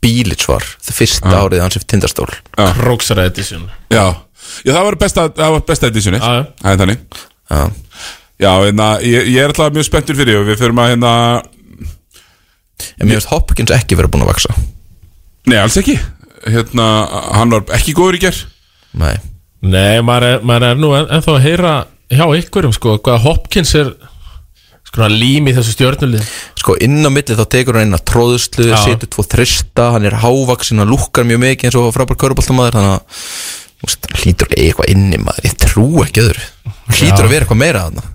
K: Bílits var það fyrsta árið hans eftir tindastól
B: Róksara edition
C: Já, já það var besta, það var besta edisjoni
B: Já, já.
C: Það er þannig
K: Já,
C: já hérna, ég, ég er alltaf mjög spenntur fyrir því og Við förum að hérna
K: En mér finnst Hopkins ekki verið búin að vaksa
C: Nei, alls ekki Hérna, hann var ekki góður í ger
K: Nei
B: Nei, maður er, maður er nú en, ennþá að heyra hjá ykkurum sko Hvað Hopkins er sko lím í þessu stjórnulið
K: Sko inn á milli þá tekur hann inn að tróðslu
B: Já.
K: setur tvo þrista, hann er hávaksin hann lúkkar mjög mikið eins og frábær köruboltamaður þannig að þú veist, hann hlýtur að eiga eitthvað inni maður, ég trú ekki öðru hann hlýtur
B: Já.
K: að vera eitthvað meira þarna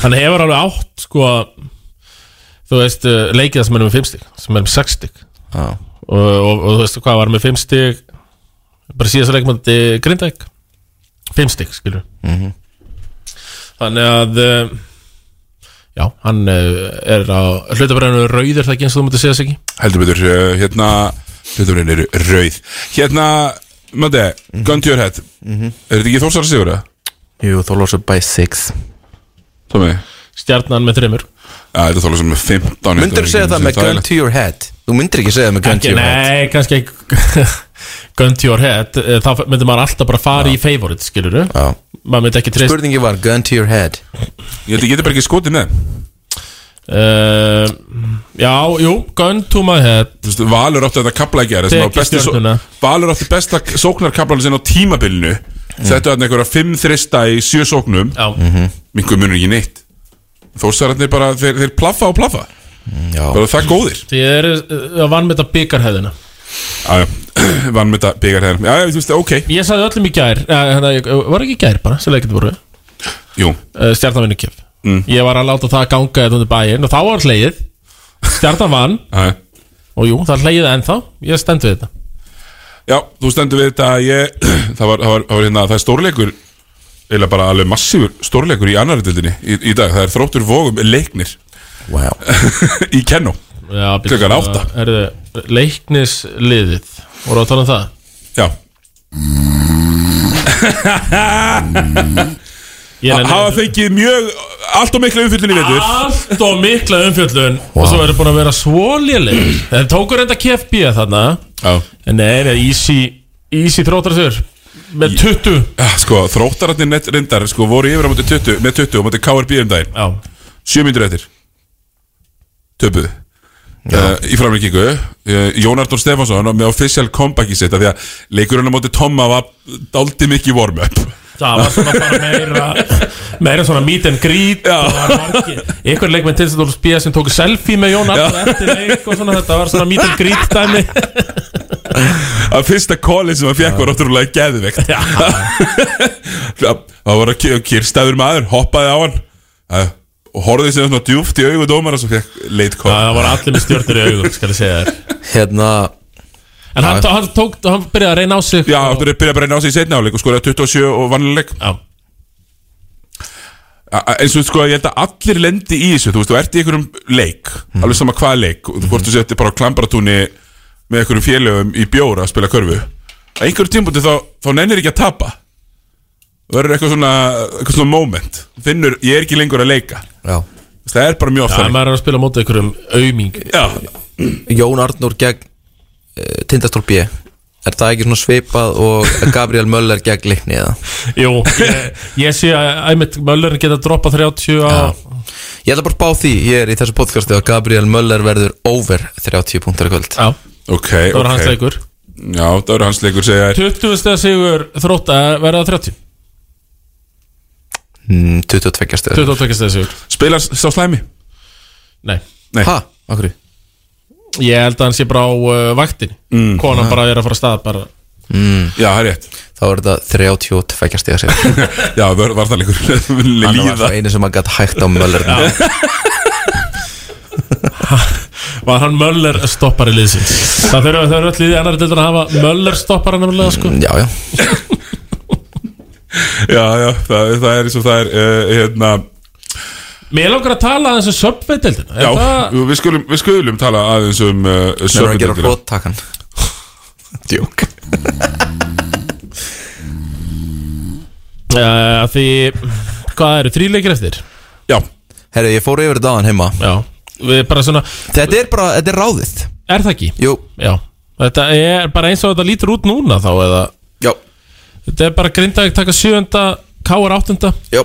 B: Hann hefur alveg átt sko Þú veist, uh, leikið það sem er með 5 stík Sem er með 6 stík
K: Já.
B: og, og, og þú veist hvað var með 5 stík Bara síðast leikmandi Grindæk 5 stík, skilur
K: Mhm.
B: Þannig að uh, Já, hann uh, er á hlutabræðinu rauðir það ekki eins og þú mútið segja sig ekki
C: Heldur betur, uh, hérna Hlutumurinn eru rauð Hérna, Matti, gun to your head
K: Mhm.
C: Er þetta ekki Þórsara Sigurða?
K: Jú, þá losar by six
C: Tommy
B: stjarnan með þreymur
C: Já, þetta þóla sem er 15
K: Myndirðu segja það með gun to your head? Þú myndir ekki segja það með gun to
B: Ekki,
K: your head
B: nei, kannski ekki Gun to your head eh, Þá myndi maður alltaf bara fara í favorite, skilur du Maður myndi ekki treyst
K: Spurningi var gun to your head
C: Ég held ég geti bara ekki skotið með
B: uh, Já, jú, gun to my head
C: Vistu, Valur átti þetta kapla ekki
B: Teki
C: er
B: stjörnuna.
C: Valur átti besta sóknarkaplan sinna á tímabilinu
K: Mm.
C: Þetta er þarna einhverja 5 þrista í 7 sóknum
K: Mhm.
C: Mingur munur ekki neitt Þórsararnir bara, þeir, þeir plaffa og plaffa
K: Mm,
C: Bara það góðir
B: Því ég er uh, vann með þetta byggarhæðina
C: Jájá, vann með þetta byggarhæðina Jájá, þú veist, ok
B: Ég sagði öllum í gær eh, hérna, ég- Var ekki í gær bara, sem leikandi voru
C: Jú
B: Stjarnan vinnu kjöf
C: Mm.
B: Ég var að láta það ganga þetta undir bæinn Og þá var hlegið Stjarnan vann
C: Jæja.
B: Og jú, það er hlegið ennþá Ég stend við þetta
C: Já, þú stendur við þetta ég, það, var, það, var, það var hérna, það er stórleikur eða bara alveg massífur stórleikur í annari dildinni í, í dag, það er þróttur vógum leiknir
K: wow.
C: í kennó
B: Já, býttu,
C: klukkan átta
B: Er þið leiknisliðið Voru að tala um það?
C: Já
B: nenni-
C: hafa fengið mjög allt og mikla umfyllin í veitur
B: Allt og mikla umfjöllun Og svo eru búin að vera svo léleg Þeir tóku reynda KFB þarna
C: Já.
B: En nei, nei, easy, easy þróttar sigur Með 20
C: sko, þróttararnir nett reyndar sko, voru yfir á móti 20, með 20 og móti KRB um daginn
B: Já.
C: 7 mínútur eftir töpuðu Uh, í framleikingu uh, Jón Artur Stefansson með official comeback í sitt af því að leikurinn á móti Tomma var daldi mikið warm-up
B: Það var svona bara meira Meira svona meet and greet og það var margir- Einhver leikmenn til þess að þú spíða sem tóku selfie með Jón Arnar eftir leik og svona þetta var svona meet and greet dæmi
C: að fyrsta kólið sem hann fekk var ótrúlega geðveikt það var að kyrstæður maður hoppaði á hann eh, og horfði sér svona djúft í augu dómar og svo fekk leit kól
B: Það var allir með stjórnir í augum, skal ég segja þér
K: Hérna
B: En hann, hann, tók, hann byrjaði að reyna á sig
C: Já, hann byrjaði bara að reyna á sig í setna áleik og skoraði 27 og vannileik
B: Já
C: eins og sko, ég held að allir lendi í þessu þú veist, þú ert í einhverjum leik
B: Mhm.
C: alveg sama hvað leik, mm. hvort þú settir bara á klambratúni með einhverjum félögum í bjóra að spila körfu að einhverjum tímpúti þá, þá nennir ekki að tapa verður eitthvað svona, eitthvað svona moment finnur, ég er ekki lengur að leika
K: Já.
C: það er bara mjög oft
B: Já,
C: þannig.
B: maður er að spila á móti einhverjum auming
K: Jón Arnór gegn uh, Tindastól B Er það ekki svona svipað og Gabriel Möller gegn leikni eða?
B: Jú, ég, ég sé að æmitt Möllerin geta droppað 30 á
K: Ég ætla bara að bá því, ég er í þessu podcasti að Gabriel Möller verður over 30 punktar í kvöld
B: Já,
C: ok,
K: Það
B: voru hans leikur.
C: Já, það voru hans leikur segja þær.
B: 20 steg sigur þrótt að verða 30
K: Mm, 22 stöður
B: 22 steg sigur
C: Spilar sá slæmi?
B: Nei
C: Nei.
K: Ha? Akkur?
B: Ég held að hann sé bara á uh, vaktin
K: Mm.
B: Konan
K: Ah.
B: bara er að fara af stað bara
K: Mm.
C: Já, það er rétt
K: Þá er þetta 32 stöður
C: Já, var, var það leikur
K: Hann var það einu sem að gæta hægt á Möller
B: Var hann Möller stoppari liðsins Það þurfa þau öll liðið annar dildur að hafa Möller stoppara nefnilega sko
K: Mm, Já, já
C: Já, já, það, það er eins og það er uh, hérna,
B: Mér langar að tala aðeins um subveitildina
C: Já, við, skulum, við skulum tala aðeins um uh,
K: Mér var að
C: Sörmundina.
K: gera hróttakan Djók
B: Uh, því, hvað eru, þrýleikir eftir?
C: Já
K: Herri, ég fór yfir þetta aðan heima
B: Já, við bara svona
K: Þetta er bara, þetta er ráðið
B: Er það ekki?
K: Jú
B: Já, þetta er bara eins og þetta lítur út núna þá eða
K: Já
B: Þetta er bara grindaði taka sjöunda, káar áttunda
K: Jú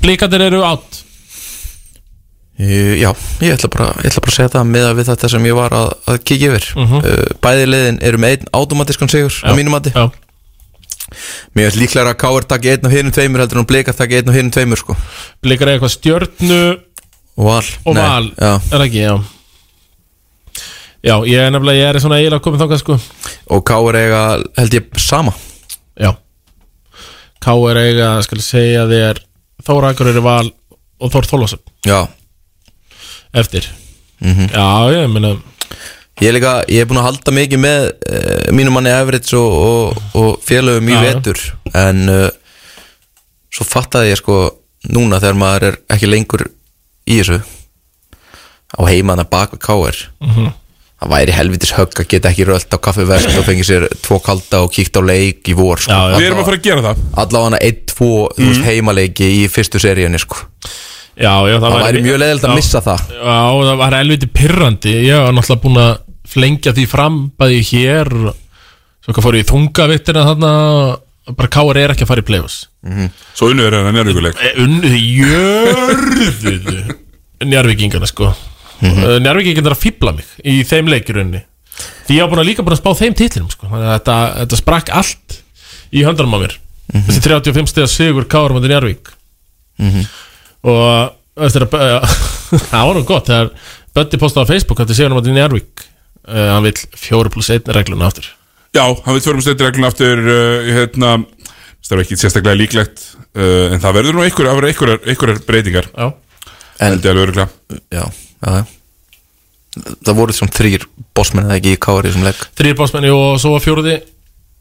B: Blíkandir eru átt
K: Jú, Já, ég ætla bara, ég ætla bara að segja það með við þetta sem ég var að, að kíkja yfir uh
B: Mhm.
K: Bæði liðin eru með einn automatiskan sigur á
B: Já,
K: mínu mati
B: já.
K: Mér finnst líklega að Káar taki einn og hinum tveimur heldur en að Blikar taki einn og hinum tveimur sko
B: Blíkar er eitthvað stjörnu
K: Og Val
B: og
K: Nei,
B: val
K: Já
B: Er það ekki, já Já, ég er nefnilega, ég er svona eiginlega komið þangað sko
K: Og Káar eiga held ég sama
B: Já Káar eiga, skal ég segja þér Þóra Akur eru val og Þór Þólasum
K: Já
B: Eftir
K: Mhm.
B: Já, ég meina
K: Ég er líka, ég er búin að halda mikið með uh, mínum manni Everits og, og, og félögum í
B: Já, já.
K: vetur en uh, svo fattaði ég sko núna þegar maður er ekki lengur í þessu á heimann að baka káir
B: Mhm.
K: það væri helvitis högg að geta ekki rölt á kaffivert og fengið sér tvo kalda og kíkt á leik í vor sko.
C: Við erum að fara að gera það
B: Mhm.
K: Allavega einn, tvo mm. veist, heimaleiki í fyrstu seríunni sko
B: Já, já, það,
K: Það væri mjög leiðilegt að missa það.
B: Já, það var elviti pirrandi Ég var náttúrulega búin að flengja því fram Bæði hér Svo hvað fór ég í þungavittina þarna Bara káar er ekki að fara í play-offs
C: Svo unnur er hérna það njárvíkuleik
B: Unnið jörðuðu Njárvíkingana sko mm -hmm. Njárvíkingana er að fýbla mig Í þeim leikjurunni Því ég var búin að líka búin að spá þeim titlinum sko Þannig að þetta, þetta sprakk allt í höndanum á mér Þessi 35 stegar sigur Káar Möndir Njárvík Og eftir að eh, Það var nú gott þegar Bötti postaði á Facebook að þetta sigur Möndir Njárvík uh, Hann vill 4 plus 1 regluna aftur
C: Já, hann við tvörum steindireglun aftur uh, hérna, það er ekki sérstaklega líklegt uh, en það verður nú einhver, það verður einhverjar, einhverjar breytingar
B: Já
C: En það er öruglega
K: Já, já, já Það voru svona þrýr bossmenn eða ekki í kári sem legg
B: Þrýr básmenni og svo var fjóruði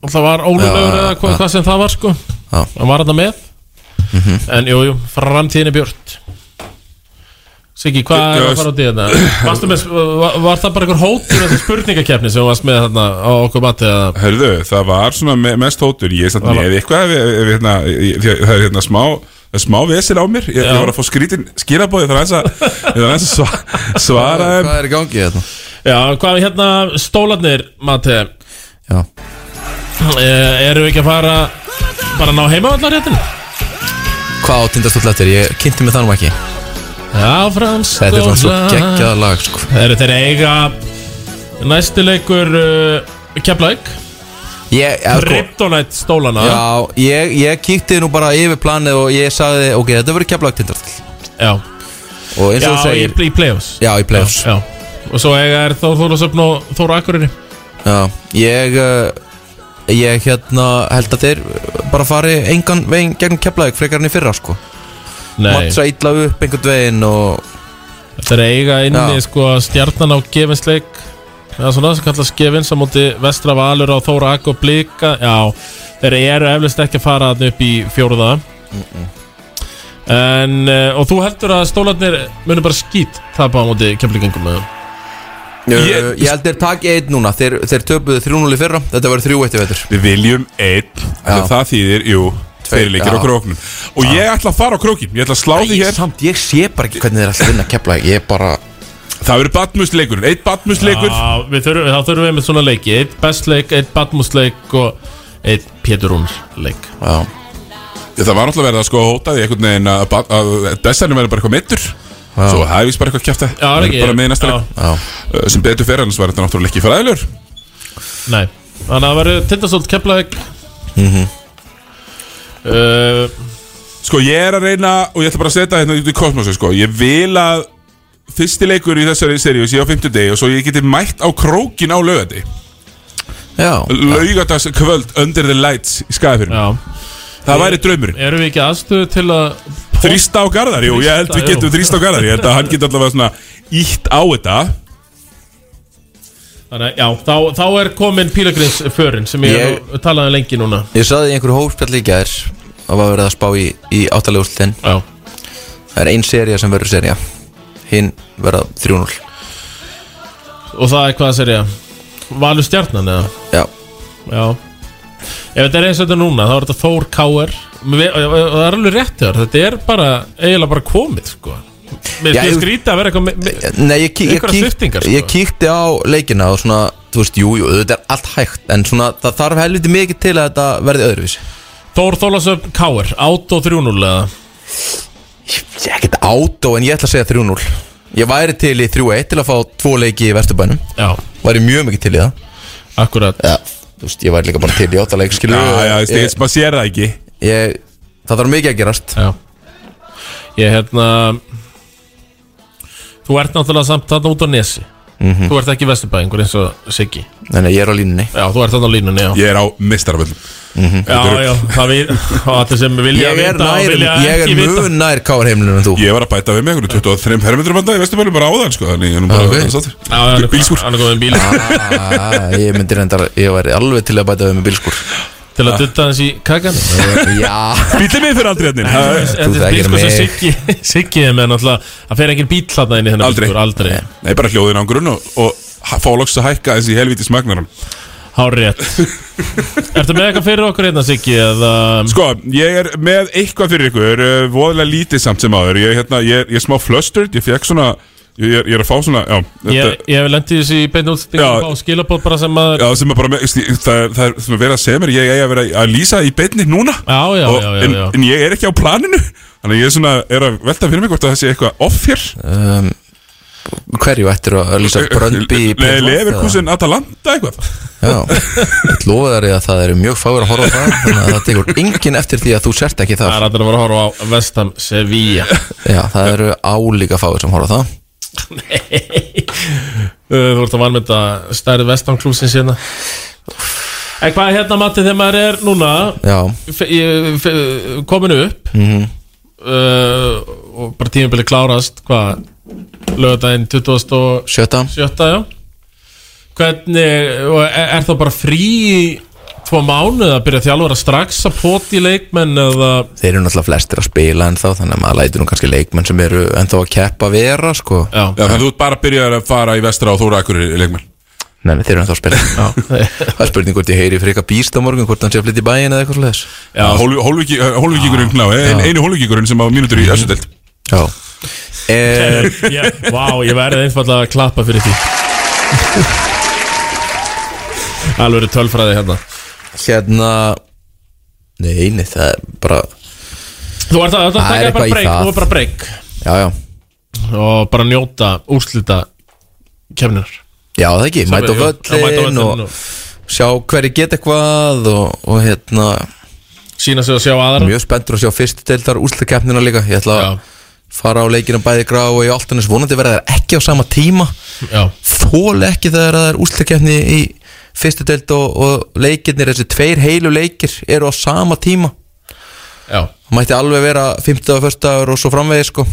B: Alltaf var ólöflegur
K: Já,
B: eða hvað,
K: já.
B: hvað sem það var sko
K: Já. Mhm.
B: Hann var þetta með En jú, jú, framtíðin er björt Siggi, hvað er að fara á því þetta? Varstu með, var, var það bara einhver hótur Þessi spurningakefni sem þú varst með þarna á okkur mati að
C: Herðu, það var svona me mest hótur Ég er samt
B: Það var-
C: með eitthvað ef, ef, ef, hérna, ég- því að það er hérna smá það er smá vesil á mér, ég, ég var að fá skrítin skilabóði þar aðeins að, ég þarf aðeins að sva- svara þeim.
K: Hvað er í gangi hérna? þetta?
B: Já, hvað er hérna stólarnir, mati?
K: Já
B: Eru við ekki að fara bara að ná heimavallarréttinu?
K: Hvað átindast alltaf eftir? Ég kynnti mig þannig ekki
B: Áfram
K: Þetta er svona svo
B: skóla.
K: geggjað lag sko.
B: Það eru þeir eiga næsti leikur uh, Keflæk
K: Ég, já, sko.
B: Kryptonite stólana
K: Já, ég, ég kíkti nú bara yfir planið og ég sagði Ok, þetta verður keflag tindartall
B: Já
K: Og eins
B: Já,
K: og þú segir
B: í, í play-offs
K: Já, í playoffs
B: Já, Og svo eiga er Þór Þólasöfn og Þór Akureyri
K: Já, ég uh, Ég hérna held að þeir bara fari engan veginn gegn keflaðið frekar enn í fyrra sko
B: Nei.
K: Matsa illa upp einhvern veginn og
B: Þeir eiga inni sko stjarnan á gefinsleik Það er svona sem kallast gefins á móti Vestra Valur á Þóra Akko Blika Já, þeir eru eflust ekki að fara þarna upp í fjóruða En, uh, og þú heldur að stólarnir munir bara skýt tapa á móti kemlingum með þeim
K: Ég, ég held þeir taki einn núna Þeir, þeir töpuðu 3-0 í fyrra Þetta verður 3-1 í vetur
C: Við viljum einn Þannig að það þýðir, jú, tveir leikir á
K: já.
C: króknum Og ég ætla að fara á krókin, ég ætla að slá því hér
K: Samt ég sé bara ekki hvernig þeir ætla að vinna kefla Ég bara
C: Það verður badmusleikurinn, einn badmusleikur
B: Já, við þurfum, þá þurfum við með svona leiki Eitt bestleik, eitt badmusleik og eitt Pétur Rúns leik
K: Já
C: Það var náttúrulega verið að sko hóta því einhvern veginn að, að, að dessertin verður bara eitthvað mittur Svo það er víst bara eitthvað kjæfta
B: Já, er ekki,
C: Bara með í næsta
B: já.
C: leik. Uh, Sem betur fyrir annars var þetta náttúrulega ekki fræðilegur
B: Nei, þannig að það verður tindastólt keflaðið
C: mm -hmm.
B: uh,
C: Sko ég er að reyna og ég ætla bara að setja hérna út í kosmosu sko. Ég vil að fyrsti leikur í þessari seríu sé á fimmtudegi og svo ég geti mætt á krókin á laugandi
K: Já
C: Laugadags kvöld Under the Lights í skæðafyrum Það væri draumurinn
B: Erum við ekki aðstöðu til að
C: Þrýsta á Garðar, jú, ég held við
B: Þrýsta, jú.
C: getum þrýsta á Garðar Ég held að hann geti allavega svona ítt á þetta
B: Þannig, að, já, þá, þá er komin pílagrinsförin sem ég,
K: Ég-
B: ég talaði lengi núna
K: Ég saði í einhverju hófspjall í gær að var verið að spá í, í áttaleguslutin
B: Já
K: Það er ein seria sem verður seria Hinn verða 3-0
B: Og það er hvað sér ég Valur stjarnan eða?
K: Já
B: Já Ef þetta er eins og þetta er núna þá er þetta Þór Káer Mér- og- og- og Það er alveg rétt hjá þér, Þetta er bara eiginlega bara komið sko Mér
K: Já,
B: finnst
K: ég-
B: skrítið að vera eitthvað me- me-
K: Nei, ég, kík, ég,
B: einhverjar
K: kík,
B: sviptingar sko.
K: ég kíkti á leikina og svona, þú veist, jú, jú, þetta er allt hægt en svona, það þarf helviti mikið til að þetta verði öðruvísi
B: Þór Þólasöf Káer, át og 3-0 eða
K: Ég er ekkert átó en ég ætla að segja 3-0 Ég væri til í 3-1 til að fá tvo leiki í Vesturbænum
B: Já
K: Væri mjög mikið til í það
B: Akkurat
K: Já, þú veist, ég væri líka bara til í 8 leik, skilu
C: Já, já, þú veist, maður sér það ekki
K: ég, Það þarf mikið að gerast
B: Já Ég hérna Þú ert náttúrulega samt þarna út á nesi
K: Mhm.
B: Þú ert ekki vesturbæðingur eins og Siggi
K: Nei, nei, ég er á línunni
B: Já, þú ert þarna á línunni, já
C: Ég er á mistaraföllum
B: Já, já, það við, og allir sem vilja
K: Ég er
B: vita og
K: nær,
B: vilja
K: ég er
B: ekki vita
K: mun nær káar heimlunum en þú
C: Ég var að bæta við mig einhvern 23 herrmyndur banda í Vesturbælum bara áðan sko Þannig ég er nú bara
K: Ok.
C: okay. sattur
B: Já, hann er- hann er komið bíl
K: ah, Ég myndi reyndar, ég væri alveg til að bæta við með bílskur
B: Til
C: Ah.
B: að dutta hans í kakan
K: Já
C: Bílið mið fyrir aldrei hérna
B: Þetta er bíl sko sem Siggi Siggi er með náttúrulega Það fer engin bíl þarna inn í þennan
C: Aldrei
B: bílskur, Aldrei
C: Nei, bara hljóðin á grunn og, og ha- fá loks að hækka þessi helviti smagnaran
B: Hárrétt Ertu með eitthvað fyrir okkur hérna, Siggi? Eða...
C: Sko, ég er með eitthvað fyrir ykkur uh, Voðlega lítið samt sem áður Ég, hérna, ég, er- ég er smá flustered, ég fekk svona Ég, er- ég er að fá svona, já
B: Ég, ég hef lendið þessi í
C: Já.
B: beinu útstingum á skilabóð bara sem að
C: Já, sem er bara, með, það, er, það er svona verið að segja mér Ég eigi að vera að lýsa í beinni núna
B: Já, já,
C: og,
B: já, já,
C: en,
B: já.
C: en ég er ekki á planinu Þannig að ég er svona, er að velta fyrir mig hvort að það sé eitthvað off hér
K: um, Hverju ættir að lýsa Bröndby í
C: Nei,
K: Plymouth,
C: Leverkusen, Atalanta eitthvað
K: eða? Já, ég lofa þær að það eru mjög fáir að horfa á það Þannig að það tekur enginn eftir því að þú sért ekki
B: Það
K: það
B: er allir að vera að horfa á Vestam Sevilla
K: Já, það eru álíka fáir sem horfa á það
B: Uh, Þú ert að vanmynda stærri Vestam klúsin sína hérna. En hvað er hérna Matti þegar maður er núna
K: Já,
B: fe- ég- fe- komin upp
K: mhm
B: uh, og bara tímabilið klárast hvað, lögadaginn 27. já hvernig, og er, er þá bara frí í tvo mánuð að byrja þjálfara strax að poti leikmenn eða
K: þeir eru náttúrulega flestir að spila ennþá þannig að maður lætur nú kannski leikmenn sem eru ennþá að keppa vera sko
B: Já,
C: Já, þannig að þú ert bara að byrja að fara í vestra og þóra akkur leikmenn
K: Nei, nei, þeir eru ennþá að spila Það er spurning hvort ég heyri freka býst á morgun hvort hann sé að flytja í bæin eða eitthvað slags
C: Já, eh, hólvíkingurinn kná, ein, einu hólvíkingurinn sem á mínútur í össudelt
K: Já
B: er, ég, Vá, ég verði einfallega að klappa fyrir því Alveg eru tölfræði hérna
K: Hérna Nei, nei, það er bara
B: Þú ert að, að
K: Það er
B: taka
K: eitthvað í
B: bara breyk,
K: það.
B: þú er bara breyk
K: Já, já,
B: og bara njóta úrslita kemnar
K: já það ekki,
B: Sem-
K: mæta á
B: jú, já, mæta á
K: völlin
B: völlinn
K: og sjá hverju geta eitthvað og, og hérna
B: Sýna sig og sjá aðra
K: Mjög spenntur að sjá fyrstu deildar úrslitakeppnina líka Ég ætla að fara á leikina bæði grá og í altanis vonandi verða þær ekki á sama tíma
B: Já.
K: Þóla ekki þegar það er úrslitakeppni í fyrstu deild og, og leikirnir, þessi tveir heilu leikir eru á sama tíma
B: Já
K: Það mætti alveg vera 50 og 1. dagur og svo framvegis sko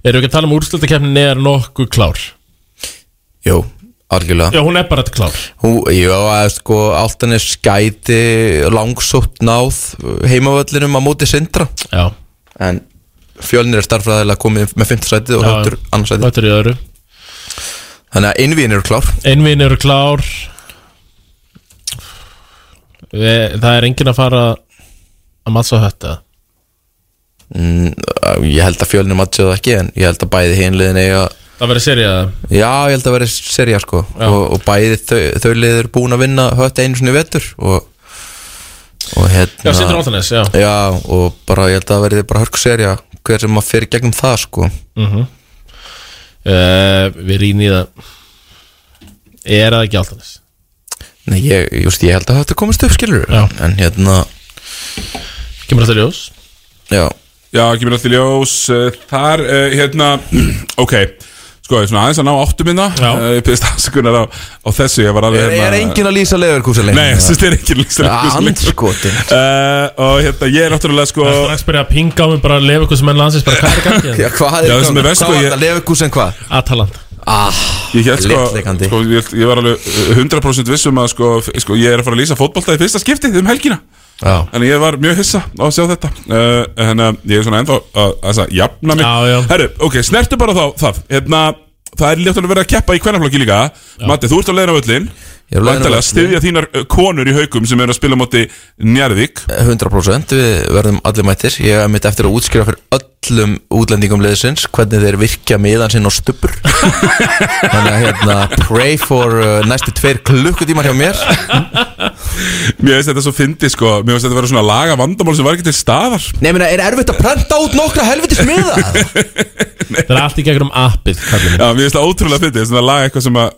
B: Erum við ekki að tala um úrslitakeppnin er nokkuð klár
K: Jú, algjörlega
B: Já, hún er bara klár
K: Hú, Jú, að sko, Altanis skæti langsótt náð heimavöllinum á móti sindra
B: Já
K: En fjölnir er starffræðilega komið með 5. sætið og
B: Já,
K: höttur annars sætið
B: Höttur í öðru
K: Þannig að innvíin eru klár
B: Einvin eru klár Við- Það er enginn að fara að mattsa þetta
K: mm, Ég held að fjölnir matja það ekki en ég held að bæði hinliðin eiga
B: Það verður serið að
K: Já, ég held að vera serja sko og, og bæði þau, þau liður búin að vinna hött einu sinni í vetur og, og hérna
B: Já, Sindri Álftanes, já.
K: og bara ég held að verði bara hörku serja hver sem maður fyrir gegnum það sko
B: mm -hmm. Eh, Við rýnum í það Er það ekki alltaf
K: Nei, ég, just, ég held að þetta komist upp skilur já. en hérna
B: Kemur þetta ljós?
K: Já
C: Já, kemur alltaf í ljós eh, Þar, eh, hérna, ok Sko, ég er svona aðeins að ná áttum minna Ég byrðist afsökunar á, á þessu Ég var alveg hérna-
K: Er, er enginn að lýsa leifurkúsa
C: Nei, ég syns þið er enginn að lýsa leikmenn.
K: Andskotin
C: Eh, Og hérna, ég er náttúrulega sko
B: Það er strax byrjað að pinga á mig bara að lefa ykkur sem enn landsins bara hvað er gangið?
K: Já, hvað er
C: Já, það sem
K: gangi?
C: er verst, sko,
K: Hvað
C: ég-
K: var þetta, leifurkúsa en hvað?
B: Atalanta
K: Ah,
C: Ég, hélt, sko,
K: litleikandi.
C: sko, ég, ég var alveg eh, 100% viss um að sko, f- sko, ég er að fara að lýsa fótbolta í fyrsta skipti um helgina
K: Já.
C: Þannig ég var mjög hissa á að sjá þetta uh, Þannig að ég er svona ennþá að, að, að jafna mig já, já. Herru, ok, snertu bara þá það hérna, Það er ljótt að vera að keppa í hvernaflokki líka Matti, þú ert á leiðin á öllin
K: Ég er á leiðinni á
C: Væntanlega
K: völlinn.
C: styðja þínar eh, konur í haukum sem eru að spila á móti Njarðvík
K: 100% við verðum allir mættir ég er mitt eftir að útskýra fyrir öllum útlendingum liðsins hvernig þeir virkja miðan sinn og stubur þannig að hérna pray for uh, næstu tveir klukkutímar hjá mér
C: Mér veist þetta svo fyndi sko Mér veist þetta vera svona laga vandamál sem var ekki til staðar
K: Nei, meina, er erfitt að prenta út nokkra helvitis miða?
B: Það er allt í gegnum appið kallið
C: Já, mér veist það ótrúlega fyndi Svona laga eitthvað sem að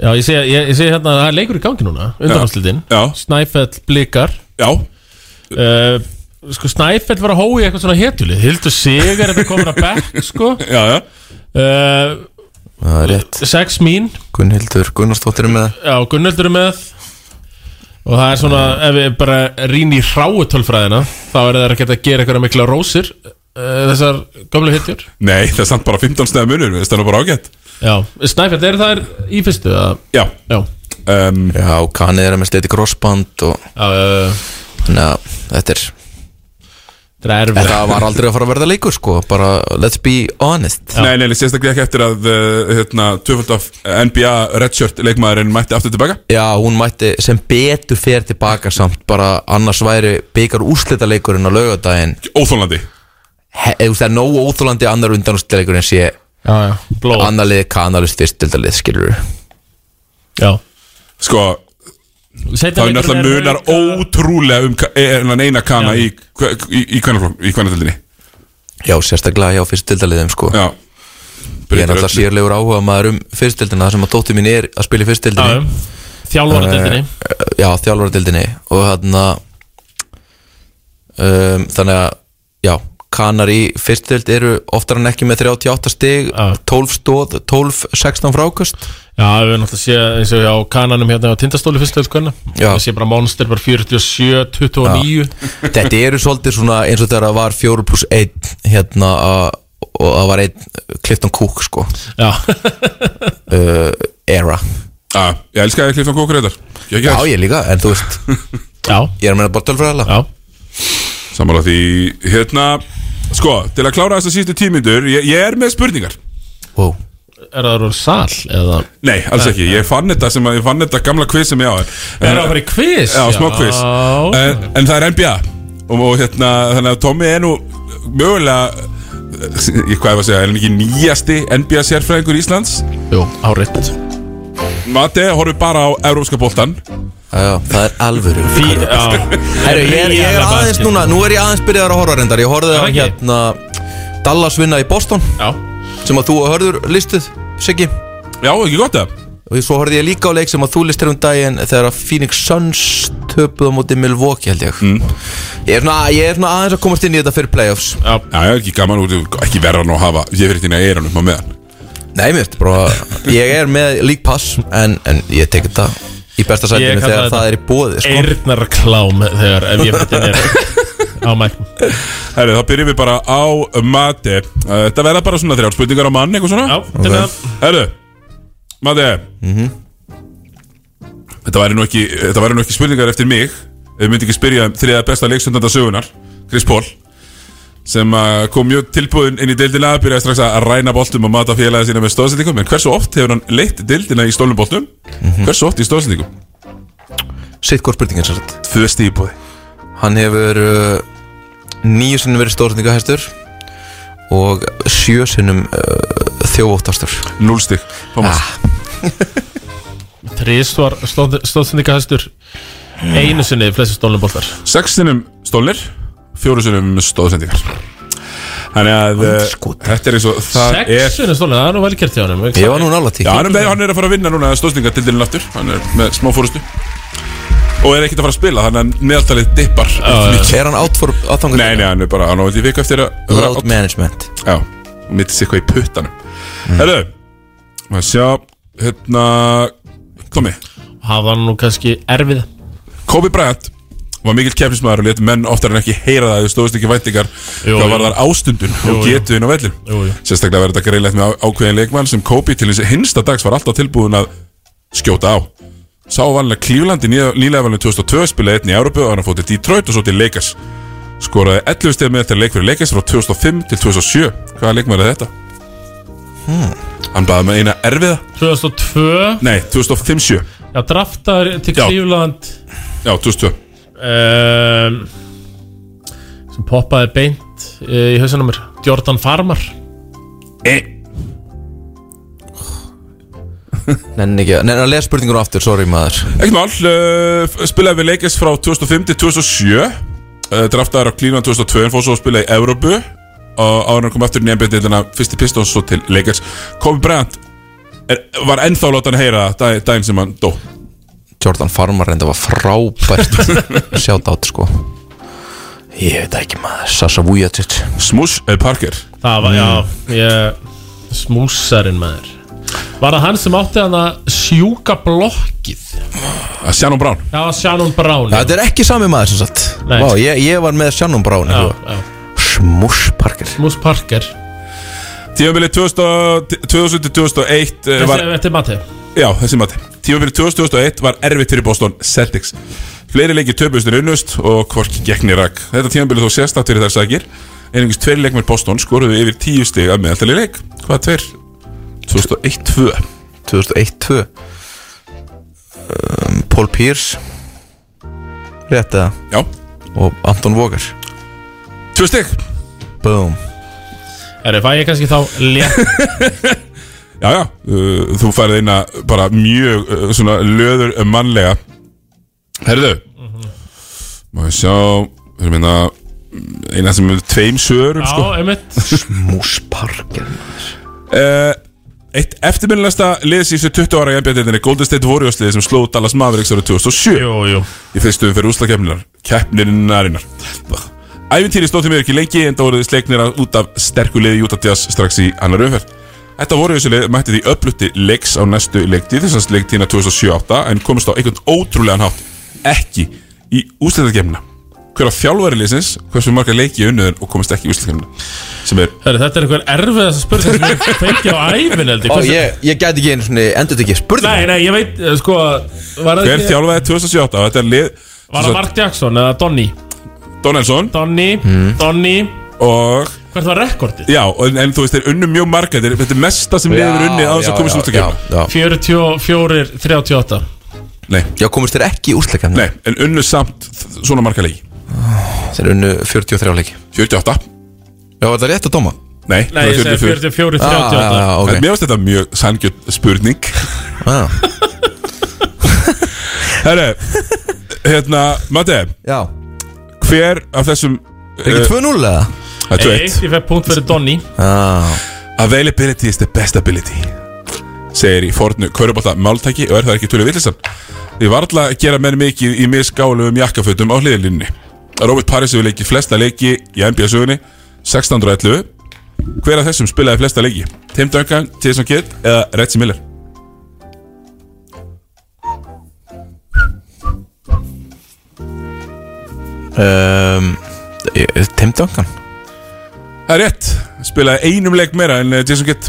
B: Já, ég segi, ég, ég segi hérna að það er leikur í gangi núna undanhanslitin, Snæfell blikar
C: Já
B: uh, Sko Snæfell var að hóa í eitthvað svona hetjulið Hildur Sigur er þetta komin að bekk sko
C: Já,
B: já uh,
K: það er rétt
B: Sex mín,
K: Gunnhildur Gunnarsdóttir er með
B: já, Gunnöldur er með Og það er svona, ef við bara rýn í hráu tölfræðina Þá er það að geta að gera eitthvað mikla rósir uh, Þessar gömlu hetjur
C: Nei, það er samt bara 15 snæða munur Mér veist það er nú bara ágætt
B: Já, Snæfell er það í fyrstu að...
C: Já
B: Já
C: um,
K: Já, kannið er með sliti crossband og
B: já, já, já.
K: þannig að þetta er
B: Þetta
K: Þetta var aldrei að fara að verða leikur sko Bara let's be honest
C: Nei, nei, nei, sérstaklega ekki eftir að uh, hérna, tvöfald af NBA redshirt leikmaðurinn mætti aftur tilbaka
K: Já, hún mætti sem betur fer tilbaka samt Bara annars væri byggar úrslitaleikurinn á laugardaginn eh,
C: Óþólandi
K: Það er nóg óþólandi annar undan úrslitaleikurinn sé
B: Já, já, blóð
K: Annarlið, kanalist, fyrstildalið, skilur
B: Já
C: Sko, það
B: Seinna
C: er
B: leikurinn
C: náttúrulega
B: er
C: munar ótrúlega um ka- eh, hennan eina kana í, í, í, í kvennatildinni
K: Já, sérstaklega hjá fyrstildaliðum sko
C: Já
K: Ég er
C: Breytir
K: náttúrulega
C: öllu.
K: sérlegur áhuga maður um fyrstildina Það sem að dóttir mín er að spila í fyrstildinni
B: Þjálfaradeildinni.
K: uh, Já, þjálfaradeildinni Og þarna um, Þannig að Já, kanar í fyrstild eru oftar en ekki með 38 stig 12 stóð, 12, 16 frákust
B: Já, við erum náttúrulega séð eins og á kananum hérna á tindastóli fyrstu öllkvæmna
K: Já.
B: Við séð bara monster bara 47, 29
K: Þetta eru svolítið svona eins og þegar það var 4 pluss 1 hérna að- og það var einn Clifton Cook sko
B: Já
K: uh, Era
C: Já, ég elska að Clifton Cook reyndar ég
K: Já, ég líka, en þú veist
B: Já
K: Ég er að meina bara tölfræðala
B: Já
C: Samanlega því, hérna Sko, til að klára þessar síðustu tímyndur ég, ég er með spurningar
K: wow.
B: Er það úr sal eða
C: Nei, alls ekki, ég fann þetta sem að ég fann þetta gamla quiz sem ég á Er
B: það bara í quiz?
C: Já, smá
B: Já.
C: quiz
K: Eh.
C: en, en það er NBA og, og hérna, þannig að Tommy er nú mögulega ég hvað ég var að segja, er hann ekki nýjasti NBA sérfræðingur Íslands?
B: Jú, áreitt
C: Mati, horfum bara á Európska boltan
K: Já, það er alvöru Heru, ég, er, ég er aðeins núna, nú er ég aðeins byrjaður að horfa reyndar Ég horfði á hérna Dallas vinna í Boston
B: Já.
K: Sem að þú og hörður listuð, Siggi
C: Já, ekki gott það
K: Og svo horfði ég líka á leik sem að þú listir um daginn Þegar að Phoenix Suns töpuð á móti Milwaukee held ég ég, er svona, ég er svona aðeins að komast inn í þetta fyrir playoffs
B: Já,
C: já, ekki gaman út, ekki verra nú að hafa Ég fyrir þín að eira hann upp á meðan
K: Nei, mér finnst bara Ég er með League Pass En, en ég tek þetta í besta
B: Ég
K: sætinu
B: kalla
K: Þegar
B: þetta
K: það er í bóði sko.
B: Eyrnarklám þegar ef ég myndi nýra Á mæknum
C: Herri, þá byrjum við bara á Mati Uh, Þetta verða bara svona þrjár spurningar á mann, eitthvað svona Já,
B: þetta er það.
C: Herri, Mati Þetta væri nú ekki, þetta væri nú ekki spurningar eftir mig Ef Við myndi ekki spyrja um þriða besta leiksundanda sögunar Chris Paul Sem að kom mjög tilbúðin inn í deildina Byrjaði strax að ræna boltum og mata félagið sína með stóðsendingum En hversu oft hefur hann leitt deildina í stólnum boltum? Hversu oft í stóðsendingum?
K: Sitt hvort spurningin sér þetta
C: Tvö stíð búði
K: Hann hefur uh, nýju sinnum verið stórningahestur Og sjö sinnum uh, þjóvóttastur
C: Núl stík, Thomas
B: Trísvar stóðsendingahestur Einu sinni flestir stólnum boltar
C: Sex sinnum stólnir Fjóru sinnum stóðsendingar Þannig að eh, Þetta er eins og það
B: Sex sinni stólnum, það er nú vel kert hjá hann
K: Ég var nú nála
C: er Já, hann, er, hann er að fara að vinna núna stóðsendingatildilin aftur Hann er með smá fórustu Og er ekkert að fara að spila Þannig að meðaltalið dippar mikið.
K: Er hann átt for átangur?
C: Nei, nei, hann er bara Hann á veldi vika eftir að vera
K: Load management
C: Já, og mitt sér hvað í puttanum Herru, maður sjá Hérna, Tommy
B: Hafða hann nú kannski erfið
C: Kobe Bryant var mikill keppnismæður og let menn oftar en ekki heyra það þau stóðist ekki væntingar
B: Jú,
C: hvað
B: jú.
C: var þar ástundun og
B: Jú, jú.
C: getu inn á vellin
B: Jú, jú.
C: sérstaklega verður þetta greinlegt með á- ákveðin leikmann sem Kobe til hins hinsta dags var alltaf tilbúin að skjóta á sá vanlega Cleveland í nýja- nýlega valinu 2002 spilaði einn í Európu og hann fótti Detroit og svo til Lakers skoraði 11 stef með þetta leik fyrir Lakers frá 2005 til 2007 hvaða leikmann er þetta?
B: Hmm.
C: Hann baði með eina erfiða
B: 2002
C: Nei, 2005-7
B: Já, draftar til Cleveland
C: Já, 2002
B: um, Sem poppaði beint eh, í hausanum mér Jordan Farmar
K: Nenni ekki, að- nenni að lesa spurningunum aftur, sorry maður
C: Ekkert mál, uh, spilaði við leikist frá 2005 til 2007 uh, Draftaður á Cleveland 2002 en fór svo að spila í Evrópu og áður en hann kom aftur í nefnbyrðina fyrst í Pistons svo til leikist Kobe Bryant er, var ennþá látan að heyra það dag, daginn sem hann dó
K: Jordan Farmar reynda var frábært Sjátt átt sko Ég veit það ekki maður Sasa Vujacic
C: Smush eða Parker
B: Það var, já, ég Smúsarinn maður Var það hann sem átti hann að sjúka blokkið
C: Eh, Shannon Brown
B: Já, Shannon Brown
K: Þetta er ekki sami maður sem sagt
B: Nei.
K: Vá, ég, ég var með Shannon Brown
B: Já,
K: já. Smush Parker
B: Smush Parker
C: Tíðanbilið 2000 til 2001 eh,
B: Þetta
C: var,
B: er- þetta er matið
C: Já, þessi mati Tímabilið 2001 var erfitt fyrir Boston Celtics Fleiri leikir töpuðustin unnust og hvorki gegnir rakk Þetta tímabilið þó sérstætt fyrir þær sakir Einungis tveir leikmenn Boston skoruðu yfir 10 stig að meðaltali leik Hvað tveir? 2001-2
K: 2001-2 um, Paul Pierce Rétt eða?
C: Já
K: Og Anton Vågar
C: Tvö stygg
K: Boom
B: Herri, fæ ég kannski þá létt
C: Já, já, uh, þú færið eina bara mjög uh, svona löður mannlega Herðu Má ég sjá, erum minna eina sem er tveim sögurum
B: Já,
C: sko
B: einmitt
K: Smúsparker
C: uh, Eitt eftirminnilegsta lið síðustu 20 ára í NBA-deildinni Golden State Warriors liði sem sló Dallas Mavericks árið 2007
B: Jú, jú
C: Í fyrstu umferð úslakeppninar Keppninarinnar Ævintýri stóð þeim ekki lengi en það voruð sleiknir út af sterku liði Utah Jazz strax í annar umferð Þetta Warriors lið mætti því upplutti leiks á næstu leikti þessans leiktína 2007-8 en komist á einhvern ótrúlegan hátt ekki í úslakeppnina Hver á þjálfari liðsins, hversu marga leiki unnuðin og komist ekki í úslakeppnina sem er
B: Herri, þetta er einhver erfiðast spurning sem ég fengi á ævin held ég.
K: Ó,
B: Hversu-
K: ég, ég gæti ekki einu svona endur þetta ekki spurning
B: Nei, nei, ég veit, eh, sko var það
C: Hver
B: ekki-
C: þjálfaði 2007 Þetta er lið
B: Var það Mark Jackson eða Donny?
C: Donelson
B: Donny,
K: Hmm.
B: Donny
C: Og
B: Hvert var rekordið?
C: Já, en, en þú veist, þeir unnu mjög marga Þetta er- þetta er mesta sem liður unni á þess að komast út að kemna
B: 44, 38
C: Nei
K: Já, komist þér ekki í úrslækjafni
C: Nei, en unnu samt þ- svona marga leiki
K: Þeir unnu 43 leiki
C: 48
K: Já, var það rétt að dóma?
C: Nei,
B: Nei, ég segi 44, 38
K: Ah, já, já, ok.
C: En mér finnst þetta mjög sangjöld spurning
K: ah.
C: Herre, hérna, Matti
K: Já
C: Hver af þessum
K: Er ekki 2-0 eða?
C: Það er 2-1
B: Eitt, Ég fekk punkt fyrir Donny
K: ah.
C: Availability is the best ability segir í fornu kaurubólta máltæki og er það ekki tullu villisan Við varla að gera menn mikið í misgálum jakkafötum á hliðilínni Robert Paris hefur leikið flesta leiki í NBA-sögunni 1611 Hver af þessum spilaði flesta leiki? Tim Duncan, Jason Kidd eða Reggie Miller?
K: um, eh, Tim Duncan
C: Það er rétt, spilaði einum leik meira en eh, Jason Kidd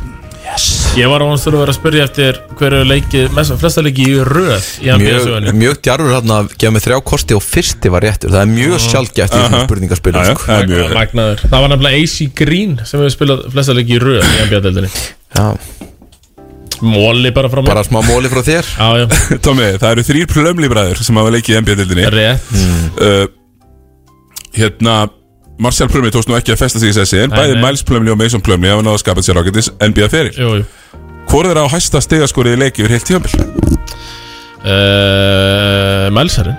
B: Ég var ánast að vera að spyrja eftir hverju leikið, mest, flesta leikið í röð í
K: Mjög,
B: NBA-sögunni
K: mjög djarfur hann að gefa mig þrjá kosti og fyrsti var réttur Það er mjög
B: Mhm.
K: sjálfgæft í svona
B: Aha.
K: spurningaspilum
B: Já, já,
K: sko.
B: það er mjög- Magnaður Það var nefnilega AC Green sem hefur spilað flesta leiki í röð í NBA-deldinni
K: Já.
B: Móli bara frá mér
K: Bara smá móli frá þér
B: Já, já
C: Tómi, það eru þrýr plömlýbræður sem hafa leikið í NBA-dildinni
B: Rétt
K: Hmm.
C: uh, Hérna Marcel Plumley tókst nú ekki að festa sig í sessi en
B: Nei,
C: bæði
B: nei.
C: Miles Plumley og Mason Plumley hafa náða að skapa sér ágættis NBA-feril
B: Jú, jú
C: Hvor er á hæsta stegaskorið í leiki yfir heilt tíðanbill?
B: uh, Mælsarinn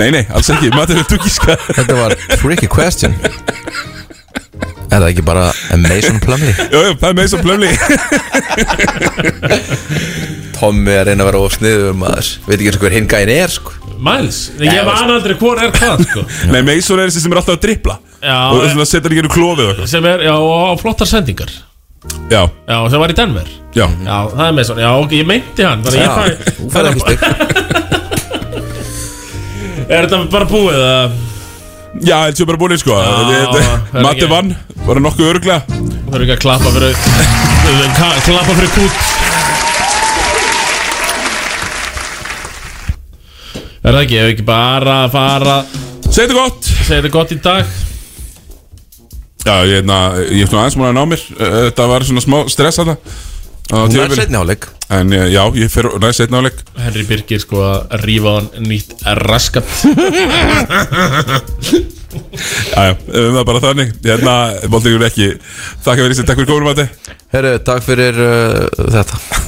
C: Nei, nei, alls ekki, maður þú gíska
K: Þetta var tricky question Er það ekki bara Mason Plumlee?
C: Jú, jú, það er Mason Plumley
K: Tommy er að reyna að vera ofsniður maður Veit ekki eins og hver hinn gæin er sko
B: Mæls Ég man aldrei hvor er hvað sko.
C: Nei, Mason er þessi sem er alltaf að drippla
B: Já, eh,
C: og þess vegna setja hann ekki inn í klófið og eitthvað.
B: Sem er, já, og á flottar sendingar
C: Já,
B: Já, sem var í Denver
C: já
B: Já, það er með svona, já, ok, ég meinti hann Þannig
K: Já,
B: ég fæ,
K: þú færð ekki stygg
B: er þetta bara búið að
C: Já, þetta sé bara búin sko
B: það er
C: Matti
B: ekki-
C: vann, var það nokkuð öruglega
B: Það er ekki að klappa fyrir ka- Klappa fyrir kút Er það ekki, ef ekki bara að fara
C: Segðu þetta gott
B: Segðu þetta gott í dag
C: Já, ég, na, ég er svona aðeins múin að ná mér Eh, Þetta var svona smá stress að það
K: Nær seinni hálfleik.
C: En eh, já, ég fer næst setna áleik
B: Henry Birgir sko að rífa á hann nýtt raskat
C: Jæja, um það bara þannig Hérna, Bóltingur ekki Þakka fyrir þessi, takk fyrir kominum að
K: Herru, takk fyrir uh, þetta